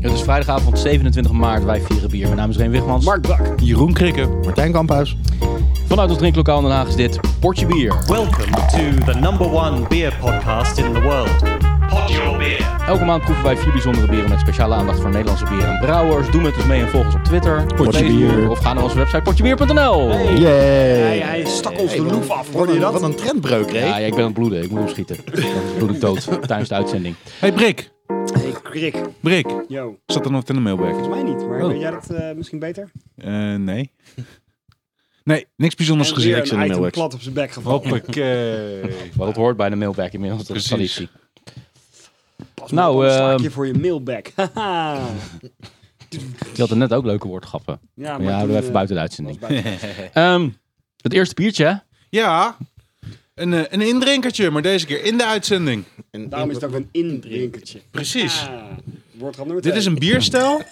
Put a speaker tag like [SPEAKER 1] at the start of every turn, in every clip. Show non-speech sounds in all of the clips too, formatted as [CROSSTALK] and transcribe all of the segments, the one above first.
[SPEAKER 1] Het is vrijdagavond 27 maart. Wij vieren bier. Mijn naam is Reen Wigmans.
[SPEAKER 2] Mark Brak.
[SPEAKER 3] Jeroen Krikke.
[SPEAKER 4] Martijn Kamphuis.
[SPEAKER 1] Vanuit ons drinklokaal in Den Haag is dit Portje Bier.
[SPEAKER 5] Welcome to the number one beer podcast in the world. Pod Your Beer.
[SPEAKER 1] Elke maand proeven wij vier bijzondere bieren met speciale aandacht voor Nederlandse bieren en brouwers. Doe met ons mee en volg ons op Twitter, op
[SPEAKER 4] Potje
[SPEAKER 1] Facebook
[SPEAKER 4] Bier.
[SPEAKER 1] of ga naar onze website portjebier.nl.
[SPEAKER 4] Yay.
[SPEAKER 2] Hij, hij stak ons de loef af.
[SPEAKER 4] Hoorde
[SPEAKER 2] Hoorde je
[SPEAKER 4] Wat
[SPEAKER 2] dat?
[SPEAKER 4] een trendbreuk, hè?
[SPEAKER 1] Ja, ja, ik ben aan het bloeden. Ik moet opschieten. Dan bloed ik dood [LAUGHS] tijdens de uitzending.
[SPEAKER 3] Hey Brik.
[SPEAKER 2] Hey, krik.
[SPEAKER 3] Brik.
[SPEAKER 2] Yo.
[SPEAKER 3] Zat er nog in de mailbag?
[SPEAKER 2] Volgens mij niet, maar weet jij dat eh, misschien beter?
[SPEAKER 3] Eh, nee. [LAUGHS] Nee, niks bijzonders
[SPEAKER 2] En weer
[SPEAKER 3] gezien.
[SPEAKER 2] een
[SPEAKER 3] Ik zit in de
[SPEAKER 2] item
[SPEAKER 3] mailbag.
[SPEAKER 2] plat op zijn bek
[SPEAKER 3] Nou,
[SPEAKER 2] gevallen.
[SPEAKER 3] Hoppakee.
[SPEAKER 1] Maar dat hoort bij de mailback inmiddels. Dat is
[SPEAKER 3] Precies.
[SPEAKER 1] traditie.
[SPEAKER 2] Pas
[SPEAKER 1] Nou,
[SPEAKER 2] nou, een
[SPEAKER 1] eh,
[SPEAKER 2] slakje voor je mailbag. [LAUGHS] Haha.
[SPEAKER 1] Je had er net ook leuke woordgrappen.
[SPEAKER 2] ja,
[SPEAKER 1] Maar ja, we
[SPEAKER 2] toen,
[SPEAKER 1] even
[SPEAKER 2] eh,
[SPEAKER 1] buiten de
[SPEAKER 2] was
[SPEAKER 1] uitzending.
[SPEAKER 2] buiten.
[SPEAKER 1] Ehm, het eerste biertje, hè?
[SPEAKER 3] Ja. Een, eh, een indrinkertje, maar deze keer in de uitzending.
[SPEAKER 4] En
[SPEAKER 2] Daarom is het ook een indrinkertje.
[SPEAKER 3] Precies.
[SPEAKER 2] Ah, woordgrap nummer
[SPEAKER 3] Dit is
[SPEAKER 2] twee.
[SPEAKER 3] een bierstijl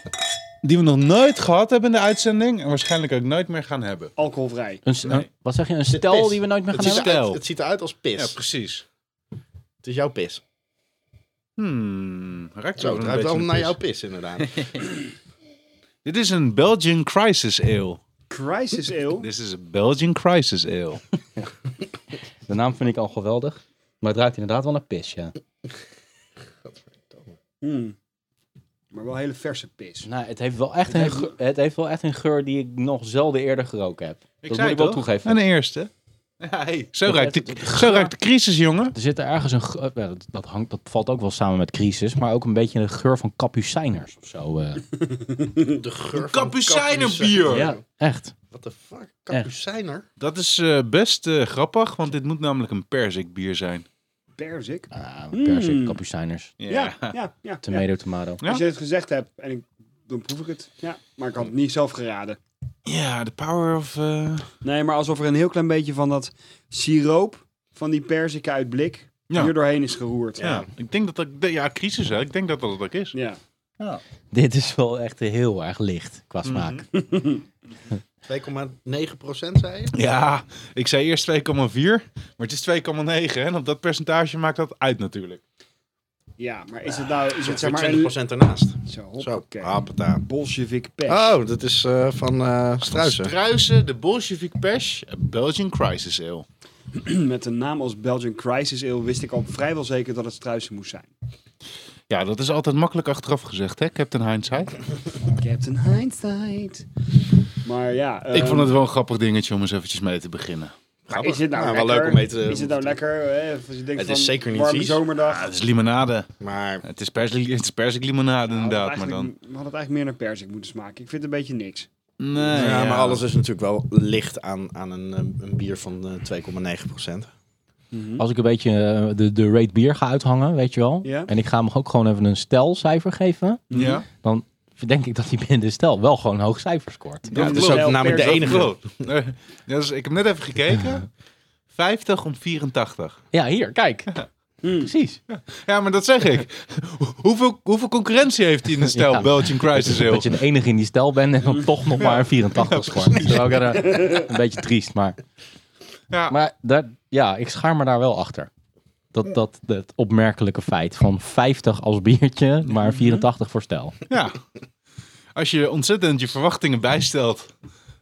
[SPEAKER 3] die we nog nooit gehad hebben in de uitzending. En waarschijnlijk ook nooit meer gaan hebben.
[SPEAKER 2] Alcoholvrij.
[SPEAKER 1] Een, s- een- wat zeg je? Een stel
[SPEAKER 4] pis.
[SPEAKER 1] die we nooit meer
[SPEAKER 4] Het
[SPEAKER 1] gaan
[SPEAKER 4] ziet,
[SPEAKER 1] hebben?
[SPEAKER 4] eruit,
[SPEAKER 3] Stijl.
[SPEAKER 4] het ziet eruit als pis.
[SPEAKER 3] Ja, precies.
[SPEAKER 4] het is jouw pis.
[SPEAKER 3] Hmm, ruikt
[SPEAKER 4] Zo,
[SPEAKER 3] wel
[SPEAKER 4] het
[SPEAKER 3] een beetje
[SPEAKER 4] ruikt wel
[SPEAKER 3] naar
[SPEAKER 4] naar
[SPEAKER 3] pis.
[SPEAKER 4] jouw pis,
[SPEAKER 2] [LAUGHS]
[SPEAKER 4] inderdaad.
[SPEAKER 3] Dit is een Belgian Crisis Ale.
[SPEAKER 2] Crisis ale.
[SPEAKER 3] Dit is een Belgian Crisis Ale.
[SPEAKER 1] De naam vind ik al geweldig. Maar het ruikt inderdaad wel naar pis, ja.
[SPEAKER 2] Mm. Maar wel hele verse pis.
[SPEAKER 1] Nou, het heeft wel echt, een,
[SPEAKER 2] heeft-
[SPEAKER 1] geur, het heeft wel echt een geur die ik nog zelden eerder geroken heb.
[SPEAKER 3] Ik
[SPEAKER 1] dat
[SPEAKER 3] zei
[SPEAKER 1] moet ik wel
[SPEAKER 3] toch?
[SPEAKER 1] toegeven.
[SPEAKER 3] En de eerste. Ja, hey, Zo,
[SPEAKER 1] Het-
[SPEAKER 3] ruikt
[SPEAKER 1] het-
[SPEAKER 3] de,
[SPEAKER 1] het
[SPEAKER 3] zo ruikt de crisis, jongen.
[SPEAKER 1] Er zit er ergens een... ge- eh, ja, Dat, dat, hangt, dat valt ook wel samen met crisis. Maar ook een beetje een geur van kapucijners of zo. eh.
[SPEAKER 4] De geur van
[SPEAKER 3] Kapucijnerbier.
[SPEAKER 1] ja, echt.
[SPEAKER 4] What the fuck? Kapucijner?
[SPEAKER 3] Dat is eh, best eh, grappig, want dit moet namelijk een perzikbier zijn.
[SPEAKER 2] Perzik.
[SPEAKER 1] Ah, persik,
[SPEAKER 2] Mm.
[SPEAKER 1] kapucijners.
[SPEAKER 2] Ja, ja, ja. ja.
[SPEAKER 1] Tomato, tomato.
[SPEAKER 3] Ja.
[SPEAKER 2] Als je het gezegd hebt, en ik, dan proef ik het. Ja, maar ik had het niet zelf geraden.
[SPEAKER 3] Ja, de power of... eh,
[SPEAKER 2] Nee, maar alsof er een heel klein beetje van dat siroop van die perziken uit blik
[SPEAKER 3] Ja.
[SPEAKER 2] hier doorheen is geroerd.
[SPEAKER 3] ja. ik denk dat dat... Ja, crisis, hè. Ik denk dat dat het ook is.
[SPEAKER 2] Ja.
[SPEAKER 1] Dit is wel echt heel erg licht qua smaak.
[SPEAKER 4] 2,9 procent, zei je?
[SPEAKER 3] Ja, ik zei eerst 2,4, maar het is 2,9. hè, En op dat percentage maakt dat uit natuurlijk.
[SPEAKER 2] ja, maar
[SPEAKER 4] Ah,
[SPEAKER 2] is het nou, is het zeg
[SPEAKER 4] Zeg
[SPEAKER 2] maar
[SPEAKER 4] 20
[SPEAKER 2] een...
[SPEAKER 4] procent ernaast.
[SPEAKER 2] Zo,
[SPEAKER 4] Zo,
[SPEAKER 2] hoppakee.
[SPEAKER 4] hoppata.
[SPEAKER 2] Bolshevik pest.
[SPEAKER 4] Oh, dat is eh, van eh Struisen.
[SPEAKER 3] Struisen, de Bolshevik Pesh, Belgian Crisis Ale.
[SPEAKER 2] [CLEARS THROAT] Met een naam als Belgian Crisis Ale wist ik al vrijwel zeker dat het struisen moest zijn.
[SPEAKER 3] Ja, dat is altijd makkelijk achteraf gezegd, hè, Captain Hindsight.
[SPEAKER 2] Captain Hindsight. Maar ja...
[SPEAKER 3] ik
[SPEAKER 2] ehm,
[SPEAKER 3] vond het wel een grappig dingetje om eens eventjes mee te beginnen.
[SPEAKER 2] maar Is het nou,
[SPEAKER 4] Nou, wel
[SPEAKER 2] lekker?
[SPEAKER 4] leuk om mee te-
[SPEAKER 2] Is het nou lekker? eh, of als je denkt
[SPEAKER 4] Het
[SPEAKER 2] van,
[SPEAKER 4] is zeker niet
[SPEAKER 2] warme
[SPEAKER 4] vies.
[SPEAKER 2] zomerdag.
[SPEAKER 3] het is limonade.
[SPEAKER 4] Maar
[SPEAKER 3] Het is, persli- het is persiklimonade
[SPEAKER 2] We hadden
[SPEAKER 3] inderdaad, maar
[SPEAKER 2] eigenlijk-
[SPEAKER 3] dan...
[SPEAKER 2] We hadden het eigenlijk meer naar persik moeten smaken. Ik vind het een beetje niks.
[SPEAKER 3] Nee,
[SPEAKER 4] Ja, maar alles is natuurlijk wel licht aan, aan een, eh, een bier van eh, 2,9 procent. Mhm.
[SPEAKER 1] Als ik een beetje eh, de, de rate bier ga uithangen, weet je wel.
[SPEAKER 2] Ja.
[SPEAKER 1] En ik ga hem ook gewoon even een stelcijfer geven.
[SPEAKER 3] Ja.
[SPEAKER 1] Dan denk ik dat hij binnen de stel wel gewoon een hoog cijfer scoort.
[SPEAKER 4] Ja, het is
[SPEAKER 3] klopt.
[SPEAKER 4] ook namelijk de
[SPEAKER 2] Perzik.
[SPEAKER 4] enige.
[SPEAKER 3] Eh, ja, dus ik heb net even gekeken. [LAUGHS] 50 om 84.
[SPEAKER 1] Ja, hier, kijk. Precies.
[SPEAKER 3] Ja, maar dat zeg [LAUGHS] ik. Ho- Hoeveel, hoeveel concurrentie heeft hij in de stijl
[SPEAKER 1] Ja.
[SPEAKER 3] Belgian Crisis Ale?
[SPEAKER 1] Dat je de enige in die stel bent en
[SPEAKER 3] [LAUGHS]
[SPEAKER 1] dan toch nog maar een 84 scoort. Dat is wel een, een beetje triest, maar...
[SPEAKER 3] Ja.
[SPEAKER 1] Maar daar, ja, ik schaar me daar wel achter. Dat, dat, dat opmerkelijke feit van 50 als biertje, maar
[SPEAKER 3] Mhm.
[SPEAKER 1] 84 voor stel.
[SPEAKER 3] Ja. Als je ontzettend je verwachtingen bijstelt.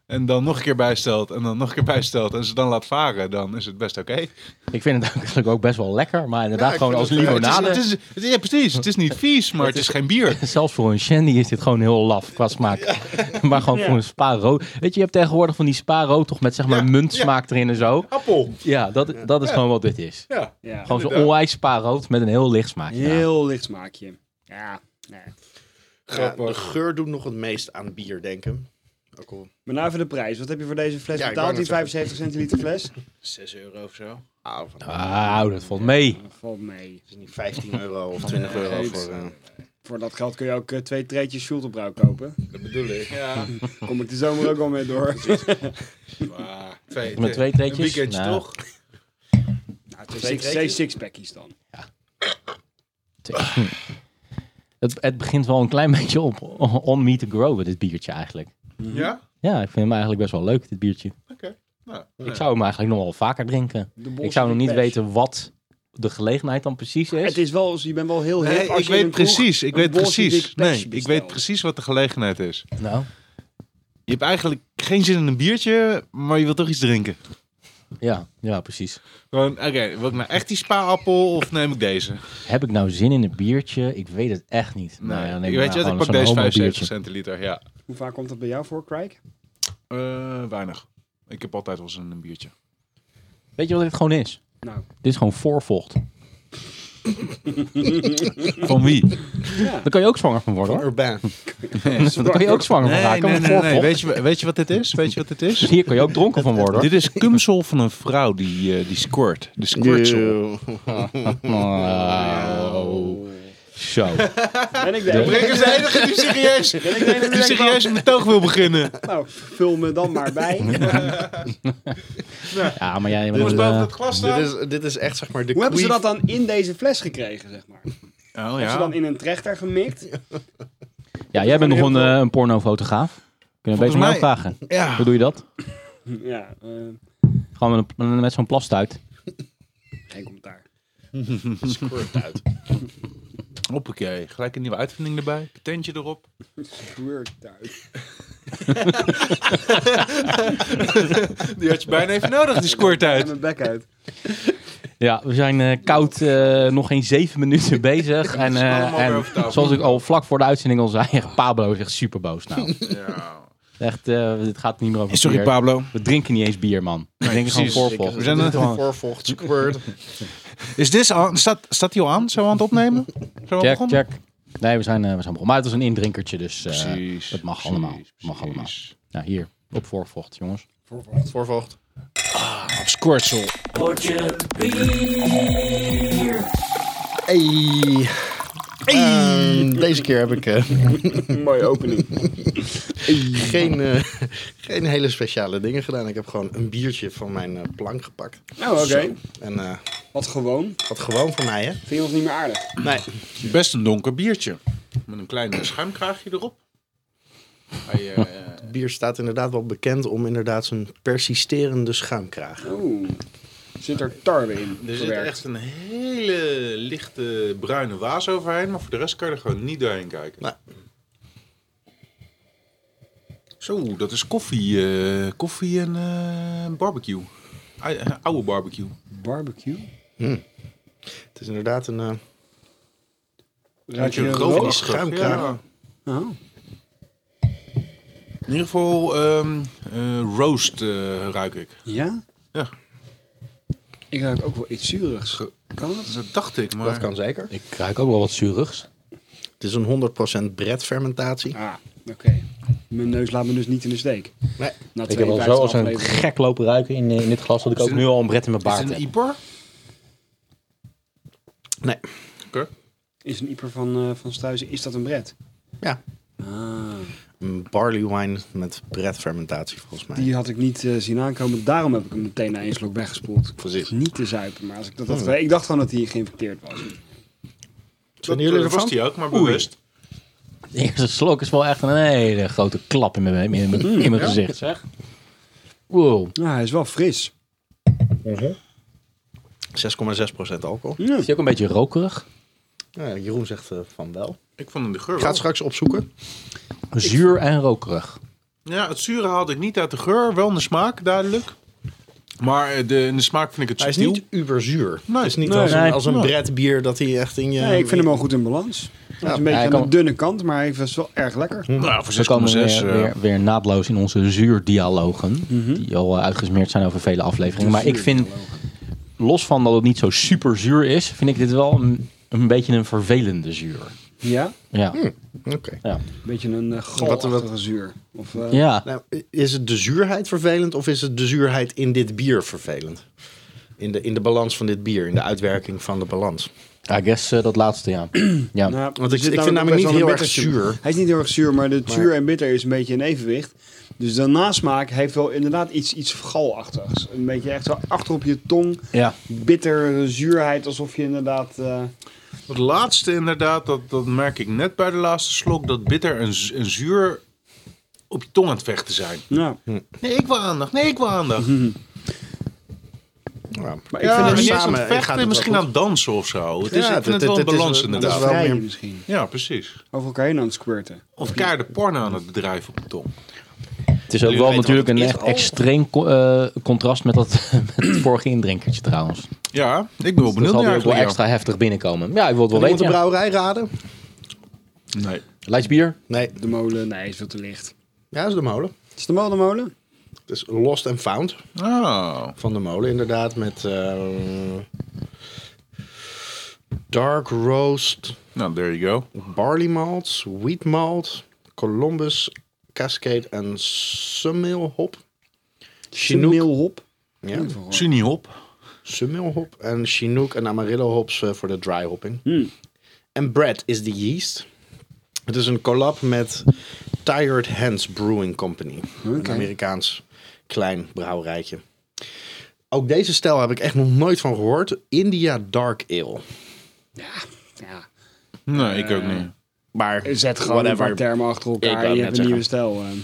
[SPEAKER 3] En dan nog een keer bijstelt. En dan nog een keer bijstelt. En ze dan laat varen. Dan is het best oké.
[SPEAKER 1] Ik vind het [LAUGHS] eigenlijk ook best wel lekker, maar inderdaad
[SPEAKER 4] Ja, ik
[SPEAKER 1] gewoon als
[SPEAKER 4] vind het, eh,
[SPEAKER 3] Het is-
[SPEAKER 1] limonade...
[SPEAKER 3] het is- het is- ja, precies. Het is niet vies, maar het is geen bier.
[SPEAKER 1] Zelfs voor een shandy is dit gewoon heel laf qua smaak. [LAUGHS] Maar gewoon voor een spa rood. Weet je, je hebt tegenwoordig van die spa rood toch met zeg maar
[SPEAKER 3] Ja,
[SPEAKER 1] muntsmaak erin en zo.
[SPEAKER 3] Appel.
[SPEAKER 1] Ja, dat, dat is gewoon wat dit is.
[SPEAKER 3] Ja.
[SPEAKER 2] Ja.
[SPEAKER 1] Gewoon zo'n
[SPEAKER 3] inderdaad.
[SPEAKER 1] onwijs spa rood met een heel licht smaakje. eraan.
[SPEAKER 2] Heel licht smaakje. Ja. nee.
[SPEAKER 4] Ja, de
[SPEAKER 3] Grappig.
[SPEAKER 4] geur doet nog het meest aan bier denken. Ook al
[SPEAKER 2] Maar nou even de prijs. Wat heb je voor deze fles
[SPEAKER 4] Ja, ik
[SPEAKER 2] betaald?
[SPEAKER 4] wou
[SPEAKER 2] Die
[SPEAKER 4] net
[SPEAKER 2] 75 centiliter fles?
[SPEAKER 4] [LAUGHS] 6 euro of zo. Ah, van,
[SPEAKER 1] Wauw, dat valt mee.
[SPEAKER 2] Dat valt mee.
[SPEAKER 4] is het niet 15 euro of 20 euro
[SPEAKER 2] Goed.
[SPEAKER 4] voor. eh,
[SPEAKER 2] Voor dat geld kun je ook eh, twee treetjes Schulterbrouw kopen.
[SPEAKER 4] dat bedoel ik. Ja.
[SPEAKER 2] [LAUGHS] Kom ik de zomer ook al mee door.
[SPEAKER 3] Maar twee,
[SPEAKER 1] Met twee treetjes?
[SPEAKER 3] Een weekendje
[SPEAKER 1] Nou.
[SPEAKER 3] toch?
[SPEAKER 2] Nou, twee six, twee sixpackies dan.
[SPEAKER 1] Het, het begint wel een klein [LAUGHS] beetje op on me to grow, dit biertje eigenlijk.
[SPEAKER 3] Ja?
[SPEAKER 1] Ja, ik vind hem eigenlijk best wel leuk, dit biertje.
[SPEAKER 3] Oké. Nou,
[SPEAKER 1] Ik zou hem eigenlijk nog wel vaker drinken.
[SPEAKER 2] De
[SPEAKER 1] Ik zou nog niet
[SPEAKER 2] Bolshevik
[SPEAKER 1] weten wat de gelegenheid dan precies is.
[SPEAKER 2] Het is wel, je bent wel heel hip
[SPEAKER 3] Nee,
[SPEAKER 2] als
[SPEAKER 3] ik
[SPEAKER 2] je in
[SPEAKER 3] weet
[SPEAKER 2] een kroeg
[SPEAKER 3] precies, ik
[SPEAKER 2] een
[SPEAKER 3] weet
[SPEAKER 2] Balls Deep
[SPEAKER 3] precies.
[SPEAKER 2] Patch
[SPEAKER 3] Nee, ik weet
[SPEAKER 2] bestelt.
[SPEAKER 3] precies wat de gelegenheid is.
[SPEAKER 1] Nou,
[SPEAKER 3] Je hebt eigenlijk geen zin in een biertje, maar je wilt toch iets drinken.
[SPEAKER 1] ja, ja, precies.
[SPEAKER 3] Gewoon, oké, wil ik nou echt die spa-appel of neem ik deze?
[SPEAKER 1] Heb ik nou zin in een biertje? Ik weet het echt niet.
[SPEAKER 3] Nee,
[SPEAKER 1] nou, ja,
[SPEAKER 3] je
[SPEAKER 1] neem
[SPEAKER 3] weet je
[SPEAKER 1] nou
[SPEAKER 3] wat, ik pak
[SPEAKER 1] gewoon zo'n
[SPEAKER 3] deze
[SPEAKER 1] homo
[SPEAKER 3] 75
[SPEAKER 1] biertje.
[SPEAKER 3] centiliter, ja.
[SPEAKER 2] Hoe vaak komt dat bij jou voor, Crike?
[SPEAKER 3] Eh, weinig. Ik heb altijd wel zin in een biertje.
[SPEAKER 1] Weet je wat dit gewoon is?
[SPEAKER 2] Nou,
[SPEAKER 1] Dit is gewoon voorvocht.
[SPEAKER 3] Van wie?
[SPEAKER 1] Daar kan je ook zwanger van worden hoor.
[SPEAKER 4] Urban.
[SPEAKER 1] Daar kan je ook zwanger van raken. van voorvocht.
[SPEAKER 3] Weet je, weet je wat dit is? Weet je wat dit is?
[SPEAKER 1] Hier kan je ook dronken van worden hoor.
[SPEAKER 3] Dit is kumsel van een vrouw die, eh die squirt. De squirtsel. Ah,
[SPEAKER 1] Oh. Zo.
[SPEAKER 2] ben ik de enige?
[SPEAKER 3] Ik is de enige die serieus, Oh,
[SPEAKER 2] Ben ik de enige die
[SPEAKER 3] [LAUGHS] die
[SPEAKER 2] denkt van,
[SPEAKER 3] serieus een betoog wil beginnen.
[SPEAKER 2] Nou, vul me dan maar bij.
[SPEAKER 1] Ja, maar jij bent
[SPEAKER 3] Jongens,
[SPEAKER 1] een,
[SPEAKER 3] boven
[SPEAKER 1] eh,
[SPEAKER 3] het glas
[SPEAKER 4] dit,
[SPEAKER 3] staan.
[SPEAKER 4] is, dit is echt zeg maar de
[SPEAKER 2] Hoe hebben ze
[SPEAKER 4] queen-
[SPEAKER 2] dat dan in deze fles gekregen, zeg maar? Hebben
[SPEAKER 3] Oh
[SPEAKER 2] ze dan in een trechter gemikt?
[SPEAKER 1] ja, jij bent nog
[SPEAKER 2] heel
[SPEAKER 1] een, eh, een pornofotograaf. Kunnen we
[SPEAKER 3] Volgens
[SPEAKER 1] beter mij...
[SPEAKER 3] mij-
[SPEAKER 1] vragen.
[SPEAKER 3] Ja.
[SPEAKER 1] Hoe doe je dat?
[SPEAKER 2] Ja, eh,
[SPEAKER 1] Gewoon met, een- met zo'n plastuit.
[SPEAKER 2] geen commentaar.
[SPEAKER 4] Squirt [LAUGHS] uit.
[SPEAKER 3] Hoppakee, gelijk een nieuwe uitvinding erbij. Tentje erop.
[SPEAKER 2] Squirt uit.
[SPEAKER 3] Die had je bijna even nodig, die squirt
[SPEAKER 2] En
[SPEAKER 3] uit.
[SPEAKER 2] mijn bek uit.
[SPEAKER 1] Ja, we zijn eh, koud eh, nog geen zeven minuten
[SPEAKER 3] [LAUGHS]
[SPEAKER 1] bezig. En, eh,
[SPEAKER 3] allemaal weer over
[SPEAKER 1] en
[SPEAKER 3] tafel.
[SPEAKER 1] zoals ik al vlak voor de uitzending al zei, [LAUGHS] echt, Pablo is echt super boos
[SPEAKER 3] [LAUGHS]
[SPEAKER 1] nou. Echt, eh dit gaat niet meer over bier.
[SPEAKER 3] Pablo.
[SPEAKER 1] We drinken niet eens bier, man. We drinken
[SPEAKER 3] precies.
[SPEAKER 1] gewoon
[SPEAKER 4] Zeker.
[SPEAKER 1] voorvocht.
[SPEAKER 3] We zijn
[SPEAKER 4] Dit
[SPEAKER 3] er
[SPEAKER 4] is
[SPEAKER 3] gewoon.
[SPEAKER 4] een voorvocht, squirt.
[SPEAKER 3] Is dit aan? Staat, staat die al aan? Zo aan het opnemen? Zo
[SPEAKER 1] Check, check. Nee, we zijn, eh, we zijn begonnen. Maar het was een indrinkertje, dus eh,
[SPEAKER 3] Precies.
[SPEAKER 1] het mag allemaal. Het mag allemaal. Nou, hier, op voorvocht, jongens.
[SPEAKER 4] Voorvocht. Ah,
[SPEAKER 3] Squirtsel.
[SPEAKER 4] Hey. Eh, deze keer heb ik eh, [LAUGHS]
[SPEAKER 2] Mooie opening.
[SPEAKER 4] geen, eh, geen hele speciale dingen gedaan. Ik heb gewoon een biertje van mijn eh, plank gepakt.
[SPEAKER 2] Nou, oké.
[SPEAKER 4] En eh
[SPEAKER 2] Wat gewoon.
[SPEAKER 4] wat gewoon voor mij, hè?
[SPEAKER 2] Vind je ons niet meer aardig?
[SPEAKER 4] Nee.
[SPEAKER 3] Best een donker biertje. Met een klein schuimkraagje erop. Hij, eh,
[SPEAKER 4] Het bier staat inderdaad wel bekend om inderdaad zijn persisterende schuimkraag.
[SPEAKER 2] Oeh. Zit er tarwe in?
[SPEAKER 3] er zit
[SPEAKER 2] verwerkt?
[SPEAKER 3] echt een hele lichte bruine waas overheen. Maar voor de rest kan je er gewoon niet doorheen kijken.
[SPEAKER 4] Nee.
[SPEAKER 3] Zo, dat is koffie. eh, koffie en eh, barbecue. Ei- eh, oude barbecue.
[SPEAKER 2] Barbecue?
[SPEAKER 4] Het is inderdaad een... eh,
[SPEAKER 2] Ruik
[SPEAKER 3] Een
[SPEAKER 2] er
[SPEAKER 3] grove
[SPEAKER 2] rook?
[SPEAKER 4] die
[SPEAKER 3] achtig,
[SPEAKER 4] schuimkraag.
[SPEAKER 3] ja.
[SPEAKER 2] Oh.
[SPEAKER 3] In ieder geval ehm, eh, roast eh, ruik ik.
[SPEAKER 2] Ja?
[SPEAKER 3] Ja.
[SPEAKER 2] Ik ruik ook wel iets zuurigs. Kan dat?
[SPEAKER 3] Dat dacht ik, maar...
[SPEAKER 4] Dat kan zeker.
[SPEAKER 1] Ik ruik ook wel wat zuurigs.
[SPEAKER 4] Het is een 100% bredfermentatie.
[SPEAKER 2] Ah, oké. Mijn neus laat me dus niet in de steek.
[SPEAKER 4] Nee.
[SPEAKER 2] Na
[SPEAKER 1] Ik heb al
[SPEAKER 2] 52
[SPEAKER 1] zo als een
[SPEAKER 2] afleveringen.
[SPEAKER 1] gek lopen ruiken in, eh, in dit glas dat ik ook
[SPEAKER 3] het
[SPEAKER 1] nu al een bret in mijn
[SPEAKER 3] Is
[SPEAKER 1] baard
[SPEAKER 3] het een
[SPEAKER 1] heb.
[SPEAKER 3] Ieper?
[SPEAKER 4] Nee.
[SPEAKER 3] Oké.
[SPEAKER 2] Is een ieper van, eh, van Struizen, is dat een bret?
[SPEAKER 4] Ja.
[SPEAKER 2] Ah,
[SPEAKER 4] Een barley wine met bredfermentatie volgens mij.
[SPEAKER 2] die had ik niet eh, zien aankomen. Daarom heb ik hem meteen na één slok weggespoeld. Ik was
[SPEAKER 4] Precies.
[SPEAKER 2] Niet te zuipen, maar als ik dat
[SPEAKER 1] Oh.
[SPEAKER 2] had... Ik dacht gewoon dat hij geïnfecteerd was.
[SPEAKER 3] Dat
[SPEAKER 4] jullie
[SPEAKER 3] eh,
[SPEAKER 4] ervan?
[SPEAKER 3] was die ook, maar bewust.
[SPEAKER 1] De eerste slok is wel echt een hele grote klap in mijn, in mijn, in mijn gezicht, Mm, zeg. Wow,
[SPEAKER 2] Nou, hij is wel fris.
[SPEAKER 4] 6,6% alcohol.
[SPEAKER 1] is die ook een beetje rokerig?
[SPEAKER 4] Ja, Jeroen zegt eh, van wel.
[SPEAKER 3] Ik vond hem de geur
[SPEAKER 4] Ik ga het
[SPEAKER 3] wel.
[SPEAKER 4] straks opzoeken.
[SPEAKER 1] Zuur en rokerig.
[SPEAKER 3] Ja, het zure haalde ik niet uit de geur. Wel in de smaak, duidelijk. Maar eh, de, in de smaak vind ik het
[SPEAKER 4] Hij is
[SPEAKER 3] subtiel.
[SPEAKER 4] niet uberzuur.
[SPEAKER 3] Nee.
[SPEAKER 4] het is niet
[SPEAKER 3] Nee,
[SPEAKER 4] als, een,
[SPEAKER 1] nee.
[SPEAKER 4] als een
[SPEAKER 3] Nee.
[SPEAKER 4] bret bier dat hij echt in je...
[SPEAKER 2] Nee, ik vind hem wel goed in balans. Hij is een beetje
[SPEAKER 1] hij
[SPEAKER 2] aan
[SPEAKER 1] kan- Hm.
[SPEAKER 2] de dunne kant, maar hij is wel erg lekker.
[SPEAKER 3] Nou, voor 6,6.
[SPEAKER 1] We komen weer,
[SPEAKER 3] eh,
[SPEAKER 1] weer, weer naadloos in onze zuurdialogen.
[SPEAKER 4] Mhm.
[SPEAKER 1] Die al eh, uitgesmeerd zijn over vele afleveringen. Maar ik vind, los van dat het niet zo super zuur is, vind ik dit wel een, een beetje een vervelende zuur.
[SPEAKER 2] Ja?
[SPEAKER 1] Ja.
[SPEAKER 4] Oké.
[SPEAKER 1] Ja.
[SPEAKER 2] Een beetje een eh
[SPEAKER 4] Wat-
[SPEAKER 2] galachtige zuur. Of, eh,
[SPEAKER 1] ja.
[SPEAKER 4] Nou, is het de zuurheid vervelend of is het de zuurheid in dit bier vervelend? In de, in de balans van dit bier, in de uitwerking van de balans.
[SPEAKER 1] I guess eh, dat laatste,
[SPEAKER 4] [CLEARS THROAT]
[SPEAKER 1] ja. ja.
[SPEAKER 2] Nou, er
[SPEAKER 4] Want ik-
[SPEAKER 2] zit
[SPEAKER 4] ik vind namelijk
[SPEAKER 2] best
[SPEAKER 4] niet
[SPEAKER 2] wel een
[SPEAKER 4] heel erg
[SPEAKER 2] bittertje.
[SPEAKER 4] zuur.
[SPEAKER 2] Hij is niet heel erg zuur, maar de zuur en bitter is een beetje in evenwicht. Dus de nasmaak heeft wel inderdaad iets, iets galachtigs. Een beetje echt zo achter op je tong.
[SPEAKER 1] ja.
[SPEAKER 2] Bitter zuurheid, alsof je inderdaad... eh,
[SPEAKER 3] Het laatste inderdaad, dat, dat merk ik net bij de laatste slok, dat bitter en, z- en zuur op je
[SPEAKER 4] Hm.
[SPEAKER 3] tong aan het vechten zijn.
[SPEAKER 2] nou,
[SPEAKER 3] Nee, ik wil aandacht. Nee, ik wil aandacht.
[SPEAKER 4] Ja.
[SPEAKER 2] Maar ik
[SPEAKER 3] Ik
[SPEAKER 2] vind
[SPEAKER 3] vind
[SPEAKER 2] dat
[SPEAKER 3] het niet
[SPEAKER 2] we
[SPEAKER 3] eens aan
[SPEAKER 4] samen
[SPEAKER 3] het
[SPEAKER 4] gaat
[SPEAKER 3] vechten,
[SPEAKER 4] het
[SPEAKER 3] misschien
[SPEAKER 4] wel
[SPEAKER 3] aan het dansen of zo. Het is,
[SPEAKER 4] Ja,
[SPEAKER 3] ik vind
[SPEAKER 4] dit-
[SPEAKER 3] het wel een
[SPEAKER 4] dit is
[SPEAKER 3] balans
[SPEAKER 4] een-
[SPEAKER 2] dat
[SPEAKER 3] inderdaad.
[SPEAKER 2] is
[SPEAKER 4] wel
[SPEAKER 2] vrij
[SPEAKER 4] meer-
[SPEAKER 2] misschien.
[SPEAKER 3] Ja, precies.
[SPEAKER 2] Over elkaar heen aan het squirten.
[SPEAKER 3] Of kaar de porno aan het bedrijf op de tong.
[SPEAKER 1] Het is ook
[SPEAKER 4] Jullie
[SPEAKER 1] wel
[SPEAKER 4] weten
[SPEAKER 1] natuurlijk
[SPEAKER 4] wat
[SPEAKER 1] een
[SPEAKER 4] het
[SPEAKER 1] echt
[SPEAKER 4] is. Oh.
[SPEAKER 1] extreem co- eh, contrast met dat [LAUGHS] met het vorige indrinkertje trouwens.
[SPEAKER 3] Ja, ik ben wel
[SPEAKER 1] Dat
[SPEAKER 3] benieuwd
[SPEAKER 1] zal
[SPEAKER 3] naar
[SPEAKER 1] er ook wel
[SPEAKER 3] eigenlijk,
[SPEAKER 1] extra heftig binnenkomen. Ja, ik wil het wel
[SPEAKER 4] Iemand
[SPEAKER 1] weten.
[SPEAKER 4] de
[SPEAKER 1] Ja.
[SPEAKER 4] brouwerij raden?
[SPEAKER 3] ja. Nee.
[SPEAKER 1] Leids bier.
[SPEAKER 4] Nee.
[SPEAKER 2] De molen, nee, is veel te licht.
[SPEAKER 4] Ja, dat is de molen.
[SPEAKER 2] Is de molen de molen?
[SPEAKER 4] Het is Lost and Found
[SPEAKER 3] Oh.
[SPEAKER 4] van de molen, inderdaad. Met eh, Dark Roast
[SPEAKER 3] Nou, there you go.
[SPEAKER 4] Barley Malt, Wheat Malt, Columbus, Cascade en Summil Hop. Chinook.
[SPEAKER 2] Smeelhop.
[SPEAKER 4] Ja,
[SPEAKER 3] Sunny Hop.
[SPEAKER 4] Summil Hop en Chinook en Amarillo Hops eh, voor de dry hopping.
[SPEAKER 2] Hmm.
[SPEAKER 4] En Bread is de yeast. Het is een collab met Tired Hands Brewing Company. Een Amerikaans klein brouwerijtje. Ook deze stijl heb ik echt nog nooit van gehoord. India Dark Ale.
[SPEAKER 2] Ja.
[SPEAKER 3] Nee, ik ook niet.
[SPEAKER 4] Maar
[SPEAKER 2] Zet gewoon een paar termen achter
[SPEAKER 4] Ik
[SPEAKER 2] elkaar.
[SPEAKER 4] wou
[SPEAKER 2] Je
[SPEAKER 4] net
[SPEAKER 2] hebt een nieuwe
[SPEAKER 4] zeggen.
[SPEAKER 2] stijl.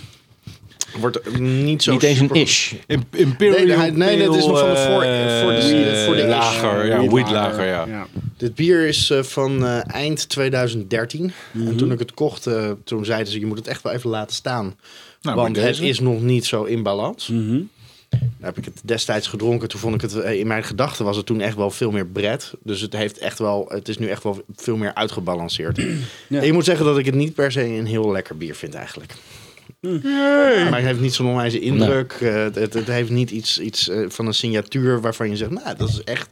[SPEAKER 2] eh.
[SPEAKER 4] wordt niet zo
[SPEAKER 1] Niet eens een
[SPEAKER 4] super-
[SPEAKER 1] ish.
[SPEAKER 3] Im- Imperial
[SPEAKER 4] Nee, hij- nee, dat is nog van de voor- voor de-
[SPEAKER 3] eh,
[SPEAKER 4] voor de-
[SPEAKER 3] lager, ja,
[SPEAKER 2] Wheat
[SPEAKER 3] wheat
[SPEAKER 2] lager,
[SPEAKER 3] lager, ja.
[SPEAKER 4] Dit bier is eh, van eh, eind 2013. En toen ik het kocht, eh, toen zeiden ze... je moet het echt wel even laten staan.
[SPEAKER 3] Mhm. Nou,
[SPEAKER 4] want
[SPEAKER 3] maar
[SPEAKER 4] het
[SPEAKER 3] deze? Mhm.
[SPEAKER 4] is nog niet zo in balans. Daar heb ik het destijds gedronken. Toen vond ik het... eh, in mijn gedachten was het toen echt wel veel meer bret. Dus het, heeft echt wel, het is nu echt wel veel meer uitgebalanceerd. En je moet zeggen dat ik het niet per se een heel lekker bier vind eigenlijk. Maar het heeft niet zo'n onwijze indruk. Eh, het, het, het heeft niet iets, iets eh, van een signatuur waarvan je zegt... nou, dat is echt...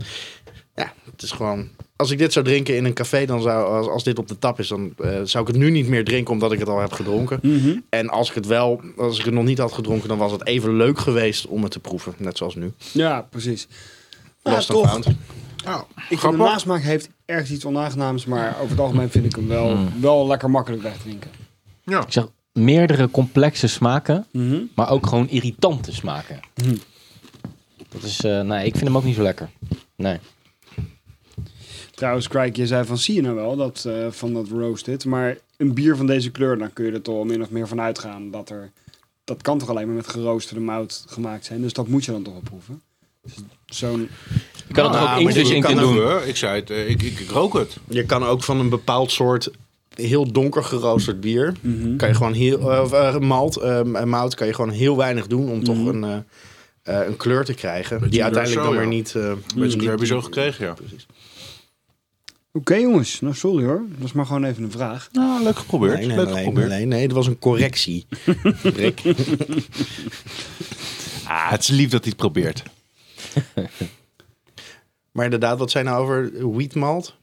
[SPEAKER 4] Ja, het is gewoon. Als ik dit zou drinken in een café, dan zou, als, als dit op de tap is, dan eh, zou ik het nu niet meer drinken omdat ik het al heb gedronken. En als ik het wel, als ik het nog niet had gedronken, dan was het even leuk geweest om het te proeven. Net zoals nu.
[SPEAKER 2] Ja, precies. Ja,
[SPEAKER 4] Lost and
[SPEAKER 2] toch.
[SPEAKER 4] found.
[SPEAKER 2] Ik vind de nasmaak heeft ergens iets onaangenaams, maar over het algemeen vind ik hem wel,
[SPEAKER 3] Hmm.
[SPEAKER 2] wel lekker makkelijk weg te drinken.
[SPEAKER 3] Ja.
[SPEAKER 1] Ik zeg meerdere complexe smaken, maar ook gewoon irritante smaken. Dat is, eh, nee, ik vind hem ook niet zo lekker. Nee.
[SPEAKER 2] Trouwens, Craig, je zei van zie je nou wel dat, eh, van dat roasted, maar een bier van deze kleur, dan kun je er toch al min of meer van uitgaan dat er, dat kan toch alleen maar met geroosterde mout gemaakt zijn, dus dat moet je dan toch wel proeven. Dus zo'n,
[SPEAKER 1] Je kan het er ook
[SPEAKER 4] maar
[SPEAKER 1] English
[SPEAKER 4] je
[SPEAKER 1] in
[SPEAKER 4] kan
[SPEAKER 1] kunnen
[SPEAKER 4] ook-
[SPEAKER 1] doen.
[SPEAKER 3] Ik zei het, eh, ik, ik, ik rook het.
[SPEAKER 4] Je kan ook van een bepaald soort heel donker geroosterd bier,
[SPEAKER 2] mhm.
[SPEAKER 4] kan je gewoon heel eh, of, eh, malt, eh, mout, kan je gewoon heel weinig doen om toch een, eh, eh, een kleur te krijgen. die uiteindelijk
[SPEAKER 3] zo,
[SPEAKER 4] dan weer
[SPEAKER 3] Mhm. ja.
[SPEAKER 4] niet. eh,
[SPEAKER 3] Beetje
[SPEAKER 4] niet-
[SPEAKER 3] kleur heb je zo gekregen, ja.
[SPEAKER 2] oké jongens, nou sorry hoor, dat is maar gewoon even een vraag.
[SPEAKER 3] Nou, leuk geprobeerd.
[SPEAKER 4] Nee, nee,
[SPEAKER 3] leuk
[SPEAKER 4] nee, nee,
[SPEAKER 3] geprobeerd.
[SPEAKER 4] nee, nee, dat was een correctie.
[SPEAKER 3] [LAUGHS]
[SPEAKER 4] Rick.
[SPEAKER 3] Ah, het is lief dat hij het probeert.
[SPEAKER 4] Maar inderdaad, wat zijn nou over wheatmalt?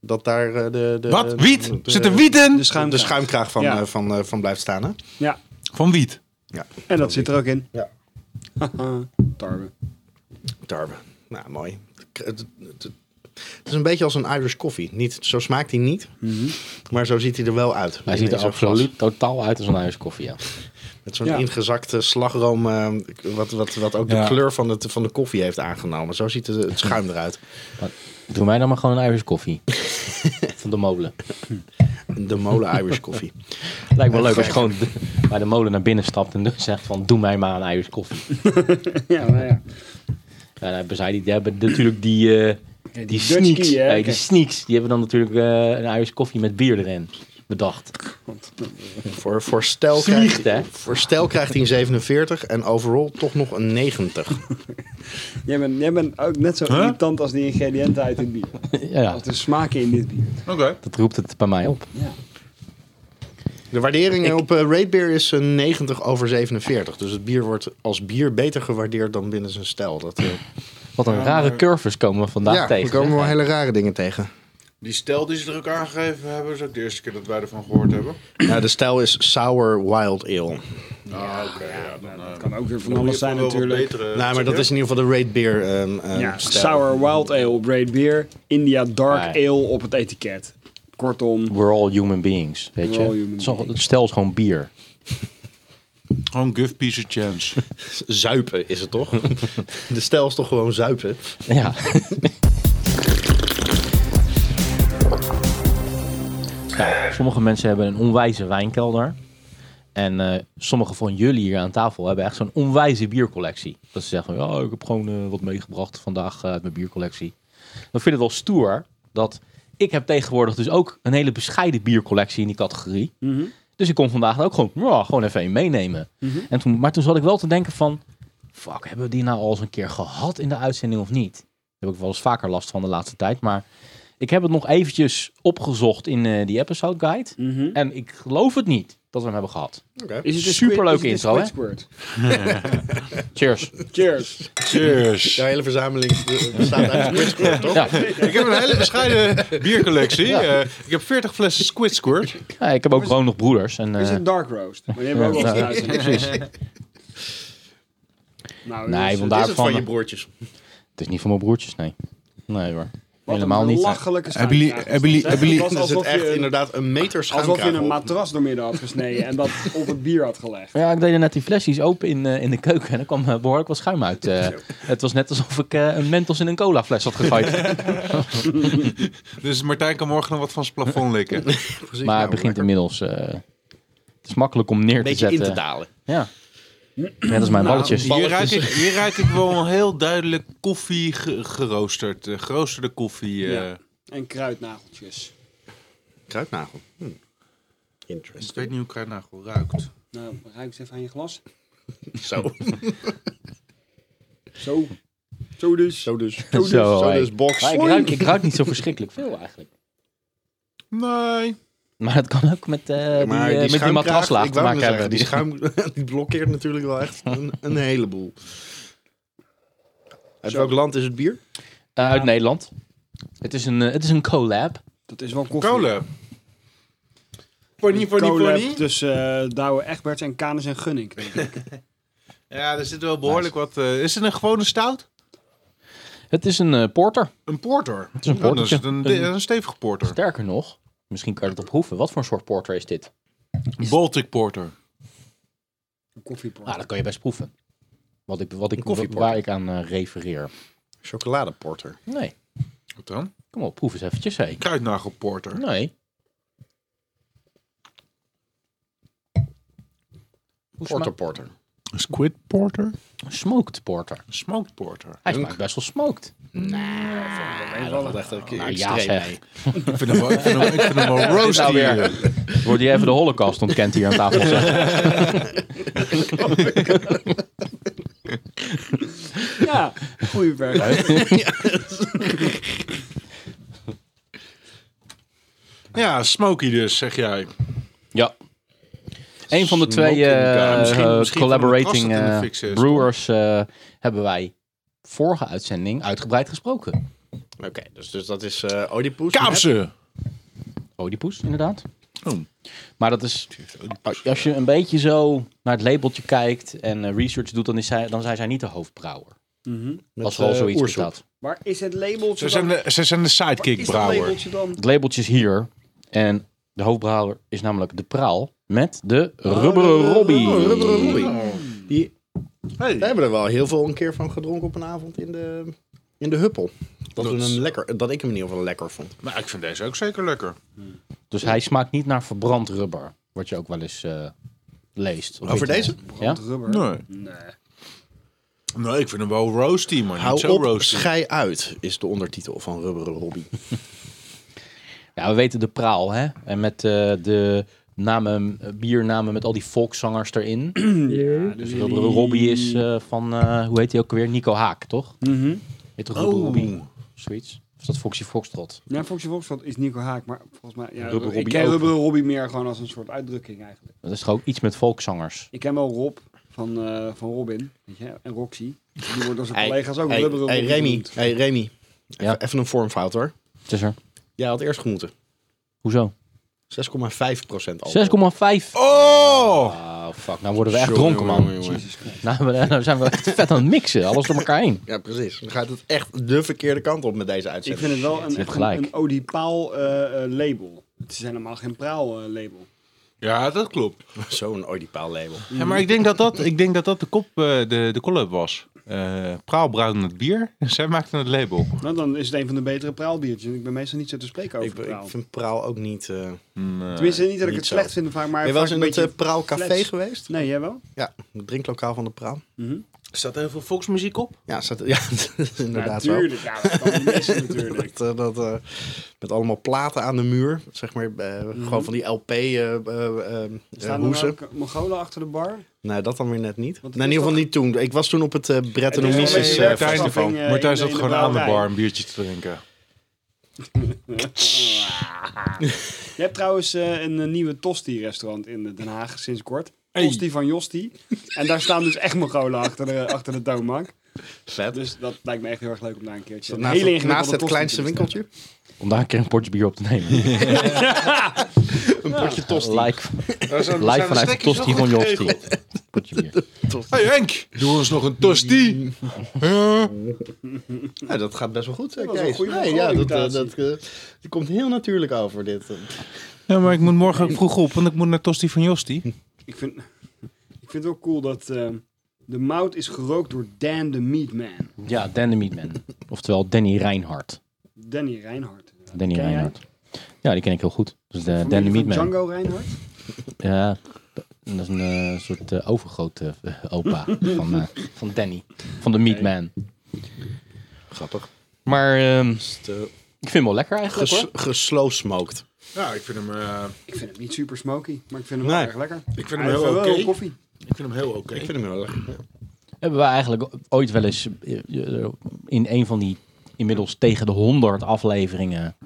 [SPEAKER 4] Dat daar eh, dus- de, de...
[SPEAKER 3] Wat? Wiet?
[SPEAKER 4] de-
[SPEAKER 3] Zit er wiet in?
[SPEAKER 2] De schuim,
[SPEAKER 4] De schuimkraag van,
[SPEAKER 2] Ja.
[SPEAKER 4] eh, van, eh, van blijft staan, hè?
[SPEAKER 2] ja,
[SPEAKER 3] Van wiet.
[SPEAKER 4] Ja.
[SPEAKER 2] en dat zit er ook
[SPEAKER 1] [LAUGHS]
[SPEAKER 2] in.
[SPEAKER 4] Ja.
[SPEAKER 2] Haha, Tarwe.
[SPEAKER 4] Tarwe. Nou, mooi. Het, het- het- het is een beetje als een Irish coffee. Niet, zo smaakt hij niet,
[SPEAKER 3] Mhm.
[SPEAKER 4] maar zo ziet hij er wel uit.
[SPEAKER 1] Hij
[SPEAKER 4] In-
[SPEAKER 1] ziet
[SPEAKER 4] in
[SPEAKER 1] er
[SPEAKER 4] zo'n glas.
[SPEAKER 1] absoluut totaal uit als een Irish koffie, ja.
[SPEAKER 4] Met zo'n
[SPEAKER 2] Ja.
[SPEAKER 4] ingezakte slagroom, eh, wat, wat, wat ook
[SPEAKER 3] Ja.
[SPEAKER 4] de kleur van, het, van de koffie heeft aangenomen. Zo ziet het, het schuim eruit.
[SPEAKER 1] Doe mij dan maar gewoon een Irish koffie. Van de molen.
[SPEAKER 4] De molen Irish coffee.
[SPEAKER 1] Lijkt me leuk als je gewoon de- bij de molen naar binnen stapt en dus zegt van doe mij maar een Irish koffie.
[SPEAKER 2] [LAUGHS] Ja, nou ja.
[SPEAKER 1] Ja, dan hebben zij die, die hebben natuurlijk die, eh, die,
[SPEAKER 2] die Dutch
[SPEAKER 1] sneaks.
[SPEAKER 2] key, hè?
[SPEAKER 1] Nee,
[SPEAKER 2] Oké.
[SPEAKER 1] die sneaks, die hebben dan natuurlijk eh, een Irish koffie met bier erin bedacht. [LAUGHS]
[SPEAKER 4] Voor, voor, stijl
[SPEAKER 1] Vliegt,
[SPEAKER 4] krijgt,
[SPEAKER 1] hè?
[SPEAKER 4] voor stijl krijgt hij een 47 en overall toch nog een 90.
[SPEAKER 2] Jij bent, jij bent ook net zo irritant als die ingrediënten uit het bier.
[SPEAKER 1] Ja, ja,
[SPEAKER 2] Als de smaken in dit bier.
[SPEAKER 3] Oké.
[SPEAKER 1] dat roept het bij mij op.
[SPEAKER 2] Ja.
[SPEAKER 4] De waardering op eh, Rate Beer is een 90 over 47. Dus het bier wordt als bier beter gewaardeerd dan binnen zijn stijl. Dat, eh,
[SPEAKER 1] Wat een rare curves komen we vandaag
[SPEAKER 4] ja,
[SPEAKER 1] tegen.
[SPEAKER 4] we komen wel
[SPEAKER 1] hè?
[SPEAKER 4] hele rare dingen tegen.
[SPEAKER 3] Die stijl die ze er ook aangegeven hebben, is ook de eerste keer dat wij ervan gehoord hebben.
[SPEAKER 4] Ja, de stijl is Sour Wild Ale.
[SPEAKER 3] Ah, oké. ja, dan, eh,
[SPEAKER 2] Dat kan ook weer van
[SPEAKER 3] dan moet
[SPEAKER 2] alles
[SPEAKER 3] je
[SPEAKER 2] zijn
[SPEAKER 3] wel wat
[SPEAKER 2] natuurlijk.
[SPEAKER 3] betere-
[SPEAKER 4] nou, maar dat is in ieder geval de Rate Beer ehm, eh,
[SPEAKER 2] Ja,
[SPEAKER 4] stijl.
[SPEAKER 2] sour wild ale, braid beer, India dark
[SPEAKER 1] Nee.
[SPEAKER 2] ale op het etiket. Kortom,
[SPEAKER 1] We're all human beings, weet
[SPEAKER 2] We're all
[SPEAKER 1] je.
[SPEAKER 2] human
[SPEAKER 1] Het is al-
[SPEAKER 2] beings.
[SPEAKER 1] Het stel is gewoon bier.
[SPEAKER 3] Gewoon give piece a
[SPEAKER 4] [LAUGHS]
[SPEAKER 3] chance.
[SPEAKER 4] Zuipen is het toch? [LAUGHS] de stijl is toch gewoon zuipen?
[SPEAKER 1] [LAUGHS] Ja. Nou, Kijk, sommige mensen hebben een onwijze wijnkelder. En eh, sommige van jullie hier aan tafel hebben echt zo'n onwijze biercollectie. Dat ze zeggen van, ja, ik heb gewoon eh, wat meegebracht vandaag eh, uit mijn biercollectie. Dan vind ik het wel stoer dat ik heb tegenwoordig dus ook een hele bescheiden biercollectie in die categorie.
[SPEAKER 2] Mhm.
[SPEAKER 1] Dus ik kon vandaag ook gewoon, ja, gewoon even een meenemen.
[SPEAKER 2] Mhm.
[SPEAKER 1] En toen, maar toen zat ik wel te denken van... Fuck, hebben we die nou al eens een keer gehad in de uitzending of niet? Daar heb ik wel eens vaker last van de laatste tijd. Maar ik heb het nog eventjes opgezocht in eh, die episode guide.
[SPEAKER 2] Mhm.
[SPEAKER 1] En ik geloof het niet dat we hem hebben gehad.
[SPEAKER 4] Oké.
[SPEAKER 2] Is het een
[SPEAKER 1] Superleuke
[SPEAKER 2] squid- is het
[SPEAKER 1] intro,
[SPEAKER 2] een
[SPEAKER 1] hè?
[SPEAKER 2] squid squirt? [LAUGHS]
[SPEAKER 1] Cheers.
[SPEAKER 2] Cheers.
[SPEAKER 3] Cheers.
[SPEAKER 4] Jouw hele verzameling eh, bestaat uit [LAUGHS] Squid Squirt, toch?
[SPEAKER 1] Ja,
[SPEAKER 3] Ik heb een hele bescheiden [LAUGHS] biercollectie. Eh, ik heb 40 flessen Squid Squirt.
[SPEAKER 1] Ja, ik heb ook gewoon nog broeders. En,
[SPEAKER 2] Is
[SPEAKER 1] eh,
[SPEAKER 2] het dark roast? Maar die hebben we ook
[SPEAKER 1] Ja.
[SPEAKER 2] al gedaan.
[SPEAKER 1] [LAUGHS]
[SPEAKER 2] Nou,
[SPEAKER 1] Nee,
[SPEAKER 2] jongens,
[SPEAKER 1] want
[SPEAKER 4] Wat
[SPEAKER 1] daar-
[SPEAKER 4] is het van
[SPEAKER 1] Daarvan-
[SPEAKER 4] je broertjes?
[SPEAKER 1] het is niet van mijn broertjes, nee. Nee hoor.
[SPEAKER 2] wat een
[SPEAKER 1] Helemaal niet.
[SPEAKER 2] belachelijke
[SPEAKER 3] Hebben jullie-
[SPEAKER 2] schaamte.
[SPEAKER 3] hebben jullie- hebben jullie-
[SPEAKER 2] Het
[SPEAKER 4] Dan
[SPEAKER 2] was
[SPEAKER 4] is het
[SPEAKER 2] alsof
[SPEAKER 4] echt
[SPEAKER 2] je een-
[SPEAKER 4] inderdaad een meter
[SPEAKER 2] Alsof je
[SPEAKER 4] schuimkraag
[SPEAKER 2] een
[SPEAKER 4] op.
[SPEAKER 2] matras doormidden had gesneden en dat op het bier had gelegd.
[SPEAKER 1] Ja, ik deed er net die flesjes open in, eh, in de keuken en er kwam eh, behoorlijk wat schuim uit. eh. het was net alsof ik eh, een Mentos in een cola fles had gegooid.
[SPEAKER 3] Dus Martijn kan morgen nog wat van zijn plafond likken.
[SPEAKER 4] Precies,
[SPEAKER 1] maar
[SPEAKER 4] nou,
[SPEAKER 1] het begint
[SPEAKER 4] lekker.
[SPEAKER 1] inmiddels... eh, het is makkelijk om neer
[SPEAKER 4] Een
[SPEAKER 1] te
[SPEAKER 4] beetje in
[SPEAKER 1] zetten.
[SPEAKER 4] te dalen.
[SPEAKER 1] Ja. Net als mijn
[SPEAKER 4] Nou,
[SPEAKER 1] balletjes. Dus
[SPEAKER 3] Hier ruik, ik, hier ruik ik wel heel duidelijk koffie ge- geroosterd. eh, geroosterde koffie. eh.
[SPEAKER 2] Ja. En kruidnageltjes.
[SPEAKER 4] Kruidnagel. Hm.
[SPEAKER 3] Ik
[SPEAKER 4] Interesting.
[SPEAKER 3] weet niet hoe kruidnagel ruikt.
[SPEAKER 2] Nou, ruik eens even aan je glas.
[SPEAKER 4] Zo.
[SPEAKER 2] [LAUGHS] Zo. Zo dus.
[SPEAKER 4] Zo
[SPEAKER 1] [LAUGHS]
[SPEAKER 4] dus.
[SPEAKER 1] Zo,
[SPEAKER 4] Zo
[SPEAKER 1] hey.
[SPEAKER 4] dus, box.
[SPEAKER 1] Maar ik, ruik, ik ruik niet zo verschrikkelijk veel eigenlijk.
[SPEAKER 3] Nee.
[SPEAKER 1] Maar het kan ook met, eh
[SPEAKER 4] Maar
[SPEAKER 1] die, eh, met die
[SPEAKER 4] schuimkraag,
[SPEAKER 1] matraslaag
[SPEAKER 4] ik
[SPEAKER 1] te
[SPEAKER 4] wou
[SPEAKER 1] maken
[SPEAKER 4] net
[SPEAKER 1] hebben.
[SPEAKER 4] zeggen, Die schuim [LAUGHS] die blokkeert natuurlijk wel echt een, een heleboel. Uit welk land is het bier?
[SPEAKER 1] Eh, uit Nederland. Het is een, eh, het is een collab.
[SPEAKER 2] Dat is wel koffie.
[SPEAKER 3] Kolen. Pony, pony,
[SPEAKER 2] collab
[SPEAKER 3] pony.
[SPEAKER 2] tussen eh Douwe Egberts en Kanis en Gunning.
[SPEAKER 3] Ja, er zit wel behoorlijk wat... eh, is het een gewone stout?
[SPEAKER 1] Het is een eh, porter.
[SPEAKER 3] Een porter. Het
[SPEAKER 1] is een
[SPEAKER 3] Dan is
[SPEAKER 1] portertje.
[SPEAKER 3] het een, de- een stevige porter.
[SPEAKER 1] Sterker nog, misschien kan je dat op proeven. Wat voor een soort porter is dit?
[SPEAKER 3] Baltic porter.
[SPEAKER 2] Een koffiepot.
[SPEAKER 1] Ah, dat kan je best proeven. Wat ik, wat ik,
[SPEAKER 4] koffieporter.
[SPEAKER 1] waar ik aan eh, refereer.
[SPEAKER 4] Chocoladeporter.
[SPEAKER 1] Nee,
[SPEAKER 3] Wat dan?
[SPEAKER 1] kom op, proef eens eventjes. Hé.
[SPEAKER 3] Kruidnagelporter.
[SPEAKER 1] Nee,
[SPEAKER 4] Porter, porter.
[SPEAKER 3] Squid porter?
[SPEAKER 1] smoked porter.
[SPEAKER 3] Smoked porter.
[SPEAKER 1] Hij smaakt best wel smoked.
[SPEAKER 4] dat was echt een keer
[SPEAKER 1] Nou ja
[SPEAKER 4] extreem
[SPEAKER 1] zeg.
[SPEAKER 3] Ik vind hem wel, ik vind hem, ik vind hem wel [LAUGHS] roasty.
[SPEAKER 1] nou weer? Wordt hier even de holocaust ontkend hier aan tafel? zeg.
[SPEAKER 2] Ja, goeie vergelijking.
[SPEAKER 3] Ja, smoky dus, zeg jij.
[SPEAKER 1] Ja. Een van de
[SPEAKER 3] Smoking
[SPEAKER 1] twee
[SPEAKER 3] gun.
[SPEAKER 1] eh,
[SPEAKER 3] Misschien-
[SPEAKER 1] eh,
[SPEAKER 3] misschien
[SPEAKER 1] collaborating
[SPEAKER 3] van de kast dat in de
[SPEAKER 1] eh,
[SPEAKER 3] fik zit.
[SPEAKER 1] brewers eh, hebben wij vorige uitzending uitgebreid gesproken.
[SPEAKER 4] Oké, dus, dus dat is eh Oedipus.
[SPEAKER 3] Kaapse.
[SPEAKER 1] Oedipus, inderdaad.
[SPEAKER 3] Oh.
[SPEAKER 1] Maar dat is, als je een beetje zo naar het labeltje kijkt en eh, research doet, dan, is zij, dan zijn zij niet de hoofdbrouwer.
[SPEAKER 4] Met,
[SPEAKER 1] als er al
[SPEAKER 4] eh,
[SPEAKER 1] zoiets
[SPEAKER 4] oersoep.
[SPEAKER 1] bestaat.
[SPEAKER 2] Waar is het labeltje
[SPEAKER 3] Ze zijn
[SPEAKER 2] dan?
[SPEAKER 3] de, ze zijn de
[SPEAKER 2] Waar is
[SPEAKER 3] sidekick
[SPEAKER 2] dat
[SPEAKER 3] brouwer.
[SPEAKER 2] labeltje dan?
[SPEAKER 1] Het labeltje is hier en de hoofdbrouwer is namelijk de praal met de
[SPEAKER 4] Oh,
[SPEAKER 1] rubberen
[SPEAKER 4] de
[SPEAKER 1] Robbie.
[SPEAKER 4] Rubberen Robbie. Die, we
[SPEAKER 3] Hey.
[SPEAKER 4] hebben er wel heel veel een keer van gedronken op een avond in de, in de huppel. Dat, we hem lekker, dat ik hem in ieder geval lekker vond.
[SPEAKER 3] Maar ik vind deze ook zeker lekker.
[SPEAKER 1] Dus hij smaakt niet naar verbrand rubber, wat je ook wel eens eh, leest. op
[SPEAKER 4] Over
[SPEAKER 1] internet.
[SPEAKER 4] deze?
[SPEAKER 1] Ja?
[SPEAKER 2] Rubber.
[SPEAKER 3] Nee.
[SPEAKER 2] Nee.
[SPEAKER 3] Nee, ik vind hem wel roasty, maar niet
[SPEAKER 4] Hou
[SPEAKER 3] zo
[SPEAKER 4] op,
[SPEAKER 3] roasty.
[SPEAKER 4] schei uit, is de ondertitel van Rubberen Robbie.
[SPEAKER 1] Ja, we weten de praal, hè? En met eh, de namen, eh, biernamen met al die volkszangers erin.
[SPEAKER 2] Ja,
[SPEAKER 1] dus
[SPEAKER 2] dus
[SPEAKER 1] Rubberen Robbie is eh, van, eh, hoe heet hij ook weer? Nico Haak, toch?
[SPEAKER 2] Mhm.
[SPEAKER 1] Heet toch Rubberen Robbie?
[SPEAKER 3] Oh.
[SPEAKER 1] Zoiets. Of is dat Foxy Foxtrot?
[SPEAKER 2] Ja, Foxy Volksstad is Nico Haak, maar volgens mij... Ja,
[SPEAKER 1] Rubber
[SPEAKER 2] ik
[SPEAKER 1] Robbie
[SPEAKER 2] ken
[SPEAKER 1] ook.
[SPEAKER 2] Rubber Robbie meer gewoon als een soort uitdrukking eigenlijk.
[SPEAKER 1] Dat is toch ook iets met volkszangers?
[SPEAKER 2] Ik ken wel Rob van, eh, van Robin weet je, en Roxy. Die wordt door zijn
[SPEAKER 4] Hey,
[SPEAKER 2] collega's ook
[SPEAKER 4] hey,
[SPEAKER 2] Rubber Robbie
[SPEAKER 4] hey, Remy,
[SPEAKER 2] genoemd.
[SPEAKER 4] hey, Remy. Even,
[SPEAKER 1] Ja.
[SPEAKER 4] even een vormfout hoor.
[SPEAKER 1] Het is er.
[SPEAKER 4] Jij had eerst gemoeten. 6,5%
[SPEAKER 1] Hoezo? 6,5.
[SPEAKER 4] alcohol.
[SPEAKER 3] Oh!
[SPEAKER 1] Oh, fuck. Nou worden we echt
[SPEAKER 4] Sorry,
[SPEAKER 1] dronken, man.
[SPEAKER 4] jongen, jongen.
[SPEAKER 2] Jezus Christus.
[SPEAKER 1] Nou, we- nou zijn we echt vet aan het mixen. Alles door elkaar heen.
[SPEAKER 4] Ja, precies. Dan gaat het echt de verkeerde kant op met deze
[SPEAKER 2] Ik
[SPEAKER 4] uitzending.
[SPEAKER 2] vind het wel een,
[SPEAKER 1] hebt
[SPEAKER 2] echt
[SPEAKER 1] gelijk.
[SPEAKER 2] een, een Odipaal eh, eh, label. Het is helemaal geen praal eh, label.
[SPEAKER 3] Ja, dat klopt.
[SPEAKER 4] [LAUGHS] Zo'n Oedipaal label.
[SPEAKER 3] Ja, maar ik denk dat dat, ik denk dat, dat de, kop, eh, de, de collab was. eh praalbrouwden het bier. [LAUGHS] Zij maakten het label.
[SPEAKER 2] Nou, dan is het een van de betere praalbiertjes. Ik ben meestal niet zo te spreken over
[SPEAKER 4] Ik, ik
[SPEAKER 2] praal.
[SPEAKER 4] vind praal ook niet... eh Ben
[SPEAKER 3] Nee.
[SPEAKER 2] Tenminste, niet dat ik
[SPEAKER 4] niet
[SPEAKER 2] het
[SPEAKER 4] zo.
[SPEAKER 2] slecht vind vaak, maar
[SPEAKER 4] je wel
[SPEAKER 2] vaak
[SPEAKER 4] eens in
[SPEAKER 2] een
[SPEAKER 4] het
[SPEAKER 2] beetje
[SPEAKER 4] eh, praalcafé
[SPEAKER 2] flats.
[SPEAKER 4] geweest?
[SPEAKER 2] Nee, jij wel?
[SPEAKER 4] Ja, het drinklokaal van de praal.
[SPEAKER 2] Mhm.
[SPEAKER 3] eh.
[SPEAKER 6] Staat er heel veel volksmuziek op?
[SPEAKER 4] Ja, staat, [LAUGHS] ja inderdaad wel.
[SPEAKER 2] Natuurlijk, ja, dat kan niet missen natuurlijk.
[SPEAKER 4] [LAUGHS] Dat, eh, dat, eh, met allemaal platen aan de muur. Zeg maar, eh, gewoon van die LP eh eh, eh, eh,
[SPEAKER 2] Mhm. Staan er
[SPEAKER 4] hoesen.
[SPEAKER 2] nou ook Mongolen achter de bar?
[SPEAKER 4] Nee, dat dan weer net niet.
[SPEAKER 2] Want
[SPEAKER 4] Nee, in ieder
[SPEAKER 2] het is
[SPEAKER 4] geval
[SPEAKER 2] toch-
[SPEAKER 4] niet toen. Ik was toen op het eh Brettanomyces
[SPEAKER 2] Het is wel
[SPEAKER 4] eh,
[SPEAKER 2] een
[SPEAKER 4] festival.
[SPEAKER 2] afschaffing, eh, in
[SPEAKER 3] Martijn
[SPEAKER 2] de-
[SPEAKER 3] zat
[SPEAKER 2] in
[SPEAKER 3] gewoon aan de
[SPEAKER 2] brouwerij.
[SPEAKER 3] bar een biertje te drinken.
[SPEAKER 2] Je hebt trouwens eh, een eh, nieuwe Tosti-restaurant in Den Haag sinds kort.
[SPEAKER 3] Hey.
[SPEAKER 2] Tosti van Josti. En daar staan dus echt Mongolen achter de, achter de toonbank.
[SPEAKER 4] Vet.
[SPEAKER 2] Dus dat lijkt me echt heel erg leuk om daar een keertje... een
[SPEAKER 4] Naast,
[SPEAKER 2] hele
[SPEAKER 4] het,
[SPEAKER 2] ingewikkelde
[SPEAKER 4] naast het
[SPEAKER 2] tosti
[SPEAKER 4] kleinste
[SPEAKER 2] te
[SPEAKER 4] winkeltje.
[SPEAKER 1] Om daar een keer een potje bier op te nemen.
[SPEAKER 4] Een potje tosti.
[SPEAKER 1] Live, live vanuit de tosti van Josti. Potje bier.
[SPEAKER 3] Hey Henk, doe ons nog een tosti. Huh?
[SPEAKER 4] Ja, dat gaat best wel goed. eh,
[SPEAKER 2] Dat was een
[SPEAKER 4] Kees.
[SPEAKER 2] goede
[SPEAKER 4] Nee, ja, dat, eh, dat,
[SPEAKER 2] imitatie.
[SPEAKER 4] eh, die komt heel natuurlijk over dit. eh.
[SPEAKER 3] Ja, maar ik moet morgen ook vroeg op, want ik moet naar tosti van Josti.
[SPEAKER 2] bestellen. Ik vind, ik vind het wel cool dat eh, de mout is gerookt door Dan de Meatman.
[SPEAKER 1] Ja, Dan the Meatman. Oftewel Danny Reinhardt.
[SPEAKER 2] Danny Reinhardt.
[SPEAKER 1] Danny
[SPEAKER 2] Ken jij?
[SPEAKER 1] Reinhardt. Ja, die ken ik heel goed. Dus de, Dan the
[SPEAKER 2] Familie van
[SPEAKER 1] Meatman.
[SPEAKER 2] Django Reinhardt?
[SPEAKER 1] Ja, dat is een eh, soort eh, overgrote eh,
[SPEAKER 2] [LAUGHS]
[SPEAKER 1] opa van, eh, van Danny. Van de Meatman.
[SPEAKER 4] Grappig.
[SPEAKER 1] Maar ehm,
[SPEAKER 4] eh,
[SPEAKER 1] ik vind hem wel lekker eigenlijk
[SPEAKER 4] Ges,
[SPEAKER 1] hoor.
[SPEAKER 4] geslowsmoked.
[SPEAKER 3] Ja, ik vind hem, eh,
[SPEAKER 2] Ik vind hem niet super smoky, maar ik vind hem wel
[SPEAKER 4] Nee.
[SPEAKER 2] erg lekker.
[SPEAKER 6] Ik vind
[SPEAKER 2] Hij
[SPEAKER 6] hem
[SPEAKER 2] heeft
[SPEAKER 6] heel
[SPEAKER 2] wel
[SPEAKER 6] oké.
[SPEAKER 2] heel koffie.
[SPEAKER 6] Ik vind hem heel oké.
[SPEAKER 4] Ik vind hem heel lekker.
[SPEAKER 1] Hebben we eigenlijk ooit wel eens eh, eh, in een van die inmiddels tegen de 100 afleveringen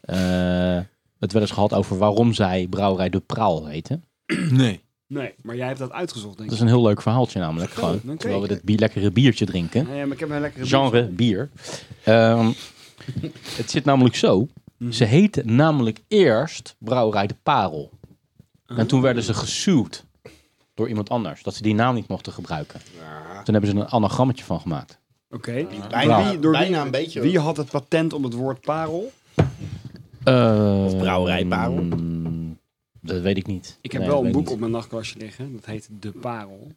[SPEAKER 1] eh, het wel eens gehad over waarom zij Brouwerij de Praal heten?
[SPEAKER 3] nee.
[SPEAKER 2] Nee, maar jij hebt dat uitgezocht, denk
[SPEAKER 1] Dat is
[SPEAKER 2] ik.
[SPEAKER 1] een heel leuk verhaaltje namelijk.
[SPEAKER 2] Vertel,
[SPEAKER 1] Gewoon,
[SPEAKER 2] dan
[SPEAKER 1] terwijl we
[SPEAKER 2] kijk.
[SPEAKER 1] dit bi- lekkere biertje drinken.
[SPEAKER 2] Ja, ja, maar ik heb een lekkere
[SPEAKER 1] Dus- genre
[SPEAKER 2] biertje.
[SPEAKER 1] bier. Ehm, het zit namelijk zo.
[SPEAKER 2] Mhm.
[SPEAKER 1] Ze heten namelijk eerst Brouwerij de Parel. En toen werden
[SPEAKER 2] Ah.
[SPEAKER 1] ze gesuwd door iemand anders. Dat ze die naam niet mochten gebruiken. Toen hebben ze een anagrammetje van gemaakt.
[SPEAKER 2] Oké.
[SPEAKER 4] Bijna,
[SPEAKER 2] Wie- door Nou, wie-
[SPEAKER 4] bijna een beetje.
[SPEAKER 2] Wie had het patent op het woord parel?
[SPEAKER 1] Eh,
[SPEAKER 4] Of Brouwerij Parel.
[SPEAKER 1] mm, Dat weet ik niet.
[SPEAKER 2] Ik heb
[SPEAKER 1] Nee,
[SPEAKER 2] wel
[SPEAKER 1] dat
[SPEAKER 2] een
[SPEAKER 1] weet
[SPEAKER 2] boek
[SPEAKER 1] ik
[SPEAKER 2] op mijn nachtkastje liggen. Dat heet De Parel.
[SPEAKER 4] en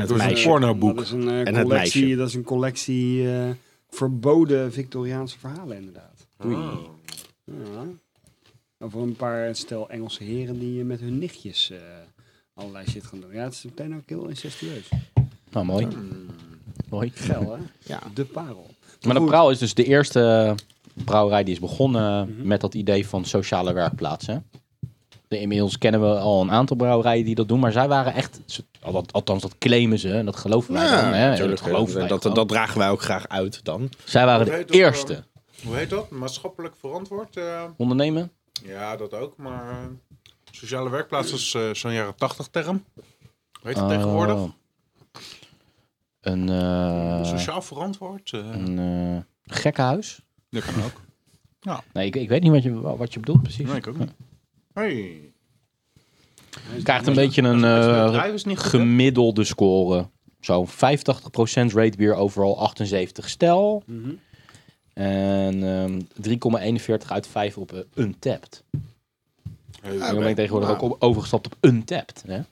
[SPEAKER 4] het
[SPEAKER 3] Dat is een
[SPEAKER 4] meisje.
[SPEAKER 3] pornoboek.
[SPEAKER 2] Dat is een, eh,
[SPEAKER 4] En het
[SPEAKER 2] collectie,
[SPEAKER 4] meisje.
[SPEAKER 2] dat is een collectie eh, verboden Victoriaanse verhalen, inderdaad. Oh. Ja. Over een paar stel Engelse heren die eh, met hun nichtjes eh, allerlei shit gaan doen. Ja, het is meteen ook heel incestueus.
[SPEAKER 1] niet. Nou, mooi.
[SPEAKER 2] Hmm.
[SPEAKER 1] Mooi.
[SPEAKER 2] Geil, hè?
[SPEAKER 4] Ja.
[SPEAKER 2] De Parel.
[SPEAKER 1] Maar de
[SPEAKER 2] Goed.
[SPEAKER 1] Praal is dus de eerste brouwerij die is begonnen met dat idee van sociale werkplaatsen. De, inmiddels kennen we al een aantal brouwerijen die dat doen, maar zij waren echt, ze- al dat- althans dat claimen ze en dat geloven wij dan. Hè? Dat geloven wij
[SPEAKER 4] dat,
[SPEAKER 1] gewoon.
[SPEAKER 4] dat dragen wij ook graag uit dan.
[SPEAKER 1] Zij waren de
[SPEAKER 3] Dat heet ook,
[SPEAKER 1] eerste
[SPEAKER 3] ehm, Hoe heet dat? Maatschappelijk verantwoord? eh,
[SPEAKER 1] ondernemen.
[SPEAKER 3] ja, dat ook, maar... eh, sociale werkplaats is eh, zo'n jaren tachtig term. Hoe heet dat tegenwoordig?
[SPEAKER 1] Oh. Een, eh,
[SPEAKER 3] Sociaal verantwoord? eh,
[SPEAKER 1] een eh, gekkenhuis?
[SPEAKER 3] Dat kan
[SPEAKER 2] [LAUGHS]
[SPEAKER 3] ook.
[SPEAKER 1] Nee, ik, ik weet niet wat je, wat je bedoelt precies.
[SPEAKER 3] Nee, ik ook niet. Hey.
[SPEAKER 1] Eh, Je krijgt een beetje een eh, gemiddelde score. Zo'n 85% rate beer overal, 78 stel.
[SPEAKER 2] Mhm.
[SPEAKER 1] En ehm, 3,41 uit 5 op eh, Untapped.
[SPEAKER 3] Hey.
[SPEAKER 2] Ah,
[SPEAKER 1] Ik ben ik tegenwoordig
[SPEAKER 4] Nou.
[SPEAKER 1] ook op- overgestapt op Untapped. Hè? Met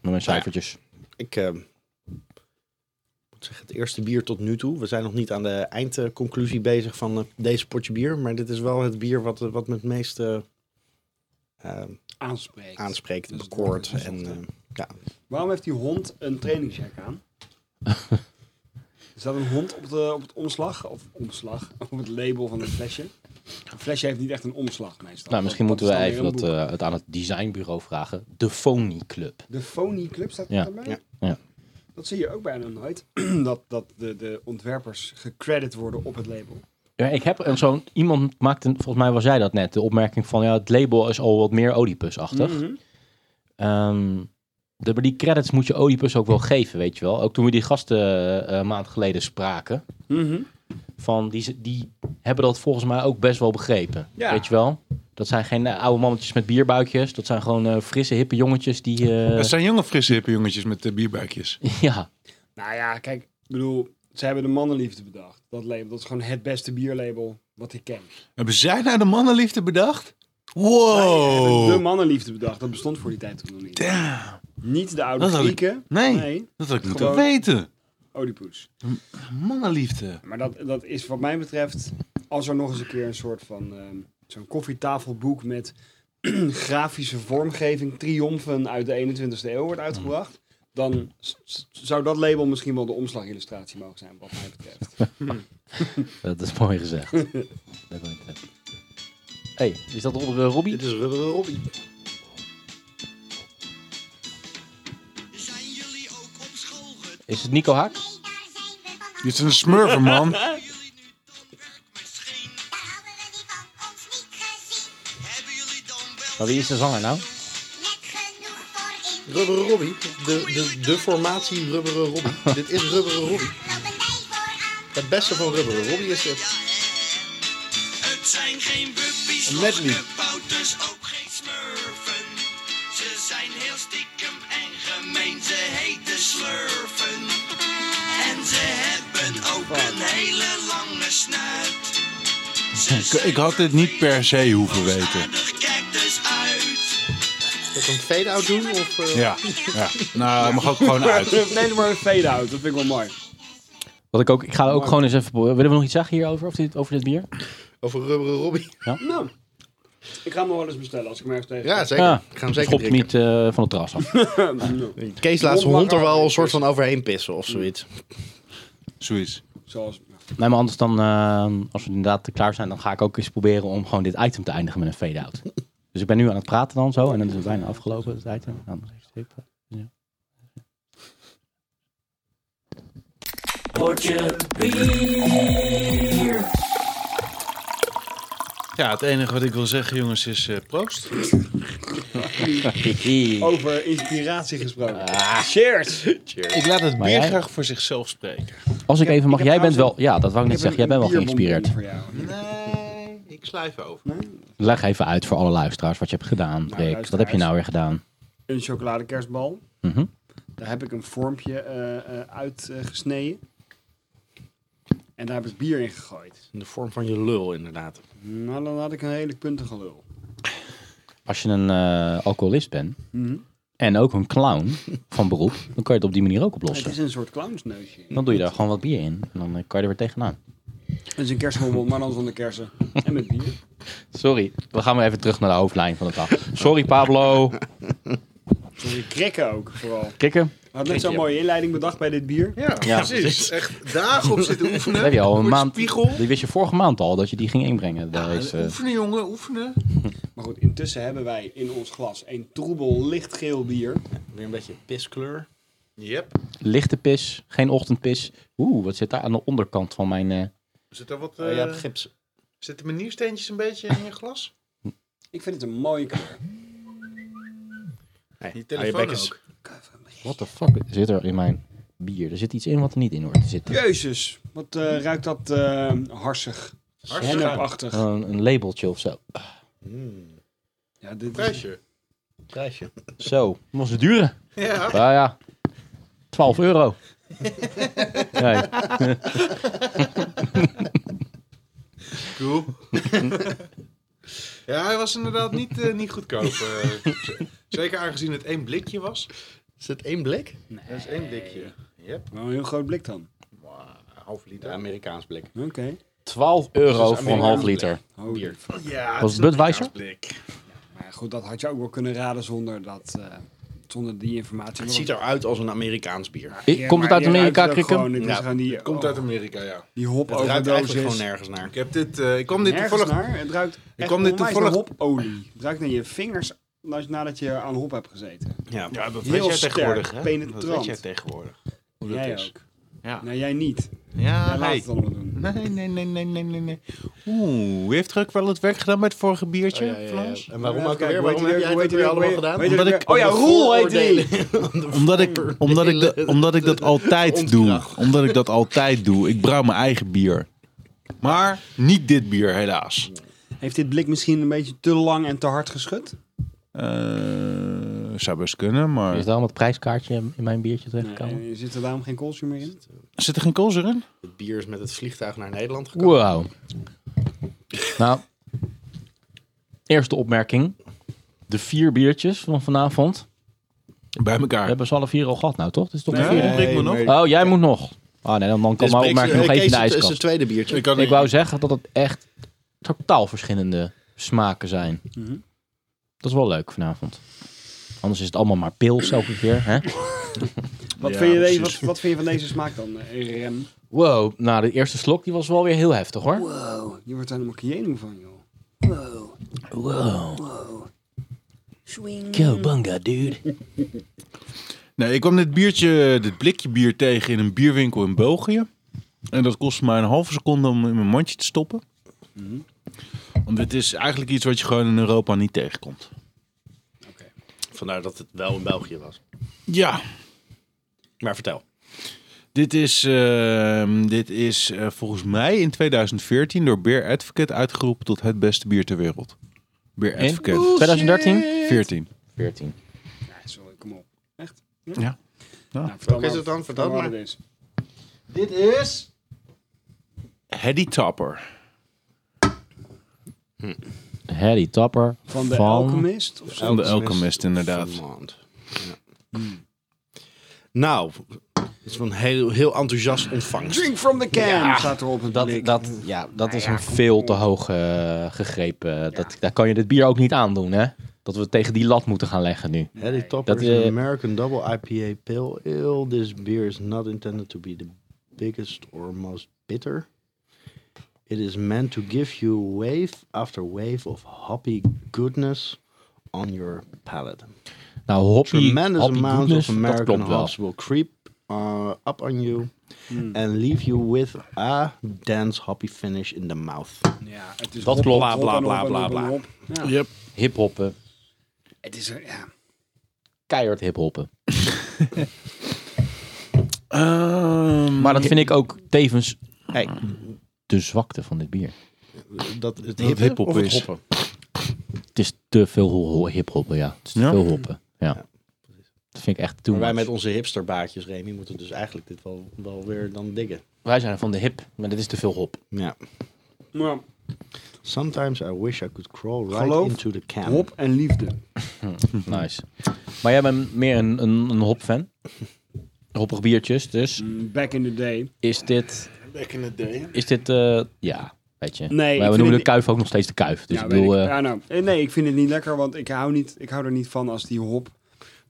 [SPEAKER 2] Nou
[SPEAKER 1] mijn cijfertjes.
[SPEAKER 4] Ik eh, moet zeggen, het eerste bier tot nu toe. We zijn nog niet aan de eindconclusie bezig van eh, deze potje bier. Maar dit is wel het bier wat, eh, wat me het meest eh, eh,
[SPEAKER 2] Aanspreekt.
[SPEAKER 4] aanspreekt,
[SPEAKER 2] Dus dat
[SPEAKER 4] bekoort.
[SPEAKER 2] is
[SPEAKER 4] En,
[SPEAKER 2] wel
[SPEAKER 4] eh, ja.
[SPEAKER 2] Waarom heeft die hond een trainingsjack aan? Is dat een hond op, de, op het omslag? Of omslag? Op het label van het flesje? Een flesje heeft niet echt een omslag meestal.
[SPEAKER 1] Nou, misschien
[SPEAKER 2] Dat- dat
[SPEAKER 1] moeten we
[SPEAKER 2] is dan
[SPEAKER 1] even
[SPEAKER 2] weer
[SPEAKER 1] dat,
[SPEAKER 2] een
[SPEAKER 1] eh, het aan het designbureau vragen. De Phony Club.
[SPEAKER 2] boek. De Phony Club staat
[SPEAKER 1] Ja,
[SPEAKER 2] dat erbij?
[SPEAKER 1] ja, ja.
[SPEAKER 2] Dat zie je ook bijna nooit. [CLEARS THROAT] dat dat de, de ontwerpers gecredit worden op het label.
[SPEAKER 1] Ja, ik heb een zo'n... Iemand maakte, volgens mij was jij dat net, de opmerking van... Ja, het label is al wat meer Oedipus-achtig.
[SPEAKER 2] Mhm.
[SPEAKER 1] Ehm, de, maar die credits moet je Oedipus ook wel geven, weet je wel. Ook toen we die gasten eh, een maand geleden spraken.
[SPEAKER 2] Mhm.
[SPEAKER 1] Van die, ze- die hebben dat volgens mij ook best wel begrepen.
[SPEAKER 2] Ja.
[SPEAKER 1] Weet je wel? Dat zijn geen eh, oude mannetjes met bierbuikjes. Dat zijn gewoon eh, frisse, hippe jongetjes die... eh,
[SPEAKER 3] Dat zijn jonge, frisse, hippe jongetjes met eh, bierbuikjes.
[SPEAKER 1] [LAUGHS] ja,
[SPEAKER 2] Nou ja, kijk, ik bedoel, ze hebben de mannenliefde bedacht. Dat label, dat is gewoon het beste bierlabel wat ik ken.
[SPEAKER 3] Hebben zij nou de mannenliefde bedacht?
[SPEAKER 2] De
[SPEAKER 3] Wow!
[SPEAKER 2] mannenliefde bedacht, dat bestond voor die tijd toen nog niet.
[SPEAKER 3] Oh. Damn.
[SPEAKER 2] Niet de oude
[SPEAKER 3] Dat had ik-
[SPEAKER 2] Grieken.
[SPEAKER 3] Nee,
[SPEAKER 2] Nee.
[SPEAKER 3] dat had ik niet
[SPEAKER 2] Gewoon-
[SPEAKER 3] weten.
[SPEAKER 2] Oké, Oedipus.
[SPEAKER 3] Mannenliefde.
[SPEAKER 2] Maar dat, dat is wat mij betreft, als er nog eens een keer een soort van ehm, zo'n koffietafelboek met [CLEARS THROAT] grafische vormgeving, triomfen uit de 21ste eeuw wordt uitgebracht, dan s- s- zou dat label misschien wel de omslagillustratie mogen zijn, wat mij
[SPEAKER 3] [LAUGHS]
[SPEAKER 2] betreft.
[SPEAKER 1] Dat is mooi
[SPEAKER 4] [LAUGHS]
[SPEAKER 1] gezegd. Dat wil ik zeggen. hey, is dat onder eh, Robbie?
[SPEAKER 4] Dit is Rubberen Robbie.
[SPEAKER 7] Zijn jullie ook op school gedaan?
[SPEAKER 1] Is het Nico Haaks?
[SPEAKER 7] Nee, daar zijn we vanaf.
[SPEAKER 3] Dit is een smurfer,
[SPEAKER 2] [LAUGHS]
[SPEAKER 3] man.
[SPEAKER 7] Hebben jullie nu dan werkmachine? Daar hadden we die van ons niet gezien. Hebben jullie dan wel
[SPEAKER 1] Maar wie is de zanger nou?
[SPEAKER 7] net genoeg voor in
[SPEAKER 4] Rubberen Robbie. De, de, de formatie Rubberen [LAUGHS] Robbie. Dit is Rubberen Robbie.
[SPEAKER 7] lopen wij vooraan?
[SPEAKER 4] Het beste van Rubberen Robbie is
[SPEAKER 7] Ja,
[SPEAKER 4] dit.
[SPEAKER 7] hè. Het zijn geen buppies,
[SPEAKER 3] Medley.
[SPEAKER 7] bouters, ook geen smurfen. Ze zijn heel stiekem en gemeen, ze heten slurfen. En ze hebben ook een hele lange snuit.
[SPEAKER 3] Ik, ik had dit niet per se hoeven weten.
[SPEAKER 7] Aardig, kijk dus uit.
[SPEAKER 4] Zal ik een fade-out doen? Of, eh,
[SPEAKER 3] Ja, ja. Nou, dat mag ook gewoon uit.
[SPEAKER 2] nee, maar een fade-out, dat vind ik wel mooi.
[SPEAKER 1] Wat ik ook, ik ga ook gewoon eens even. Willen we nog iets zeggen hierover? Of dit, over dit bier?
[SPEAKER 4] Over Rubberen Robbie.
[SPEAKER 2] Nou, ik ga hem nog wel eens bestellen als ik me ergens tegen.
[SPEAKER 4] [LAUGHS] Ja, zeker.
[SPEAKER 1] Ja.
[SPEAKER 4] Ik ga hem zeker
[SPEAKER 1] Schopt
[SPEAKER 4] drinken.
[SPEAKER 1] Ah. niet eh, van het terras af.
[SPEAKER 2] Nou,
[SPEAKER 4] Kees laat zijn hond er wel een soort van overheen pissen of zoiets.
[SPEAKER 3] Zoiets.
[SPEAKER 2] Zoals,
[SPEAKER 1] nee, maar anders dan, eh, als we inderdaad klaar zijn, dan ga ik ook eens proberen om gewoon dit item te eindigen met een fade-out. [LAUGHS] Dus ik ben nu aan het praten dan zo en dan is het bijna afgelopen, het item. Nou, nog even stippen.
[SPEAKER 6] Ja, het enige wat ik wil zeggen, jongens, is eh, proost.
[SPEAKER 2] over inspiratie gesproken. Cheers!
[SPEAKER 6] Ik laat het
[SPEAKER 1] Maar
[SPEAKER 6] bier
[SPEAKER 1] jij-
[SPEAKER 6] graag voor zichzelf spreken.
[SPEAKER 1] Als ik
[SPEAKER 2] heb-
[SPEAKER 1] even mag,
[SPEAKER 2] ik heb
[SPEAKER 1] jij bent wel,
[SPEAKER 2] trouwens
[SPEAKER 1] ja, dat wou ik net
[SPEAKER 2] Ik heb
[SPEAKER 1] zeggen, jij
[SPEAKER 2] een-
[SPEAKER 1] bent wel
[SPEAKER 2] een bierbonbon
[SPEAKER 1] geïnspireerd.
[SPEAKER 2] Voor jou.
[SPEAKER 6] Nee, ik slijf over.
[SPEAKER 1] Leg even uit voor alle luisteraars wat je hebt gedaan, Rick. wat heb je
[SPEAKER 2] luisteraars.
[SPEAKER 1] nou weer gedaan?
[SPEAKER 2] Een chocoladekerstbal.
[SPEAKER 1] Mhm.
[SPEAKER 2] Daar heb ik een vormpje eh, uitgesneden. en daar heb ik bier in gegooid.
[SPEAKER 4] In de vorm van je lul, inderdaad.
[SPEAKER 2] Nou, dan had ik een redelijk puntige lul.
[SPEAKER 1] Als je een eh, alcoholist bent
[SPEAKER 2] Mhm.
[SPEAKER 1] en ook een
[SPEAKER 2] [LAUGHS]
[SPEAKER 1] clown van beroep, dan kan je het op die manier ook
[SPEAKER 2] Het
[SPEAKER 1] oplossen.
[SPEAKER 2] is een soort clownsneusje.
[SPEAKER 1] Dan doe je daar gewoon wat bier in en dan eh, kan je er weer tegenaan.
[SPEAKER 2] Het is een kerstbommel, maar dan zonder kersen. En met bier.
[SPEAKER 1] Sorry, we gaan weer even terug naar de hoofdlijn van de [LAUGHS] dag. Sorry Pablo.
[SPEAKER 2] Sorry, krikken ook vooral.
[SPEAKER 1] Kikken,
[SPEAKER 2] Had net zo'n
[SPEAKER 4] Krikken.
[SPEAKER 2] mooie inleiding bedacht bij dit bier.
[SPEAKER 6] Ja, precies. Echt dagen op zitten oefenen.
[SPEAKER 1] [LAUGHS] dat heb je al
[SPEAKER 6] Voor
[SPEAKER 1] een
[SPEAKER 6] de
[SPEAKER 1] maand.
[SPEAKER 6] spiegel.
[SPEAKER 1] Die wist je vorige maand al dat je die ging inbrengen. eh, Deze,
[SPEAKER 6] Ja, oefenen, jongen, oefenen.
[SPEAKER 2] Maar goed, intussen hebben wij in ons glas een troebel lichtgeel bier.
[SPEAKER 4] Weer een beetje piskleur.
[SPEAKER 6] Yep.
[SPEAKER 1] lichte pis, geen ochtendpis. Oeh, wat zit daar aan de onderkant van mijn... eh,
[SPEAKER 6] Zit er wat,
[SPEAKER 4] Oh, je
[SPEAKER 6] eh,
[SPEAKER 4] hebt gips.
[SPEAKER 6] zitten maniersteentjes een beetje in je glas?
[SPEAKER 2] Ik vind het een mooie kleur.
[SPEAKER 4] Nee,
[SPEAKER 6] Die
[SPEAKER 4] hou je
[SPEAKER 6] telefoon
[SPEAKER 4] bek eens.
[SPEAKER 6] ook.
[SPEAKER 1] What the fuck zit er in mijn bier? Er zit iets in wat er niet in hoort te zitten.
[SPEAKER 2] Jezus, wat eh, ruikt dat eh, harsig.
[SPEAKER 6] Hartstikke leuk.
[SPEAKER 2] Hennepachtig.
[SPEAKER 1] Gewoon een labeltje of zo.
[SPEAKER 2] Ja, dit is...
[SPEAKER 6] Prijsje.
[SPEAKER 4] Prijsje.
[SPEAKER 1] Zo, was het duren.
[SPEAKER 6] Ja.
[SPEAKER 1] Nou ja, 12 [LAUGHS] euro. Nee.
[SPEAKER 6] Cool. [LAUGHS] ja, hij was inderdaad niet, eh, niet goedkoop. eh. [LAUGHS] Z- zeker aangezien het één blikje was.
[SPEAKER 4] Is het één blik?
[SPEAKER 6] Dat is één blikje. Yep.
[SPEAKER 2] Wel een heel groot blik dan.
[SPEAKER 6] Maar half
[SPEAKER 4] De
[SPEAKER 6] liter.
[SPEAKER 4] Amerikaans blik.
[SPEAKER 2] Oké.
[SPEAKER 1] 12 euro
[SPEAKER 4] Dus
[SPEAKER 1] voor een half
[SPEAKER 4] Amerikaans
[SPEAKER 1] liter.
[SPEAKER 2] Oh,
[SPEAKER 4] Bier.
[SPEAKER 6] Ja,
[SPEAKER 1] Was het Budweiser?
[SPEAKER 6] blik.
[SPEAKER 2] Maar goed, dat had je ook wel kunnen raden zonder, dat, eh, zonder die informatie.
[SPEAKER 4] Het ziet eruit als een Amerikaans bier.
[SPEAKER 1] I- Komt het uit Amerika, Krikken?
[SPEAKER 2] Het
[SPEAKER 4] Ja,
[SPEAKER 2] is gewoon die,
[SPEAKER 6] Komt
[SPEAKER 2] oh,
[SPEAKER 6] uit Amerika, ja.
[SPEAKER 2] die hop
[SPEAKER 4] Het ruikt eigenlijk gewoon
[SPEAKER 2] overdosis.
[SPEAKER 4] nergens naar.
[SPEAKER 6] Ik, heb dit, eh, ik kwam dit
[SPEAKER 2] Nergens
[SPEAKER 6] toevallig...
[SPEAKER 2] naar. Het ruikt ik
[SPEAKER 6] kwam dit
[SPEAKER 2] naar
[SPEAKER 6] toevallig-
[SPEAKER 2] hopolie. Het ruikt naar je vingers na- nadat je aan hop hebt gezeten.
[SPEAKER 4] Ja.
[SPEAKER 6] Ja, dat
[SPEAKER 2] Heel
[SPEAKER 6] weet jij
[SPEAKER 2] sterk,
[SPEAKER 6] tegenwoordig, hè?
[SPEAKER 2] penetrant.
[SPEAKER 6] Dat weet jij tegenwoordig.
[SPEAKER 4] Oh,
[SPEAKER 6] Hoe dat
[SPEAKER 2] jij
[SPEAKER 6] is.
[SPEAKER 2] ook.
[SPEAKER 6] Ja.
[SPEAKER 2] Nou, jij niet.
[SPEAKER 4] Ah,
[SPEAKER 6] Ja,
[SPEAKER 2] jij laat
[SPEAKER 6] nee.
[SPEAKER 2] het allemaal doen.
[SPEAKER 6] Nee, nee, nee, nee, nee, nee, nee. Oeh, heeft Ruk wel het werk gedaan met het vorige biertje, Frans?
[SPEAKER 4] En waarom
[SPEAKER 2] Even
[SPEAKER 4] ook
[SPEAKER 2] kijken,
[SPEAKER 4] alweer?
[SPEAKER 2] hoe heet
[SPEAKER 4] Waarom
[SPEAKER 2] die
[SPEAKER 4] heb jij dat
[SPEAKER 2] ook- hoe heet
[SPEAKER 4] weer
[SPEAKER 2] die ook
[SPEAKER 4] allemaal
[SPEAKER 2] weer?
[SPEAKER 4] gedaan?
[SPEAKER 2] Hoe heet die
[SPEAKER 6] Omdat
[SPEAKER 2] ook
[SPEAKER 6] ik-
[SPEAKER 2] weer? oh ja, Roel heet die!
[SPEAKER 4] die!
[SPEAKER 3] Omdat
[SPEAKER 6] [LAUGHS]
[SPEAKER 3] ik, omdat, ik dat, omdat ik dat altijd doe. Omdat ik dat altijd doe. Ik brouw mijn eigen bier. Maar niet dit bier, helaas.
[SPEAKER 2] Heeft dit blik misschien een beetje te lang en te hard geschud?
[SPEAKER 3] Eh, zou best kunnen, maar...
[SPEAKER 1] Is daarom het prijskaartje in mijn biertje terechtgekomen?
[SPEAKER 2] Nee, zit er daarom geen koolzuur meer in?
[SPEAKER 3] Zit er geen koolzuur in?
[SPEAKER 4] Het bier is met het vliegtuig naar Nederland gekomen.
[SPEAKER 1] Wow. Nou, eerste opmerking. De vier biertjes van vanavond.
[SPEAKER 3] Bij
[SPEAKER 1] We
[SPEAKER 3] elkaar.
[SPEAKER 1] hebben ze alle vier al gehad nou, toch? Het is toch de
[SPEAKER 2] Nee.
[SPEAKER 1] vierde?
[SPEAKER 3] Eén drink me nog.
[SPEAKER 1] Oh, jij moet nog. Ah nee, dan, dan kan mijn
[SPEAKER 4] Dus Brix-
[SPEAKER 1] opmerking
[SPEAKER 4] eh,
[SPEAKER 1] nog even
[SPEAKER 4] Kees,
[SPEAKER 1] in de
[SPEAKER 4] het is het
[SPEAKER 1] ijskast.
[SPEAKER 4] tweede biertje.
[SPEAKER 3] Ik, kan
[SPEAKER 1] Ik
[SPEAKER 3] niet-
[SPEAKER 1] wou zeggen dat het echt totaal verschillende smaken zijn.
[SPEAKER 2] Mhm.
[SPEAKER 1] Dat is wel leuk vanavond. Anders is het allemaal maar pils elke keer. Hè?
[SPEAKER 2] Wat,
[SPEAKER 3] Ja,
[SPEAKER 2] vind je deze, wat,
[SPEAKER 3] precies.
[SPEAKER 2] wat vind je van deze smaak dan, eh, Rem?
[SPEAKER 1] Wow, nou de eerste slok die was wel weer heel heftig hoor.
[SPEAKER 2] Wow, Oh, je wordt daar helemaal kienu van, joh.
[SPEAKER 1] Wow. Cowabunga, dude.
[SPEAKER 3] Nee, ik kwam dit biertje, dit blikje bier tegen in een bierwinkel in België. En dat kostte mij een halve seconde om in mijn mandje te stoppen. Want dit is eigenlijk iets wat je gewoon in Europa niet tegenkomt.
[SPEAKER 4] Vandaar dat het wel in België was.
[SPEAKER 3] Ja,
[SPEAKER 4] Maar vertel.
[SPEAKER 3] Dit is, ehm, dit is eh, volgens mij in 2014 door Beer Advocate uitgeroepen tot het beste bier ter wereld. Beer
[SPEAKER 1] In?
[SPEAKER 3] Advocate
[SPEAKER 1] 2013?
[SPEAKER 3] 14.
[SPEAKER 1] 14.
[SPEAKER 2] Ja, Eh, sorry, kom op. Echt?
[SPEAKER 3] Ja.
[SPEAKER 2] Nou, vertel
[SPEAKER 4] Welke is het dan? Vertel
[SPEAKER 2] wat
[SPEAKER 4] maar.
[SPEAKER 2] het is.
[SPEAKER 4] Dit is...
[SPEAKER 3] Heddy Topper.
[SPEAKER 1] Harry Tapper.
[SPEAKER 2] Van de Alchemist of zo?
[SPEAKER 3] Van de Alchemist inderdaad.
[SPEAKER 4] Vermont. Ja. Nou, het is wel een heel, heel enthousiast ontvangst.
[SPEAKER 2] Drink from the can staat er op het
[SPEAKER 1] Dat,
[SPEAKER 2] blik.
[SPEAKER 1] dat, ja, dat is een veel te hoog eh, gegrepen. Dat, daar kan je dit bier ook niet aandoen, hè? Dat we tegen die lat moeten gaan leggen nu.
[SPEAKER 4] Eddie Topper
[SPEAKER 1] Dat,
[SPEAKER 4] is an
[SPEAKER 1] eh,
[SPEAKER 4] American double IPA pale ale. This beer is not intended to be the biggest or most bitter. It is meant to give you wave after wave of hoppy goodness on your palate.
[SPEAKER 1] Nou, hoppy,
[SPEAKER 4] Tremendous
[SPEAKER 1] hoppy
[SPEAKER 4] amounts
[SPEAKER 1] goodness,
[SPEAKER 4] of
[SPEAKER 1] dat
[SPEAKER 4] American
[SPEAKER 1] klopt wel.
[SPEAKER 4] hops will creep uh, up on you and leave you with a dense hoppy finish in the mouth.
[SPEAKER 2] ja, het is
[SPEAKER 1] dat
[SPEAKER 2] hop,
[SPEAKER 1] klopt.
[SPEAKER 2] hop,
[SPEAKER 4] Bla,
[SPEAKER 2] en
[SPEAKER 4] bla,
[SPEAKER 2] hop en
[SPEAKER 4] bla,
[SPEAKER 2] hop en
[SPEAKER 4] bla,
[SPEAKER 2] hop. Ja.
[SPEAKER 3] Yep.
[SPEAKER 1] Hiphoppen.
[SPEAKER 2] Het is er, ja.
[SPEAKER 1] Keihard
[SPEAKER 4] [LAUGHS]
[SPEAKER 1] hiphoppen.
[SPEAKER 3] Ehm,
[SPEAKER 1] Maar dat vind ik ook tevens
[SPEAKER 4] Hey,
[SPEAKER 1] de zwakte van dit bier.
[SPEAKER 4] dat het
[SPEAKER 3] het
[SPEAKER 4] hippe
[SPEAKER 3] hiphop
[SPEAKER 4] of het
[SPEAKER 3] is.
[SPEAKER 4] hoppen?
[SPEAKER 1] Het is te veel ho- ho- hiphoppen, ja. Het is te
[SPEAKER 3] Ja?
[SPEAKER 1] veel hoppen, ja. Dat vind ik echt too
[SPEAKER 4] Maar wij
[SPEAKER 1] much.
[SPEAKER 4] met onze hipsterbaardjes, Remy, moeten dus eigenlijk dit wel, wel weer dan diggen.
[SPEAKER 1] Wij zijn van de hip, maar dit is te veel hop.
[SPEAKER 4] Ja.
[SPEAKER 2] Maar
[SPEAKER 4] Sometimes I wish I could crawl right
[SPEAKER 2] Geloof,
[SPEAKER 4] into the can.
[SPEAKER 2] hop en liefde.
[SPEAKER 1] Nice. Maar jij bent meer een, een, een hopfan. Hoppig biertjes, dus.
[SPEAKER 2] Mm, Back in the day.
[SPEAKER 1] Is dit...
[SPEAKER 6] Back in the day.
[SPEAKER 1] Is dit... eh, ja, weet je.
[SPEAKER 2] Nee, ik
[SPEAKER 1] maar we
[SPEAKER 2] vind
[SPEAKER 1] noemen de
[SPEAKER 2] het-
[SPEAKER 1] kuif ook nog steeds de kuif. Dus
[SPEAKER 2] ja,
[SPEAKER 1] ik
[SPEAKER 2] weet
[SPEAKER 1] bedoel... eh,
[SPEAKER 2] Ja, nou, eh, nee, ik vind het niet lekker, want ik hou, niet, ik hou er niet van als die hop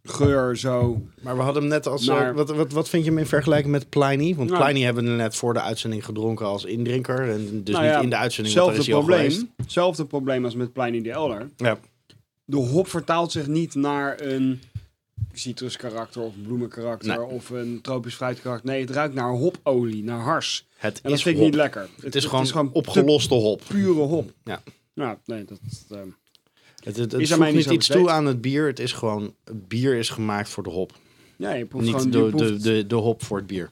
[SPEAKER 2] geur zo...
[SPEAKER 4] Maar we hadden hem net als... eh,
[SPEAKER 2] Maar-
[SPEAKER 4] wat, wat, wat vind je hem in vergelijking met Pliny? Want
[SPEAKER 2] Nou.
[SPEAKER 4] Pliny hebben we net voor de uitzending gedronken als indrinker. En dus
[SPEAKER 2] Nou
[SPEAKER 4] niet
[SPEAKER 2] ja,
[SPEAKER 4] in de uitzending, want daar
[SPEAKER 2] Hetzelfde
[SPEAKER 4] is hij al geweest.
[SPEAKER 2] probleem, zelfde probleem als met Pliny the Elder.
[SPEAKER 4] Ja.
[SPEAKER 2] de hop vertaalt zich niet naar een citruskarakter of bloemenkarakter
[SPEAKER 4] Nee.
[SPEAKER 2] of een tropisch fruitkarakter. Nee, het ruikt naar hopolie, naar hars.
[SPEAKER 4] Het
[SPEAKER 2] En dat
[SPEAKER 4] is,
[SPEAKER 2] vind ik
[SPEAKER 4] hop.
[SPEAKER 2] niet lekker.
[SPEAKER 4] Het is gewoon,
[SPEAKER 2] te
[SPEAKER 4] opgeloste hop.
[SPEAKER 2] pure hop.
[SPEAKER 4] Ja.
[SPEAKER 2] Nou, nee, dat... eh,
[SPEAKER 4] Het, het,
[SPEAKER 2] aan
[SPEAKER 4] het voegt
[SPEAKER 2] mij niet
[SPEAKER 4] niet
[SPEAKER 2] zo
[SPEAKER 4] iets
[SPEAKER 2] besteed.
[SPEAKER 4] toe aan het bier. Het is gewoon... het bier is gemaakt voor de hop.
[SPEAKER 2] ja, je proeft gewoon...
[SPEAKER 4] Niet
[SPEAKER 2] je
[SPEAKER 4] de,
[SPEAKER 2] proeft-
[SPEAKER 4] de, de, de hop voor het bier.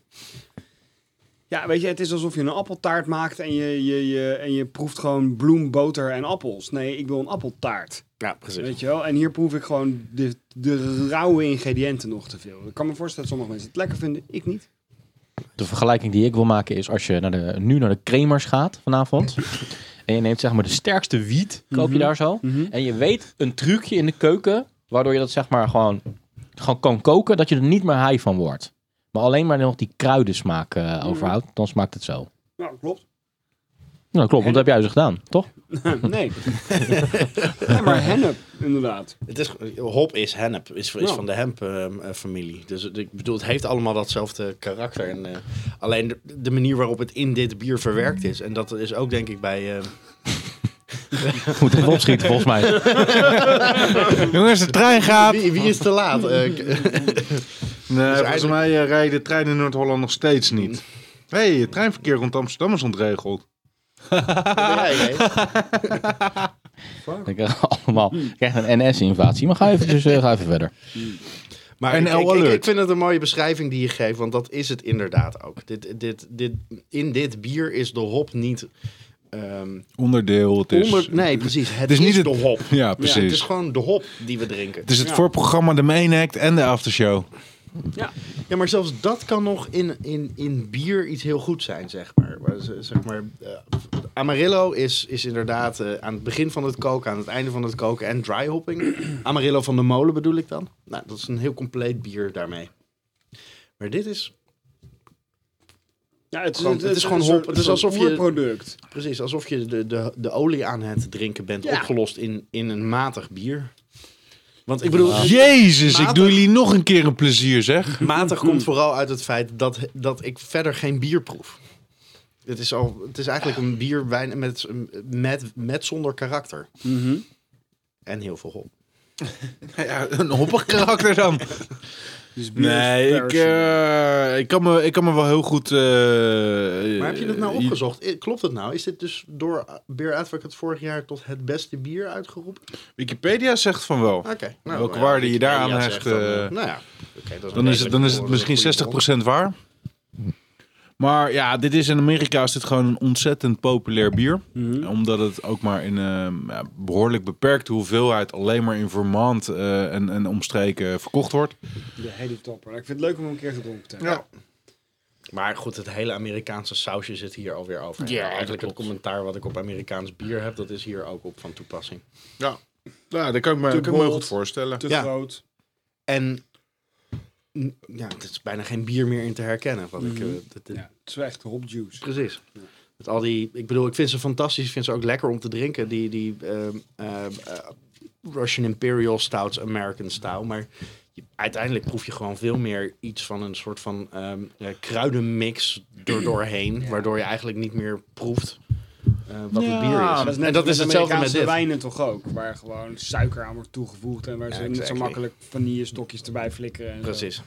[SPEAKER 2] Ja, weet je, het is alsof je een appeltaart maakt en je, je, je, en je proeft gewoon bloem, boter en appels. Nee, ik wil een appeltaart.
[SPEAKER 4] Ja, precies.
[SPEAKER 2] Weet je wel? En hier proef ik gewoon de, de rauwe ingrediënten nog te veel. Ik kan me voorstellen dat sommige mensen het lekker vinden, ik niet.
[SPEAKER 1] De vergelijking die ik wil maken is als je naar de, nu naar de Kremers gaat vanavond.
[SPEAKER 2] [LAUGHS]
[SPEAKER 1] en je neemt zeg maar de sterkste wiet, koop
[SPEAKER 2] Mhm.
[SPEAKER 1] je daar zo. En je weet een trucje in de keuken, waardoor je dat zeg maar gewoon, gewoon kan koken, dat je er niet meer high van wordt. Maar alleen maar nog die kruidensmaak eh,
[SPEAKER 2] Mhm.
[SPEAKER 1] overhoudt, dan smaakt het zo.
[SPEAKER 2] Nou, klopt. [LAUGHS]
[SPEAKER 1] Nou klopt, want dat heb jij dus gedaan, toch?
[SPEAKER 4] [LAUGHS]
[SPEAKER 2] Nee. nee, maar hennep, inderdaad.
[SPEAKER 4] Het is, hop is hennep, is, is
[SPEAKER 2] Ja.
[SPEAKER 3] Nou.
[SPEAKER 4] van de hemp-familie. dus het- ik bedoel, het heeft allemaal datzelfde karakter. En, eh, alleen de, de manier waarop het in dit bier verwerkt is. En dat is ook denk ik bij... eh
[SPEAKER 1] Moet even opschieten volgens mij. [LAUGHS]
[SPEAKER 3] Jongens, de trein gaat.
[SPEAKER 4] wie, wie is te laat? Eh, k- [LAUGHS]
[SPEAKER 3] Nee, volgens
[SPEAKER 4] Dus eigenlijk- Mm.
[SPEAKER 3] mij eh, rijden de treinen in Noord-Holland nog steeds niet. Hé, hey, het treinverkeer rond Amsterdam is ontregeld.
[SPEAKER 4] ja, ja.
[SPEAKER 1] Ik krijg allemaal ik krijg een NS-invasie. Maar ga even, dus, eh, ga even verder.
[SPEAKER 4] Maar
[SPEAKER 3] En
[SPEAKER 4] ik, ik, ik,
[SPEAKER 3] alert.
[SPEAKER 4] ik vind het een mooie beschrijving die je geeft. Want dat is het inderdaad ook. Dit, dit, dit, in dit bier is de hop niet... ehm,
[SPEAKER 3] Onderdeel, het is...
[SPEAKER 4] onder, nee, precies. Het,
[SPEAKER 3] het is
[SPEAKER 4] is,
[SPEAKER 3] Dus- niet het-
[SPEAKER 4] de hop.
[SPEAKER 3] Ja,
[SPEAKER 4] Het
[SPEAKER 3] precies.
[SPEAKER 4] is gewoon de hop die we drinken.
[SPEAKER 3] Het is het
[SPEAKER 2] Ja.
[SPEAKER 3] voorprogramma, de main act en de aftershow.
[SPEAKER 4] Ja, maar zelfs dat kan nog in, in, in bier iets heel goed zijn, zeg maar. Maar z- Zeg maar eh, Amarillo is, is inderdaad eh, aan het begin van het koken, aan het einde van het koken en dry hopping. Amarillo van de molen bedoel ik dan. Nou, dat is een heel compleet bier daarmee. Maar dit is
[SPEAKER 2] Ja, het is,
[SPEAKER 4] Gewoon- het is gewoon
[SPEAKER 2] een soort-
[SPEAKER 4] hop. Het is
[SPEAKER 2] soort
[SPEAKER 4] alsof je-
[SPEAKER 2] oerproduct.
[SPEAKER 4] Precies, alsof je de, de, de olie aan het drinken bent
[SPEAKER 2] Ja.
[SPEAKER 4] opgelost in, in een matig bier. Want ik bedoel,
[SPEAKER 3] Jezus, ik
[SPEAKER 4] Matig.
[SPEAKER 3] doe jullie nog een keer een plezier,
[SPEAKER 4] [LAUGHS]
[SPEAKER 3] zeg.
[SPEAKER 4] matig komt vooral uit het feit dat, dat ik verder geen bier proef. Het is, al, het is eigenlijk een bier wijn met, met, met zonder karakter.
[SPEAKER 3] Mm-hmm.
[SPEAKER 4] En heel veel hop.
[SPEAKER 3] Eh,
[SPEAKER 4] Nou
[SPEAKER 3] Ja, een hoppig karakter dan.
[SPEAKER 2] Dus bier
[SPEAKER 3] [LAUGHS]
[SPEAKER 2] is
[SPEAKER 3] Nee, ik,
[SPEAKER 2] persen.
[SPEAKER 3] eh, ik, kan me, ik kan me wel heel goed... eh,
[SPEAKER 4] Maar heb je dit nou
[SPEAKER 3] eh,
[SPEAKER 4] opgezocht? I- Klopt het nou? Is dit dus door Beer Advocate vorig jaar tot het beste bier uitgeroepen?
[SPEAKER 3] Wikipedia zegt van wel.
[SPEAKER 4] Oké. nou,
[SPEAKER 3] Welke
[SPEAKER 4] ja,
[SPEAKER 3] waarde je daar
[SPEAKER 4] Wikipedia
[SPEAKER 3] aan
[SPEAKER 4] zegt
[SPEAKER 3] hecht,
[SPEAKER 4] dan,
[SPEAKER 3] eh,
[SPEAKER 4] eh, nou ja, oké, dat een
[SPEAKER 3] Dan is het, dan is het
[SPEAKER 4] redelijk-
[SPEAKER 3] misschien
[SPEAKER 4] goede bron.
[SPEAKER 3] 60% waar. Maar ja, dit is in Amerika is dit gewoon een ontzettend populair bier. Omdat het ook maar in eh, ja, behoorlijk beperkte hoeveelheid alleen maar in Vermont eh, en, en omstreken verkocht wordt.
[SPEAKER 2] De hele topper. Ik vind het leuk om hem een keer gedronken te hebben.
[SPEAKER 4] eh, Ja. Maar goed, het hele Amerikaanse sausje zit hier alweer over.
[SPEAKER 3] Ja,
[SPEAKER 4] eigenlijk het commentaar wat ik op Amerikaans bier heb, dat is hier ook op van toepassing.
[SPEAKER 3] Ja, Nou, dat kan ik me,
[SPEAKER 2] kan ik me heel bold. goed
[SPEAKER 3] voorstellen.
[SPEAKER 2] Te
[SPEAKER 4] Ja.
[SPEAKER 2] groot.
[SPEAKER 4] En n- ja, het is bijna geen bier meer in te herkennen. Wat ik, eh, dat- dat-
[SPEAKER 2] Mhm. Ja, het is wel echt hopjuice.
[SPEAKER 4] Precies. Met al die, ik bedoel, ik vind ze fantastisch. Ik vind ze ook lekker om te drinken. Die, die ehm, ehm, eh, Russian Imperial Stouts, American Stout. Maar je- uiteindelijk proef je gewoon veel meer iets van een soort van ehm, eh, kruidenmix er doorheen. Waardoor je eigenlijk niet meer proeft eh, wat het bier is.
[SPEAKER 2] Dat is net
[SPEAKER 4] en dat is hetzelfde met
[SPEAKER 2] Amerikaanse
[SPEAKER 4] dit.
[SPEAKER 2] wijnen toch ook, waar gewoon suiker aan wordt toegevoegd en waar ze niet zo
[SPEAKER 4] exactly.
[SPEAKER 2] makkelijk vanillestokjes erbij flikkeren. En zo.
[SPEAKER 4] Precies.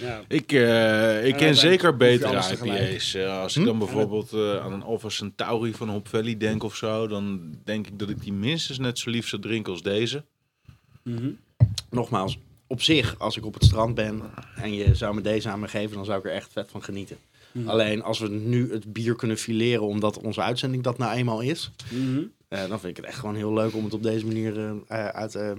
[SPEAKER 2] Ja.
[SPEAKER 3] Ik, eh, ik
[SPEAKER 2] dan
[SPEAKER 3] ken zeker
[SPEAKER 2] hoef je
[SPEAKER 3] betere
[SPEAKER 2] alles tegelijk. Hm?
[SPEAKER 3] IPA's. Eh, als ik dan bijvoorbeeld eh, aan een Alpha Centauri van Hop Valley denk of zo, dan denk ik dat ik die minstens net zo lief zou drinken als deze.
[SPEAKER 2] Mhm.
[SPEAKER 4] Nogmaals, op zich, als ik op het strand ben en je zou me deze aan me geven, dan zou ik er echt vet van genieten. Alleen als we nu het bier kunnen fileren, omdat onze uitzending dat nou eenmaal is,
[SPEAKER 2] Mhm.
[SPEAKER 4] eh, dan vind ik het echt gewoon heel leuk om het op deze manier eh, eh, uit. eh,